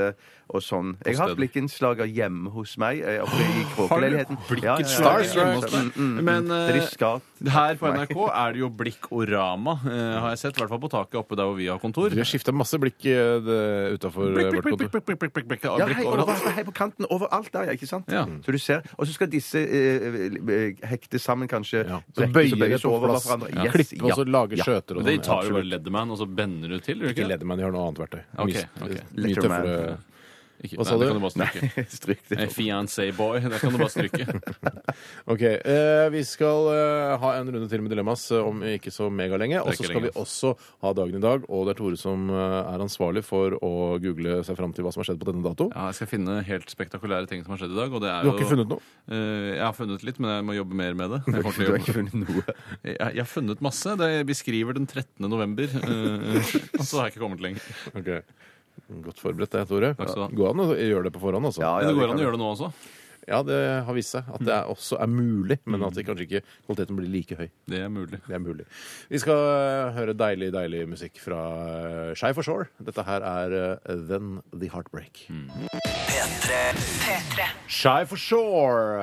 [SPEAKER 3] og sånn. Jeg har
[SPEAKER 4] stedet.
[SPEAKER 3] hatt blikkenslager hjemme hos meg. eh, Oppe i kråkeleiligheten.
[SPEAKER 4] Blikkenslager hjemme hos
[SPEAKER 3] Mm,
[SPEAKER 4] deg? Men,
[SPEAKER 3] Så de
[SPEAKER 4] eh,
[SPEAKER 3] skal
[SPEAKER 4] Her på NRK er det jo Blikkorama, eh, har jeg sett. I hvert fall på taket oppe der hvor vi har kontor.
[SPEAKER 2] Vi har skifta masse blikk eh, utafor
[SPEAKER 4] Blikk,
[SPEAKER 2] eh, vårt
[SPEAKER 4] blikk, blikk,
[SPEAKER 2] kontor.
[SPEAKER 4] blikk, blikk, blikk, blikk, blikk,
[SPEAKER 3] Ja,
[SPEAKER 4] blikk
[SPEAKER 3] hei,
[SPEAKER 4] overalt.
[SPEAKER 3] overalt, hei på kanten overalt der, ja, ikke sant?
[SPEAKER 4] Ja.
[SPEAKER 3] Så du ser. Og så skal disse eh, eh, hekte sammen, kanskje.
[SPEAKER 2] Ja.
[SPEAKER 3] brekkes
[SPEAKER 2] Så
[SPEAKER 3] og
[SPEAKER 2] bøyer det
[SPEAKER 3] bøyes
[SPEAKER 2] på
[SPEAKER 3] over
[SPEAKER 2] plass.
[SPEAKER 3] hverandre.
[SPEAKER 2] Ja.
[SPEAKER 3] Yes,
[SPEAKER 2] Klippe og
[SPEAKER 3] ja.
[SPEAKER 2] så lage skjøter
[SPEAKER 4] Men
[SPEAKER 2] og
[SPEAKER 4] De
[SPEAKER 2] sånn.
[SPEAKER 4] tar jo bare
[SPEAKER 2] Absolutt.
[SPEAKER 4] Leatherman, og så bender du til. gjør de
[SPEAKER 2] Ikke
[SPEAKER 4] Ikke det?
[SPEAKER 2] Leatherman, de har noe annet verktøy.
[SPEAKER 4] Ok,
[SPEAKER 2] Mye-
[SPEAKER 4] ok.
[SPEAKER 2] Mye
[SPEAKER 3] Letterman.
[SPEAKER 2] tøffere.
[SPEAKER 4] Ikke,
[SPEAKER 2] Hva
[SPEAKER 4] nei,
[SPEAKER 2] sa
[SPEAKER 4] det
[SPEAKER 2] du?
[SPEAKER 4] kan du bare stryke.
[SPEAKER 3] Stryk det.
[SPEAKER 4] Eh, Fiancé boy, der kan du bare stryke.
[SPEAKER 2] Ok, eh, Vi skal eh, ha en runde til med Dilemmas eh, om ikke så megalenge. Og så
[SPEAKER 4] ikke
[SPEAKER 2] skal vi
[SPEAKER 4] lenge.
[SPEAKER 2] også ha dagen i dag, og det er Tore som eh, er ansvarlig for å google seg fram til hva som har skjedd på denne dato.
[SPEAKER 4] Ja, jeg skal finne helt spektakulære ting som har skjedd i dag. Og det er
[SPEAKER 2] Du har ikke funnet noe?
[SPEAKER 4] Eh, jeg har funnet litt, men jeg må jobbe mer med det. Jeg,
[SPEAKER 3] Du
[SPEAKER 4] kommer til å
[SPEAKER 3] har
[SPEAKER 4] jobbe.
[SPEAKER 3] ikke funnet noe.
[SPEAKER 4] jeg, jeg har funnet masse. Det beskriver den 13. november. eh, og så har jeg ikke kommet lenger.
[SPEAKER 2] Ok. Godt forberedt, det, Tore.
[SPEAKER 4] skal du ha.
[SPEAKER 2] Går an å gjøre det på forhånd, altså?
[SPEAKER 4] Men det går an å gjøre det nå også.
[SPEAKER 2] Ja, det har vist seg at det er også er mulig, men
[SPEAKER 4] Mm.
[SPEAKER 2] at det kanskje ikke kvaliteten blir like høy.
[SPEAKER 4] Det er mulig.
[SPEAKER 2] Det er mulig. Vi skal eh, høre deilig, deilig musikk fra eh, Skeif og Shore. Dette her er eh, Then The Heartbreak.
[SPEAKER 6] P3.
[SPEAKER 2] Shy for Shore,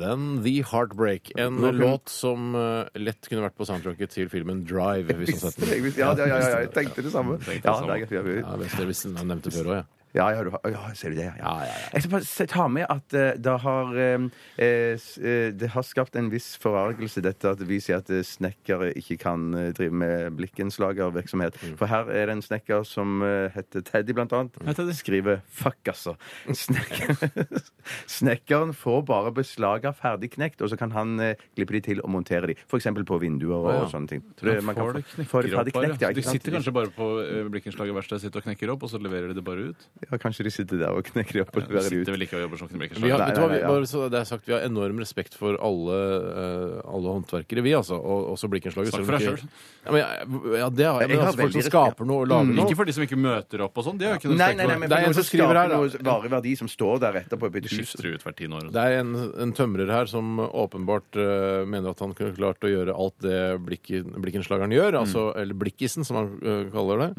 [SPEAKER 2] Then The Heartbreak. En låt som eh, lett kunne vært på soundtracket til filmen Drive. hvis man setter den.
[SPEAKER 3] Ja, ja, ja, ja, jeg tenkte det samme. Ja,
[SPEAKER 4] samme.
[SPEAKER 3] det er greit, vi har-
[SPEAKER 2] Ja, hvis dere visste den jeg nevnte før også, ja.
[SPEAKER 3] Ja, ja, du har, ja, ser du det? Ja,
[SPEAKER 2] Ja, ja, ja.
[SPEAKER 3] Jeg skal bare se- ta med at eh, det har eh, eh, s- eh, Det har skapt en viss forargelse, dette at vi sier at eh, snekkere ikke kan eh, drive med blikkenslagervirksomhet. For her er det en snekker som eh, heter Teddy, blant annet.
[SPEAKER 4] Teddy.
[SPEAKER 3] Skriver 'fuck', altså. Snekker, snekkeren får bare beslag av ferdigknekt, og så kan han eh, klippe de til og montere de. F.eks. på vinduer og,
[SPEAKER 2] Å, ja.
[SPEAKER 3] sånne ting. Så det- man kan
[SPEAKER 4] Får det
[SPEAKER 3] få-
[SPEAKER 4] knekker
[SPEAKER 3] får det
[SPEAKER 4] opp
[SPEAKER 3] ferdig
[SPEAKER 4] bare.
[SPEAKER 3] knekt, ja,
[SPEAKER 4] de
[SPEAKER 3] ikke sant?
[SPEAKER 4] sitter kanskje bare på eh, blikkenslagerverkstedet sitt og knekker opp, og så leverer de det bare ut?
[SPEAKER 3] Ja, kanskje de sitter der og knekker de opp og
[SPEAKER 4] De
[SPEAKER 3] leverer de ut.
[SPEAKER 4] sitter vel ikke og jobber som
[SPEAKER 2] Vi har,
[SPEAKER 4] knekkerslag?
[SPEAKER 3] Nei,
[SPEAKER 2] vet du hva,
[SPEAKER 3] nei,
[SPEAKER 2] vi,
[SPEAKER 3] nei, ja.
[SPEAKER 2] bare så det er sagt, vi har enorm respekt for alle, eh, alle håndverkere, vi altså. Og også blikkenslaget.
[SPEAKER 4] Snakk
[SPEAKER 2] selv om
[SPEAKER 4] for deg
[SPEAKER 2] ikke-
[SPEAKER 4] selv.
[SPEAKER 2] Ja, men, jeg- ja, det har jeg.
[SPEAKER 3] Jeg
[SPEAKER 2] Men
[SPEAKER 3] har
[SPEAKER 2] altså, folk som
[SPEAKER 3] veldig Mm.
[SPEAKER 2] skaper noe og lager noe.
[SPEAKER 4] Ikke for de som ikke møter opp og sånn. De har jo ikke noe
[SPEAKER 3] Nei,
[SPEAKER 4] respekt
[SPEAKER 3] nei,
[SPEAKER 4] for
[SPEAKER 3] nei,
[SPEAKER 4] det.
[SPEAKER 3] men
[SPEAKER 2] Det er en
[SPEAKER 3] for noen
[SPEAKER 2] som
[SPEAKER 3] som
[SPEAKER 2] skriver
[SPEAKER 3] skaper
[SPEAKER 2] her, da.
[SPEAKER 3] noe varig verdi, som står der etterpå i et
[SPEAKER 4] De
[SPEAKER 3] hus.
[SPEAKER 4] skifter jo ut hvert tiende år.
[SPEAKER 2] Det er en, en tømrer her som åpenbart eh, mener at han kunne klart å gjøre alt det blikken, blikkenslageren gjør, altså,
[SPEAKER 4] Mm.
[SPEAKER 2] eller blikkisen, som han eh, kaller det.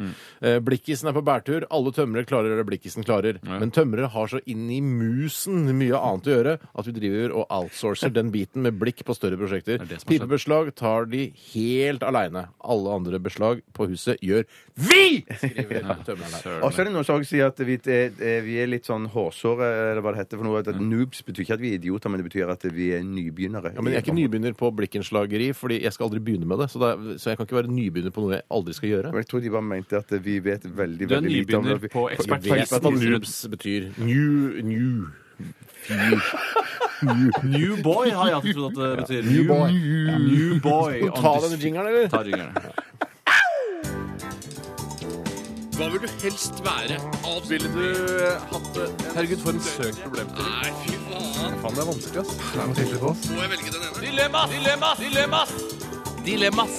[SPEAKER 2] Eh, blikkisen er på bærtur. Alle tømrere klarer det blikkisen klarer. Men tømrere har så inn i musen mye annet å gjøre at vi driver og outsourcer den biten med blikk på større prosjekter.
[SPEAKER 4] Det er det som har skjedd.
[SPEAKER 2] Pipebeslag tar de helt aleine. Alle andre beslag på huset gjør vi! skriver tømreren
[SPEAKER 4] sånn.
[SPEAKER 2] her.
[SPEAKER 3] Og så er det noen som også sier at vi, eh, vi er litt sånn hårsåre, eller hva det heter for noe. At noobs betyr ikke at vi er idioter, men det betyr at vi er nybegynnere.
[SPEAKER 2] Mm. Ja, men Jeg er ikke nybegynner på blikkenslageri, fordi jeg skal aldri begynne med det. Så, da, så jeg kan ikke være nybegynner på noe jeg aldri skal gjøre.
[SPEAKER 3] Men jeg tror de bare mente at vi vet veldig,
[SPEAKER 4] Du er
[SPEAKER 3] veldig lite om
[SPEAKER 4] nybegynner
[SPEAKER 3] det.
[SPEAKER 4] på
[SPEAKER 2] Jeg
[SPEAKER 4] ekspertise.
[SPEAKER 2] vet hva noobs betyr. New, new.
[SPEAKER 4] New boy har jeg alltid trodd at det betyr.
[SPEAKER 2] New boy.
[SPEAKER 4] New, new boy. on
[SPEAKER 2] Ta
[SPEAKER 4] this-
[SPEAKER 2] denne jingeren, eller?
[SPEAKER 4] Ta jingeren.
[SPEAKER 5] Hva vil du helst være? Alt ville du hatt det? Herregud, for en søk problemstilling. Nei, fy faen. Faen, det er vanskelig, ass. Det er noe sikkert på oss. Må jeg velge den ene? Dilemmas! Dilemmas! Dilemmas! Dilemmas!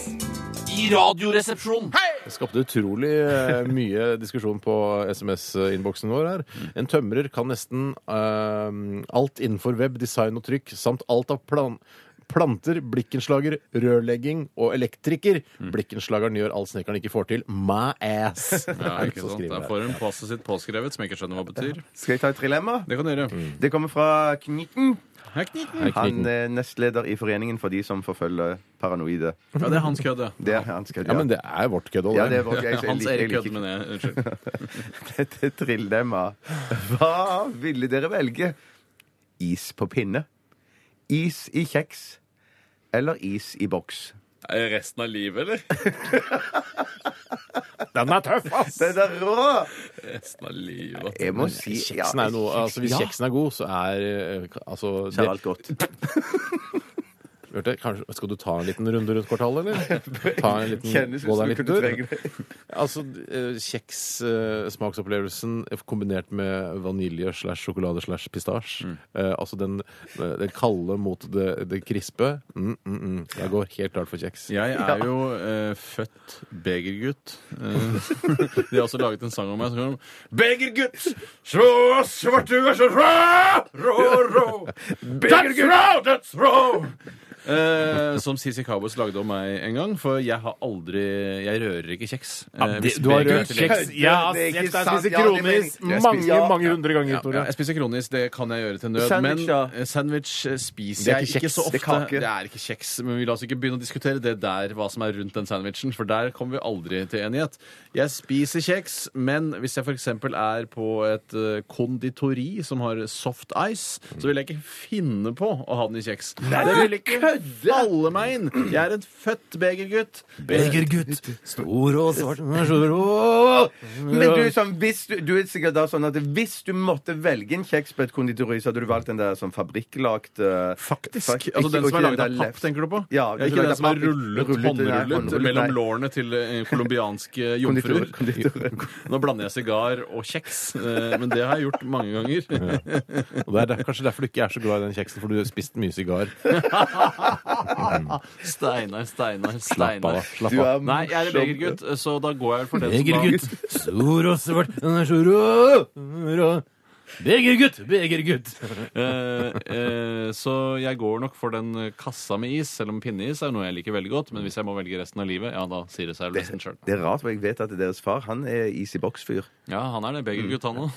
[SPEAKER 5] I radioresepsjonen.
[SPEAKER 2] Det skapte utrolig eh, mye diskusjon på SMS-innboksen vår her. En tømrer kan nesten eh, alt innenfor web, design og trykk, samt alt av plan planter, blikkenslager, rørlegging og elektriker. Blikkenslageren gjør alt snekkeren ikke får til. My ass!
[SPEAKER 4] Ja,
[SPEAKER 2] er det
[SPEAKER 4] ikke
[SPEAKER 2] som
[SPEAKER 4] sant.
[SPEAKER 2] skriver
[SPEAKER 4] Der
[SPEAKER 2] her.
[SPEAKER 4] får hun passet sitt påskrevet, som jeg ikke skjønner hva betyr.
[SPEAKER 3] Skal jeg ta et trilemma?
[SPEAKER 4] Det kan du gjøre.
[SPEAKER 3] Det kommer fra Knitten.
[SPEAKER 4] Hei, Kniten.
[SPEAKER 3] Han
[SPEAKER 2] eh,
[SPEAKER 3] er nestleder i Foreningen for de som forfølger paranoide.
[SPEAKER 4] Ja, det er hans kødd, det.
[SPEAKER 3] Det er han skal
[SPEAKER 2] Ja, men det er vårt kødd.
[SPEAKER 3] ja,
[SPEAKER 2] Olle.
[SPEAKER 3] det er vårt- jeg- jeg
[SPEAKER 4] Hans
[SPEAKER 3] liker- jeg
[SPEAKER 4] Erik
[SPEAKER 3] liker
[SPEAKER 4] kødd, men jeg Unnskyld.
[SPEAKER 3] Dette er trilemma. Hva ville dere velge? Is på pinne? Is i kjeks? Eller is i boks?
[SPEAKER 4] Er det Resten av livet, eller?
[SPEAKER 2] Den er tøff, ass!
[SPEAKER 3] Den er rå!
[SPEAKER 4] Resten av livet.
[SPEAKER 3] Jeg må si ja,
[SPEAKER 2] Kjeksen er noe, altså Hvis
[SPEAKER 3] ja.
[SPEAKER 2] kjeksen er god, så er eh, altså,
[SPEAKER 3] Så er
[SPEAKER 2] det,
[SPEAKER 3] alt godt.
[SPEAKER 2] hørte, jeg, kanskje, Skal du ta en liten runde rundt kvartalet, eller? Ta en liten,
[SPEAKER 3] Kjennes ut
[SPEAKER 2] gå
[SPEAKER 3] som
[SPEAKER 2] deg en
[SPEAKER 3] du kunne
[SPEAKER 2] liten
[SPEAKER 3] trenge
[SPEAKER 2] tur?
[SPEAKER 3] det.
[SPEAKER 2] Altså, eh, Kjekssmaksopplevelsen eh, kombinert med vanilje slash sjokolade slash pistasje.
[SPEAKER 3] Mm.
[SPEAKER 2] Eh, altså den, eh, den kalde mot det, det krispe. Mm, mm, mm. Jeg går helt klart for kjeks.
[SPEAKER 4] Jeg er jo eh, født begergutt. Eh, de har også laget en sang om meg som går om Begergutt! Så svart du er så rå, rå, rå. That's raw, that's raw! Eh, som CC Cabos lagde om meg en gang, for jeg har aldri Jeg rører ikke kjeks. Eh, hvis
[SPEAKER 2] du har
[SPEAKER 4] beger er
[SPEAKER 2] rørt
[SPEAKER 4] til-
[SPEAKER 2] kjeks. Ja,
[SPEAKER 3] Det er ikke
[SPEAKER 2] jeg
[SPEAKER 3] sant.
[SPEAKER 2] spiser
[SPEAKER 3] Ja, det mener
[SPEAKER 2] kronis
[SPEAKER 3] jeg. Jeg
[SPEAKER 2] mange,
[SPEAKER 3] spiser- ja.
[SPEAKER 2] mange hundre ganger.
[SPEAKER 4] Ja,
[SPEAKER 2] Tore.
[SPEAKER 4] jeg spiser kronis, det kan jeg gjøre til nød.
[SPEAKER 3] Sandwich,
[SPEAKER 4] men
[SPEAKER 3] da?
[SPEAKER 4] eh, sandwich eh, spiser
[SPEAKER 2] Det er
[SPEAKER 4] jeg
[SPEAKER 2] ikke
[SPEAKER 4] ikke
[SPEAKER 2] kjeks,
[SPEAKER 4] så ofte.
[SPEAKER 3] det er kake.
[SPEAKER 4] Det er ikke kjeks, men vi la oss ikke begynne å diskutere det der, hva som er rundt den sandwichen, for der kommer vi aldri til enighet. Jeg spiser kjeks, men hvis jeg f.eks. er på et eh, konditori som har soft ice, så vil jeg ikke finne på å ha den i kjeks. det vil ikke falle meg inn! Jeg er en født begergutt.
[SPEAKER 2] Begergutt, stor og svart Stor
[SPEAKER 3] Men du, er sånn, hvis du, du er sikkert da sånn at hvis du måtte velge en kjeks på et konditori, så hadde du valgt den der sånn fabrikklagt eh,
[SPEAKER 4] Faktisk.
[SPEAKER 3] fak-
[SPEAKER 4] altså
[SPEAKER 3] ikke-
[SPEAKER 4] Den som
[SPEAKER 3] ikke
[SPEAKER 4] er laget
[SPEAKER 3] der
[SPEAKER 4] av
[SPEAKER 3] left.
[SPEAKER 4] papp, tenker du på?
[SPEAKER 3] Ja,
[SPEAKER 4] Ja, ikke
[SPEAKER 3] laget
[SPEAKER 4] den
[SPEAKER 3] av
[SPEAKER 4] som er
[SPEAKER 3] papp.
[SPEAKER 4] rullet,
[SPEAKER 3] nei,
[SPEAKER 4] håndrullet
[SPEAKER 3] håndrullet,
[SPEAKER 4] mellom
[SPEAKER 3] nei.
[SPEAKER 4] lårene til eh, colombianske jomfruer.
[SPEAKER 3] Konditor- konditor.
[SPEAKER 4] Nå blander jeg sigar og kjeks, eh, men det har jeg gjort mange ganger.
[SPEAKER 2] Og det er der, kanskje derfor du ikke er så glad i den kjeksen, for du har spist mye sigar.
[SPEAKER 4] Steinar, Steinar,
[SPEAKER 2] Slapp av.
[SPEAKER 4] Steinar.
[SPEAKER 2] slapp
[SPEAKER 3] Du
[SPEAKER 2] av.
[SPEAKER 3] er
[SPEAKER 4] Nei, jeg er en
[SPEAKER 3] morsom.
[SPEAKER 4] begergutt, så da går jeg for den som da
[SPEAKER 2] Begergutt, stor og svart, den er så rå, rå. Begergutt! Begergutt!
[SPEAKER 4] Eh, eh, så jeg går nok for den eh, kassa med is, selv om pinneis er noe jeg liker veldig godt. Men hvis jeg må velge resten av livet, ja, da sier det seg nesten sjøl.
[SPEAKER 3] Det er rart, for jeg vet at deres far han er is i boks-fyr.
[SPEAKER 4] Ja, han er det. Begergutt, han òg.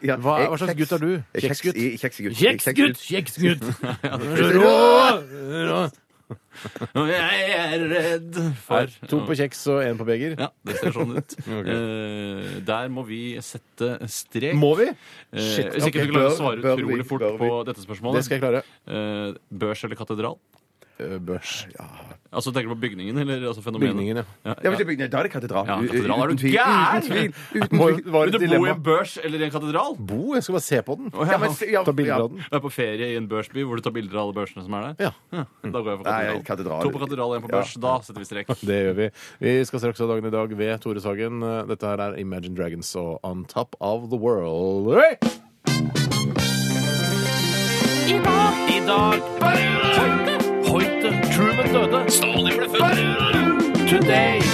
[SPEAKER 3] Ja,
[SPEAKER 2] Hva,
[SPEAKER 3] jeg-
[SPEAKER 2] hva slags gutt er du?
[SPEAKER 3] jeg-
[SPEAKER 2] Kjeksgutt?
[SPEAKER 3] i- Kjeksgutt.
[SPEAKER 2] Kjeksgutt!
[SPEAKER 3] Kjeksgutt.
[SPEAKER 2] Kjeksgutt! Rå! Rå!
[SPEAKER 4] Og jeg er redd for
[SPEAKER 2] To på kjeks og én på beger.
[SPEAKER 4] Ja, det ser sånn ut. Eh, der må vi sette strek.
[SPEAKER 2] Må vi?
[SPEAKER 4] Eh,
[SPEAKER 2] Shit,
[SPEAKER 4] hvis
[SPEAKER 2] ok,
[SPEAKER 4] ikke du klarer å
[SPEAKER 2] bør-
[SPEAKER 4] svare
[SPEAKER 2] bør vi-
[SPEAKER 4] utrolig fort
[SPEAKER 2] bør vi.
[SPEAKER 4] på dette spørsmålet.
[SPEAKER 2] Det skal jeg klare.
[SPEAKER 4] Eh, børs eller katedral?
[SPEAKER 2] Eh, Børs. Ja,
[SPEAKER 4] Altså tenker du på bygningen eller altså fenomenet?
[SPEAKER 2] bygningene.
[SPEAKER 4] Ja,
[SPEAKER 3] Ja,
[SPEAKER 4] ja.
[SPEAKER 3] men det bygde- Da er det katedral.
[SPEAKER 4] Ja,
[SPEAKER 3] U-
[SPEAKER 4] katedral er du
[SPEAKER 3] uten tvil,
[SPEAKER 4] gæren?
[SPEAKER 3] Uten tvil. Uten
[SPEAKER 2] Må,
[SPEAKER 3] tvil.
[SPEAKER 2] var det et
[SPEAKER 4] Men du bor i
[SPEAKER 2] dilemma?
[SPEAKER 4] en børs eller i en katedral?
[SPEAKER 2] Bo? Jeg skal bare se på den.
[SPEAKER 4] Å,
[SPEAKER 3] Ja, men, s- ja,
[SPEAKER 2] Ta bilder
[SPEAKER 3] ja.
[SPEAKER 2] av den.
[SPEAKER 4] Du er på ferie i en børsby hvor du tar bilder av alle børsene som er der?
[SPEAKER 2] Ja.
[SPEAKER 4] Da går jeg for
[SPEAKER 3] Nei,
[SPEAKER 4] katedral.
[SPEAKER 3] katedral.
[SPEAKER 4] To på katedral, én på børs. Da setter vi strek.
[SPEAKER 2] Det gjør vi. Vi skal straks ha dagen i dag ved Tore Sagen. Eh, Dette her er Imagine Dragons og On Top of the World. Hey!
[SPEAKER 6] I dag Hoite Truman døde Stalin ble født Today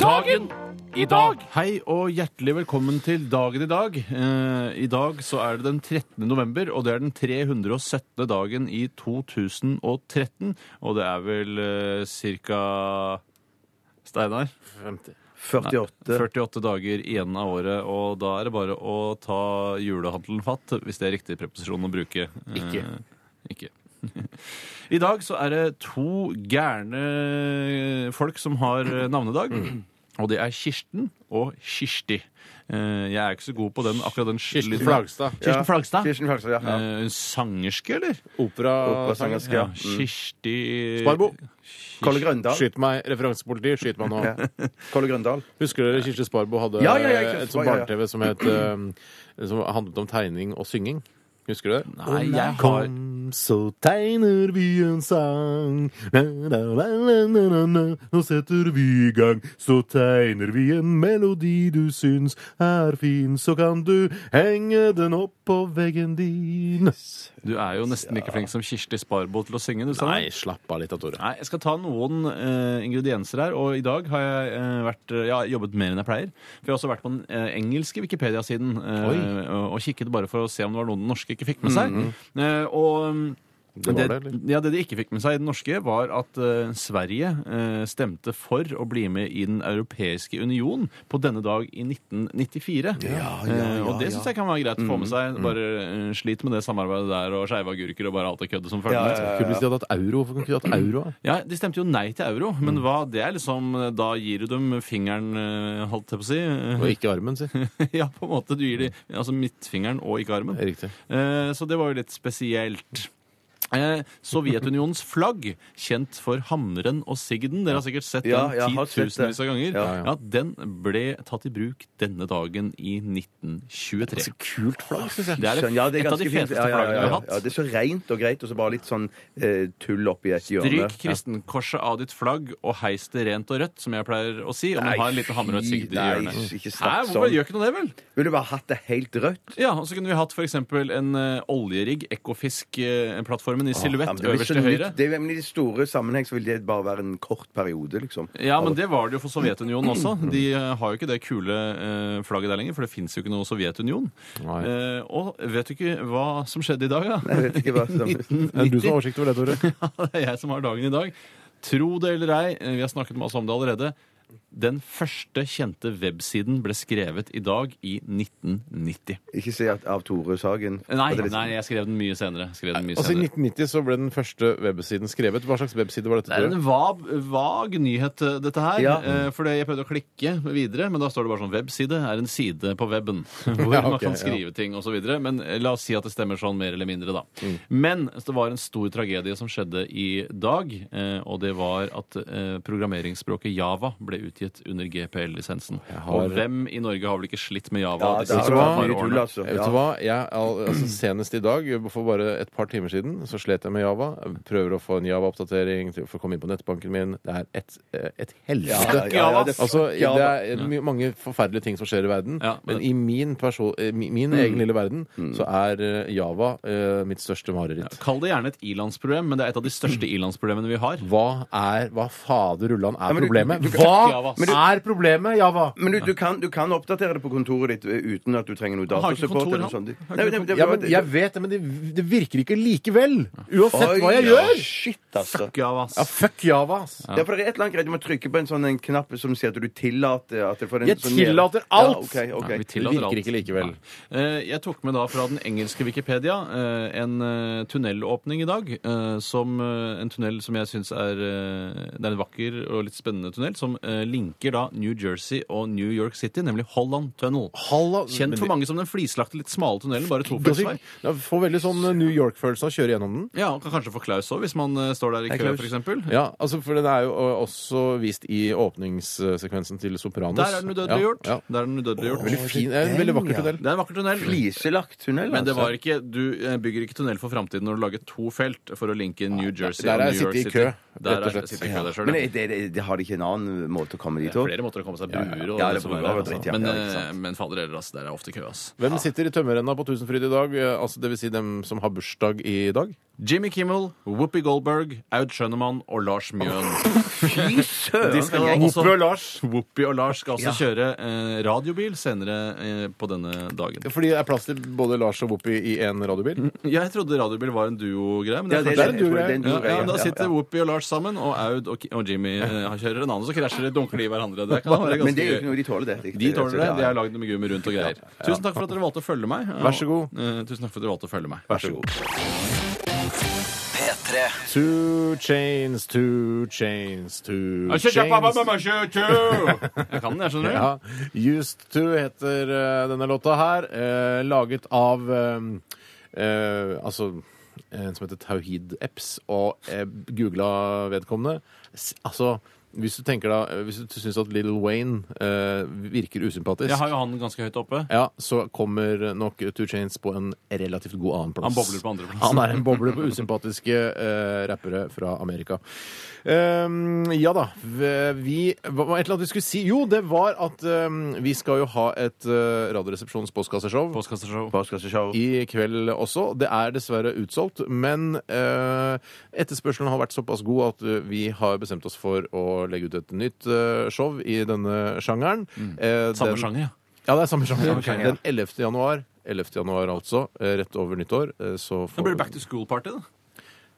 [SPEAKER 6] Dagen I dag
[SPEAKER 4] Hei og hjertelig velkommen til dagen i dag. Eh, I dag så er det den 13. november, og det er den 317. dagen i 2013. Og det er vel eh, cirka Steinar?
[SPEAKER 3] 48.
[SPEAKER 4] 48 dager igjen av året, og da er det bare å ta julehandelen fatt, hvis det er riktig preposisjon å bruke. Eh, Ikke. ikke. I dag så er det to gærne folk som har eh, navnedag. Og det er Kirsten og Kirsti. Eh, Jeg er ikke så god på den akkurat den
[SPEAKER 2] Kirsten
[SPEAKER 4] lyden.
[SPEAKER 2] Flagstad.
[SPEAKER 4] Kirsten Flagstad.
[SPEAKER 3] Kirsten Flagstad, ja. ja.
[SPEAKER 4] Eh, Sangerske, eller?
[SPEAKER 2] Operasanger.
[SPEAKER 3] Operasanger. Ja. Mm.
[SPEAKER 4] Kirsti
[SPEAKER 2] Sparbo,
[SPEAKER 3] Kolle Grøndal.
[SPEAKER 2] skyt meg. Referansepolitiet, skyt meg nå.
[SPEAKER 3] Ja. Kolle Grøndal.
[SPEAKER 2] Husker dere Kirsti Sparbo hadde
[SPEAKER 3] Ja, ja, ja, Kirsti
[SPEAKER 2] et sånt
[SPEAKER 3] Sparbo, ja, ja.
[SPEAKER 2] barne-TV som, het, eh, som handlet om tegning og synging? Husker du det?
[SPEAKER 4] Nei, jeg har
[SPEAKER 2] Kom, så tegner vi en sang. Na, na, na, na, na, na, na. Nå setter vi i gang. Så tegner vi en melodi du syns er fin. Så kan du henge den opp på veggen din.
[SPEAKER 4] Du er jo nesten like flink som Kirsti Sparbo til å synge, du, Steinar.
[SPEAKER 2] Nei, slapp av litt, da, Tore.
[SPEAKER 4] Nei, jeg skal ta noen eh, ingredienser her, og i dag har jeg eh, vært, eh, ja, jobbet mer enn jeg pleier. For jeg har også vært på den eh, engelske Wikipedia-siden eh,
[SPEAKER 2] Oi.
[SPEAKER 4] og, og kikket bare for å se om det var noen den norske ikke fikk med seg. Eh, og... mm,
[SPEAKER 2] Det var det, eller?
[SPEAKER 4] ja, det de ikke fikk med seg i den norske, var at eh, Sverige eh, stemte for å bli med i Den europeiske union på denne dag i 1994. Eh, og det syns jeg kan være greit å få med
[SPEAKER 2] Mm,
[SPEAKER 4] seg. Bare eh, slit med det samarbeidet der og skeive agurker og bare alt det køddet som følger med.
[SPEAKER 2] Kult hvis de hadde hatt euro. Hvorfor kunne de ikke hatt euro? da?
[SPEAKER 4] Ja, De stemte jo nei til euro, men
[SPEAKER 3] Mm.
[SPEAKER 4] hva, det er liksom Da gir du dem fingeren, eh, holdt jeg på å si.
[SPEAKER 2] Og ikke armen, si.
[SPEAKER 4] ja, på en måte. Du gir dem altså midtfingeren og ikke armen.
[SPEAKER 2] Riktig.
[SPEAKER 4] Eh, Så det var jo litt spesielt. Eh, Sovjetunionens flagg, kjent for hammeren og sigden. Dere har sikkert sett
[SPEAKER 3] Ja, jeg
[SPEAKER 4] den
[SPEAKER 3] har sett det.
[SPEAKER 4] titusenvis av ganger. Ja,
[SPEAKER 3] Ja,
[SPEAKER 2] ja.
[SPEAKER 4] Den ble tatt i bruk denne dagen i 1923.
[SPEAKER 2] Kult flagg, syns jeg.
[SPEAKER 4] Det er
[SPEAKER 3] Skjønn, ja, det er
[SPEAKER 4] et av de
[SPEAKER 3] ganske fint. Ja, ja,
[SPEAKER 4] feteste
[SPEAKER 3] ja,
[SPEAKER 4] flaggene vi
[SPEAKER 3] ja.
[SPEAKER 4] har hatt.
[SPEAKER 3] Ja, det er så rent og greit, og så bare litt sånn eh, tull oppi et hjørne.
[SPEAKER 4] Stryk kristenkorset av ditt flagg og heis det rent og rødt, som jeg pleier å si. Og
[SPEAKER 3] Nei,
[SPEAKER 4] man har en liten hammer og et
[SPEAKER 3] fy,
[SPEAKER 4] sigd i
[SPEAKER 3] nei,
[SPEAKER 4] hjørnet.
[SPEAKER 3] ikke
[SPEAKER 4] Hæ,
[SPEAKER 3] snakk
[SPEAKER 4] hvorfor
[SPEAKER 3] sånn.
[SPEAKER 4] gjør ikke noe det, vel?
[SPEAKER 3] Ville du bare hatt det helt rødt?
[SPEAKER 4] Ja, og Så kunne vi hatt for eksempel en eh, oljerigg, Ekofisk-plattformen i
[SPEAKER 3] Ja,
[SPEAKER 4] silhuett
[SPEAKER 3] men det blir
[SPEAKER 4] øverst
[SPEAKER 3] så
[SPEAKER 4] til
[SPEAKER 3] nytt.
[SPEAKER 4] høyre.
[SPEAKER 3] Det, er- men I de store sammenheng så vil det bare være en kort periode, liksom.
[SPEAKER 4] Ja, men det var det jo for Sovjetunionen også. De eh, har jo ikke det kule eh, flagget der lenger, for det fins jo ikke noe Sovjetunion.
[SPEAKER 2] Nei.
[SPEAKER 4] Eh, og vet du ikke hva som skjedde i dag, da?
[SPEAKER 3] Jeg vet ikke hva som...
[SPEAKER 2] Det er du som har oversikt over det, Tore.
[SPEAKER 4] Ja, det er jeg som har dagen i dag. Tro det eller ei, eh, vi har snakket masse om det allerede. Den første kjente websiden ble skrevet i dag i 1990.
[SPEAKER 3] Ikke si at av Tore Sagen.
[SPEAKER 4] Nei,
[SPEAKER 3] At det er litt-
[SPEAKER 4] nei jeg skrev den mye senere. Skrev den mye
[SPEAKER 2] Altså I
[SPEAKER 4] senere.
[SPEAKER 2] 1990 så ble den første websiden skrevet. Hva slags webside var dette?
[SPEAKER 4] Det er
[SPEAKER 2] Tore?
[SPEAKER 4] en vag, vag nyhet, eh, dette her.
[SPEAKER 3] Ja.
[SPEAKER 4] eh, For det- jeg prøvde å klikke videre, men da står det bare sånn webside er en side på weben. Hvor
[SPEAKER 2] Ja,
[SPEAKER 4] man
[SPEAKER 2] ok,
[SPEAKER 4] kan
[SPEAKER 2] ja.
[SPEAKER 4] skrive ting og så videre. Men eh, la oss si at det stemmer sånn mer eller mindre, da. Men det var en stor tragedie som skjedde i dag. eh, Og det var at eh, programmeringsspråket Java ble utgitt under GPL-lisensen.
[SPEAKER 2] har-
[SPEAKER 4] Og hvem i Norge har vel ikke slitt med Java?
[SPEAKER 3] Ja,
[SPEAKER 4] disse
[SPEAKER 3] det
[SPEAKER 2] Vet
[SPEAKER 3] har
[SPEAKER 2] du
[SPEAKER 4] par
[SPEAKER 2] hva?
[SPEAKER 3] vært mye tull,
[SPEAKER 4] årene?
[SPEAKER 3] altså.
[SPEAKER 2] Vet du hva? Jeg, al- altså, senest i dag, for bare et par timer siden, så slet jeg med Java. Prøver å få en Java-oppdatering til- for å komme inn på nettbanken min. Det er et, eh, et helvete. Altså, Det er my- mange forferdelige ting som skjer i verden,
[SPEAKER 4] Ja, men- Mm.
[SPEAKER 2] men i min, perso- eh, mi- min egen lille verden så er eh, Java eh, mitt største mareritt.
[SPEAKER 4] Kall det gjerne et ilandsproblem, men det er et av de største ilandsproblemene vi har.
[SPEAKER 2] Hva er Hva fader ullan er
[SPEAKER 3] men du-
[SPEAKER 2] problemet?
[SPEAKER 3] du- du-
[SPEAKER 2] Hva
[SPEAKER 4] Java Java.
[SPEAKER 3] Men du-
[SPEAKER 2] Er problemet Java?
[SPEAKER 3] Men du, du, kan, du kan oppdatere det på kontoret ditt eh, uten at du trenger noe
[SPEAKER 4] Han har ikke
[SPEAKER 3] datasupport.
[SPEAKER 4] kontor,
[SPEAKER 3] eller noe
[SPEAKER 4] han.
[SPEAKER 3] sånt.
[SPEAKER 4] Han har
[SPEAKER 3] Nei,
[SPEAKER 4] ikke
[SPEAKER 3] men det-
[SPEAKER 2] Ja, men jeg vet det, men det, det virker ikke likevel. Uansett hva jeg
[SPEAKER 3] Oi, ja,
[SPEAKER 2] gjør.
[SPEAKER 3] Shit, altså.
[SPEAKER 4] Java,
[SPEAKER 2] Ja,
[SPEAKER 4] ass.
[SPEAKER 2] fuck Java, ass.
[SPEAKER 3] Ja, for det er et eller annet greit. Du må trykke på en sånn en knapp som sier at du tillater at det får en
[SPEAKER 2] Jeg
[SPEAKER 3] sånn
[SPEAKER 2] tillater alt!
[SPEAKER 3] Ja, ok, ok.
[SPEAKER 4] Nei, vi tillater
[SPEAKER 2] Det virker
[SPEAKER 4] alt.
[SPEAKER 2] ikke likevel.
[SPEAKER 4] Nei. Eh, Jeg tok med da fra den engelske Wikipedia eh, en eh, tunnelåpning i dag. eh, Som eh, en tunnel som jeg syns er eh, Det er en vakker og litt spennende tunnel som eh, linker da New Jersey og New York City, nemlig Holland Tunnel.
[SPEAKER 2] Halla,
[SPEAKER 4] Kjent for mange som den flislagte, litt smale tunnelen, bare to
[SPEAKER 2] mange.
[SPEAKER 4] tofeltsvei.
[SPEAKER 2] Jeg får veldig sånn eh, New York-følelse av å kjøre gjennom den.
[SPEAKER 4] Ja, og kan kanskje få Klaus òg, hvis man eh, står der i kø, f.eks.
[SPEAKER 2] Ja, altså, for den er jo eh, også vist i åpningssekvensen til Sopranos.
[SPEAKER 4] Der er den udødeliggjort.
[SPEAKER 2] Ja, ja.
[SPEAKER 4] Der er den udødeliggjort.
[SPEAKER 2] Veldig fin, eh, en veldig vakker tunnel.
[SPEAKER 4] Det er en vakker tunnel.
[SPEAKER 3] Fliselagt tunnel,
[SPEAKER 4] Men det
[SPEAKER 3] altså.
[SPEAKER 4] var ikke, du eh, bygger ikke tunnel for framtiden når du lager to felt for å linke New Jersey
[SPEAKER 2] der
[SPEAKER 4] og
[SPEAKER 2] har
[SPEAKER 4] New
[SPEAKER 2] jeg
[SPEAKER 4] York
[SPEAKER 2] sittet i
[SPEAKER 4] City.
[SPEAKER 2] kø,
[SPEAKER 4] Der
[SPEAKER 2] rett og
[SPEAKER 4] er
[SPEAKER 2] slett.
[SPEAKER 4] jeg sittet i kø der sjøl.
[SPEAKER 3] Men det, det, det har de ikke en annen måte å komme dit på?
[SPEAKER 4] Flere måter å komme seg bruer og
[SPEAKER 3] Ja,
[SPEAKER 4] det
[SPEAKER 3] det
[SPEAKER 4] som
[SPEAKER 3] bruer
[SPEAKER 4] er.
[SPEAKER 3] og
[SPEAKER 4] altså.
[SPEAKER 3] dritt, ja.
[SPEAKER 4] Men,
[SPEAKER 3] Ja, ikke sant.
[SPEAKER 4] eh, men fader heller, ass. Der er ofte kø, ass.
[SPEAKER 2] Hvem sitter i tømmerrenna på Tusenfryd i dag? Eh, Altså, det vil si dem som har bursdag i dag?
[SPEAKER 4] Jimmy Kimmel, Whoopi Goldberg, Aud Schønemann og Lars Mjøen.
[SPEAKER 3] Fy søren!
[SPEAKER 4] De skal
[SPEAKER 3] jeg-
[SPEAKER 4] også,
[SPEAKER 2] Lars.
[SPEAKER 4] Whoopi og Lars skal også kjøre eh, radiobil senere eh, på denne dagen.
[SPEAKER 2] Fordi det er plass til både Lars og Whoopi i én radiobil?
[SPEAKER 4] Jeg trodde radiobil var en duo-greie, men
[SPEAKER 3] Ja, det,
[SPEAKER 4] det er kanskje
[SPEAKER 3] det,
[SPEAKER 2] en
[SPEAKER 3] jeg tror
[SPEAKER 2] duo,
[SPEAKER 3] det er en
[SPEAKER 4] Ja,
[SPEAKER 3] duo,
[SPEAKER 4] ja,
[SPEAKER 3] ja,
[SPEAKER 4] da
[SPEAKER 3] ja,
[SPEAKER 4] sitter
[SPEAKER 3] ja.
[SPEAKER 4] Whoopi og Lars sammen, og Aud og, Ki- og Jimmy eh, han kjører en annen, så krasjer de, dunker de i hverandre. Det kan være
[SPEAKER 3] Men det er jo
[SPEAKER 4] ganske
[SPEAKER 3] ikke
[SPEAKER 4] gøy.
[SPEAKER 3] noe de tåler, det. riktig.
[SPEAKER 4] De tåler det.
[SPEAKER 3] Ja,
[SPEAKER 4] De
[SPEAKER 3] ja.
[SPEAKER 4] har lagd med gummi rundt og greier. Tusen takk for at dere valgte å følge meg.
[SPEAKER 2] Vær så god.
[SPEAKER 4] Eh, Tusen takk for at dere valgte å følge meg.
[SPEAKER 2] Vær så god.
[SPEAKER 1] P3.
[SPEAKER 2] Two chains, two chains, two
[SPEAKER 4] Jeg
[SPEAKER 2] chains.
[SPEAKER 4] kan den, jeg skjønner.
[SPEAKER 2] Ja, Used to heter eh, denne låta her. eh, laget av eh, eh, Altså en som heter Tauhid Epps, og uh, googla vedkommende. S altså hvis du tenker da, eh, hvis du syns at Little Wayne eh, virker usympatisk,
[SPEAKER 4] Jeg har jo han ganske høyt oppe.
[SPEAKER 2] ja, så kommer nok Two Chains på en relativt god annenplass.
[SPEAKER 4] Han bobler på andreplass.
[SPEAKER 2] Han er en boble på usympatiske eh, rappere fra Amerika. Ehm, ja da. v- Vi Hva var et eller annet vi skulle si? Jo, det var at ehm, vi skal jo ha et uh, Radioresepsjonens postkasseshow.
[SPEAKER 4] Postkasseshow.
[SPEAKER 3] Postkasseshow.
[SPEAKER 2] i kveld også. Det er dessverre utsolgt, men eh, etterspørselen har vært såpass god at eh, vi har bestemt oss for å legge ut et nytt eh, show i denne sjangeren. Eh,
[SPEAKER 4] Mm. Samme
[SPEAKER 2] den-
[SPEAKER 4] sjanger, ja.
[SPEAKER 2] Ja, det er samme sjanger.
[SPEAKER 3] Samme sjanger, ja.
[SPEAKER 2] Den 11. januar. 11. januar, altså. eh, Rett over nyttår. eh, Så får
[SPEAKER 4] Da blir det back to school-party, da.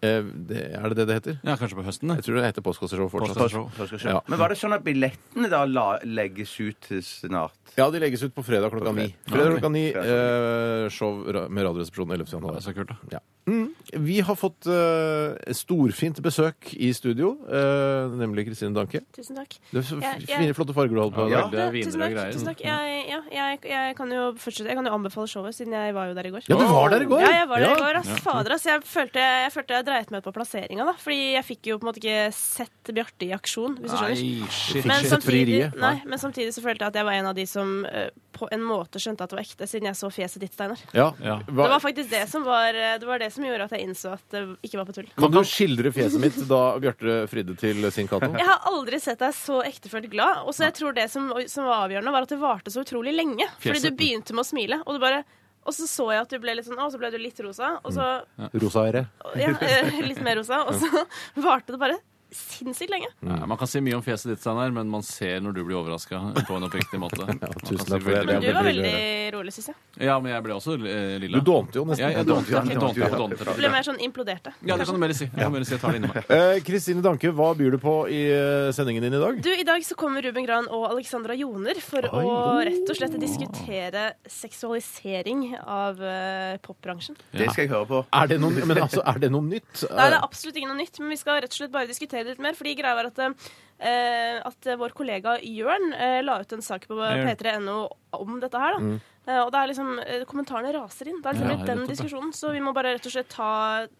[SPEAKER 2] Eh, det, er det det det heter?
[SPEAKER 4] Ja, kanskje på høsten,
[SPEAKER 2] Jeg tror det heter postkasseshow fortsatt.
[SPEAKER 4] Postkasseshow.
[SPEAKER 3] Postkasseshow.
[SPEAKER 2] Ja.
[SPEAKER 3] Men var det sånn at billettene da la, legges ut snart?
[SPEAKER 2] Ja, de legges ut på fredag klokka ni. Fredag klokka ni, eh, show ra- med Radioresepsjonen 11.
[SPEAKER 4] Det
[SPEAKER 2] januar.
[SPEAKER 4] er så kult, da.
[SPEAKER 2] Ja. Mm. Vi har fått eh, storfint besøk i studio, eh, nemlig Kristine Danke.
[SPEAKER 7] Tusen takk.
[SPEAKER 2] Det er så
[SPEAKER 7] Ja,
[SPEAKER 2] f-
[SPEAKER 7] ja.
[SPEAKER 2] fine, flotte farger du holder på. Ja,
[SPEAKER 4] Ja, det er viner
[SPEAKER 7] tusen
[SPEAKER 4] og
[SPEAKER 7] takk.
[SPEAKER 4] greier.
[SPEAKER 7] Tusen takk. Jeg, ja, jeg, jeg, kan jo fortsette. jeg kan jo anbefale showet, siden jeg var jo der i går.
[SPEAKER 2] ja du var der i går!
[SPEAKER 7] Ja, jeg var der
[SPEAKER 2] Ja.
[SPEAKER 7] i går. Ass. Fader, ass. Jeg følte jeg, følte jeg dreit meg ut på plasseringa, da. Fordi jeg fikk jo på en måte ikke sett Bjarte i aksjon, hvis du skjønner.
[SPEAKER 4] shit.
[SPEAKER 7] Men
[SPEAKER 2] ikke sett
[SPEAKER 7] samtidig,
[SPEAKER 2] frieriet,
[SPEAKER 7] nei,
[SPEAKER 2] nei.
[SPEAKER 7] men samtidig så følte jeg at jeg var en av de som eh, på en måte skjønte at det var ekte, siden jeg så fjeset ditt, Steinar.
[SPEAKER 2] Ja.
[SPEAKER 4] Ja.
[SPEAKER 7] Det
[SPEAKER 2] Hva,
[SPEAKER 7] var faktisk det som, var, eh, det var det som gjorde at jeg innså at det ikke var på tull.
[SPEAKER 2] kan du skildre fjeset mitt da Bjarte fridde til sin katt? nå?
[SPEAKER 7] Jeg har aldri sett deg så ektefølt glad. Og så jeg tror det som, som var avgjørende, var at det varte så utrolig lenge. Fordi
[SPEAKER 4] Fjeset.
[SPEAKER 7] du begynte med å smile, og du bare og så så jeg at du ble litt sånn, å, så ble du litt rosa, og så
[SPEAKER 4] Mm.
[SPEAKER 2] Rosa øre.
[SPEAKER 7] ja, eh, litt mer rosa, og så varte det bare sinnssykt lenge.
[SPEAKER 2] Mm.
[SPEAKER 4] Ja, man kan si mye om fjeset ditt, Steinar, men man ser når du blir overraska på en oppriktig måte. Man kan
[SPEAKER 2] tusen
[SPEAKER 4] si
[SPEAKER 2] takk for det. Det er
[SPEAKER 4] veldig
[SPEAKER 7] Men du
[SPEAKER 4] mye.
[SPEAKER 7] var
[SPEAKER 2] veldig
[SPEAKER 7] veldig rolig, syns jeg.
[SPEAKER 4] Ja, men jeg ble også
[SPEAKER 2] Du
[SPEAKER 4] eh, lilla.
[SPEAKER 2] dånte jo
[SPEAKER 4] Ja,
[SPEAKER 2] nesten.
[SPEAKER 4] jeg dånte, jeg dånte, jeg dånte,
[SPEAKER 7] Du ble mer sånn imploderte.
[SPEAKER 4] Ja, det kan du mer si. Jeg kan mer si. Jeg tar det inni meg.
[SPEAKER 2] Eh, Kristine Danke, hva byr du på i eh, sendingen din i dag?
[SPEAKER 7] Du, I dag så kommer Ruben Gran og Alexandra Joner for
[SPEAKER 2] Oi.
[SPEAKER 7] å rett og slett diskutere seksualisering av eh, popbransjen.
[SPEAKER 3] Det skal jeg høre på.
[SPEAKER 2] Er det noe, men altså, er det noe nytt?
[SPEAKER 7] Nei, det er absolutt ikke noe nytt, men vi skal rett og slett bare diskutere det litt mer. Fordi greia er at, eh, at vår kollega Jørn eh, la ut en sak på
[SPEAKER 4] Jørn. Mm.
[SPEAKER 7] p3.no om dette her. da. Eh, og det er liksom, eh, Kommentarene raser inn. Det er liksom
[SPEAKER 4] Ja,
[SPEAKER 7] litt den
[SPEAKER 4] nettopp, ja.
[SPEAKER 7] diskusjonen. Så vi må bare rett og slett ta,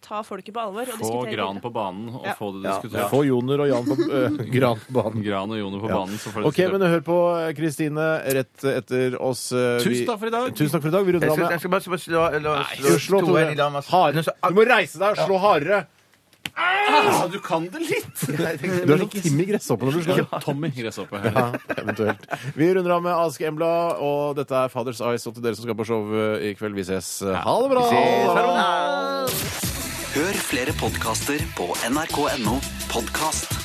[SPEAKER 7] ta folket på alvor og
[SPEAKER 4] Få
[SPEAKER 7] diskutere
[SPEAKER 4] Gran
[SPEAKER 7] videre.
[SPEAKER 4] på banen og
[SPEAKER 7] Ja.
[SPEAKER 4] få det
[SPEAKER 3] Ja.
[SPEAKER 4] diskutert.
[SPEAKER 2] Få Joner og Jan på eh, Granbanen.
[SPEAKER 4] Gran og Joner på banen. Så får det
[SPEAKER 2] Ok,
[SPEAKER 4] diskutert.
[SPEAKER 2] men hør på eh, Kristine rett etter oss. eh, vi-
[SPEAKER 4] Tusen takk for i dag.
[SPEAKER 2] Tusen takk for i dag. Vi runder
[SPEAKER 3] Jeg
[SPEAKER 2] av
[SPEAKER 3] skal, jeg
[SPEAKER 2] med
[SPEAKER 3] skal bare slå, slå, slå,
[SPEAKER 2] Slå
[SPEAKER 3] to en
[SPEAKER 2] Tore.
[SPEAKER 3] i damas-
[SPEAKER 2] Hardere.
[SPEAKER 3] Nå så-
[SPEAKER 2] Du må reise deg og slå hardere.
[SPEAKER 4] Ah, du kan det litt!
[SPEAKER 3] Nei, jeg tenkte-
[SPEAKER 2] Du er sånn Timmy Gresshoppe når du slår.
[SPEAKER 4] Tommy Gresshoppe.
[SPEAKER 2] Ja, eventuelt. Vi runder av med Ask Embla, og dette er Fathers Eyes. Og til dere som skal på show eh, i kveld, vi ses. Ha det bra!
[SPEAKER 1] Hør flere podkaster på nrk.no podkast.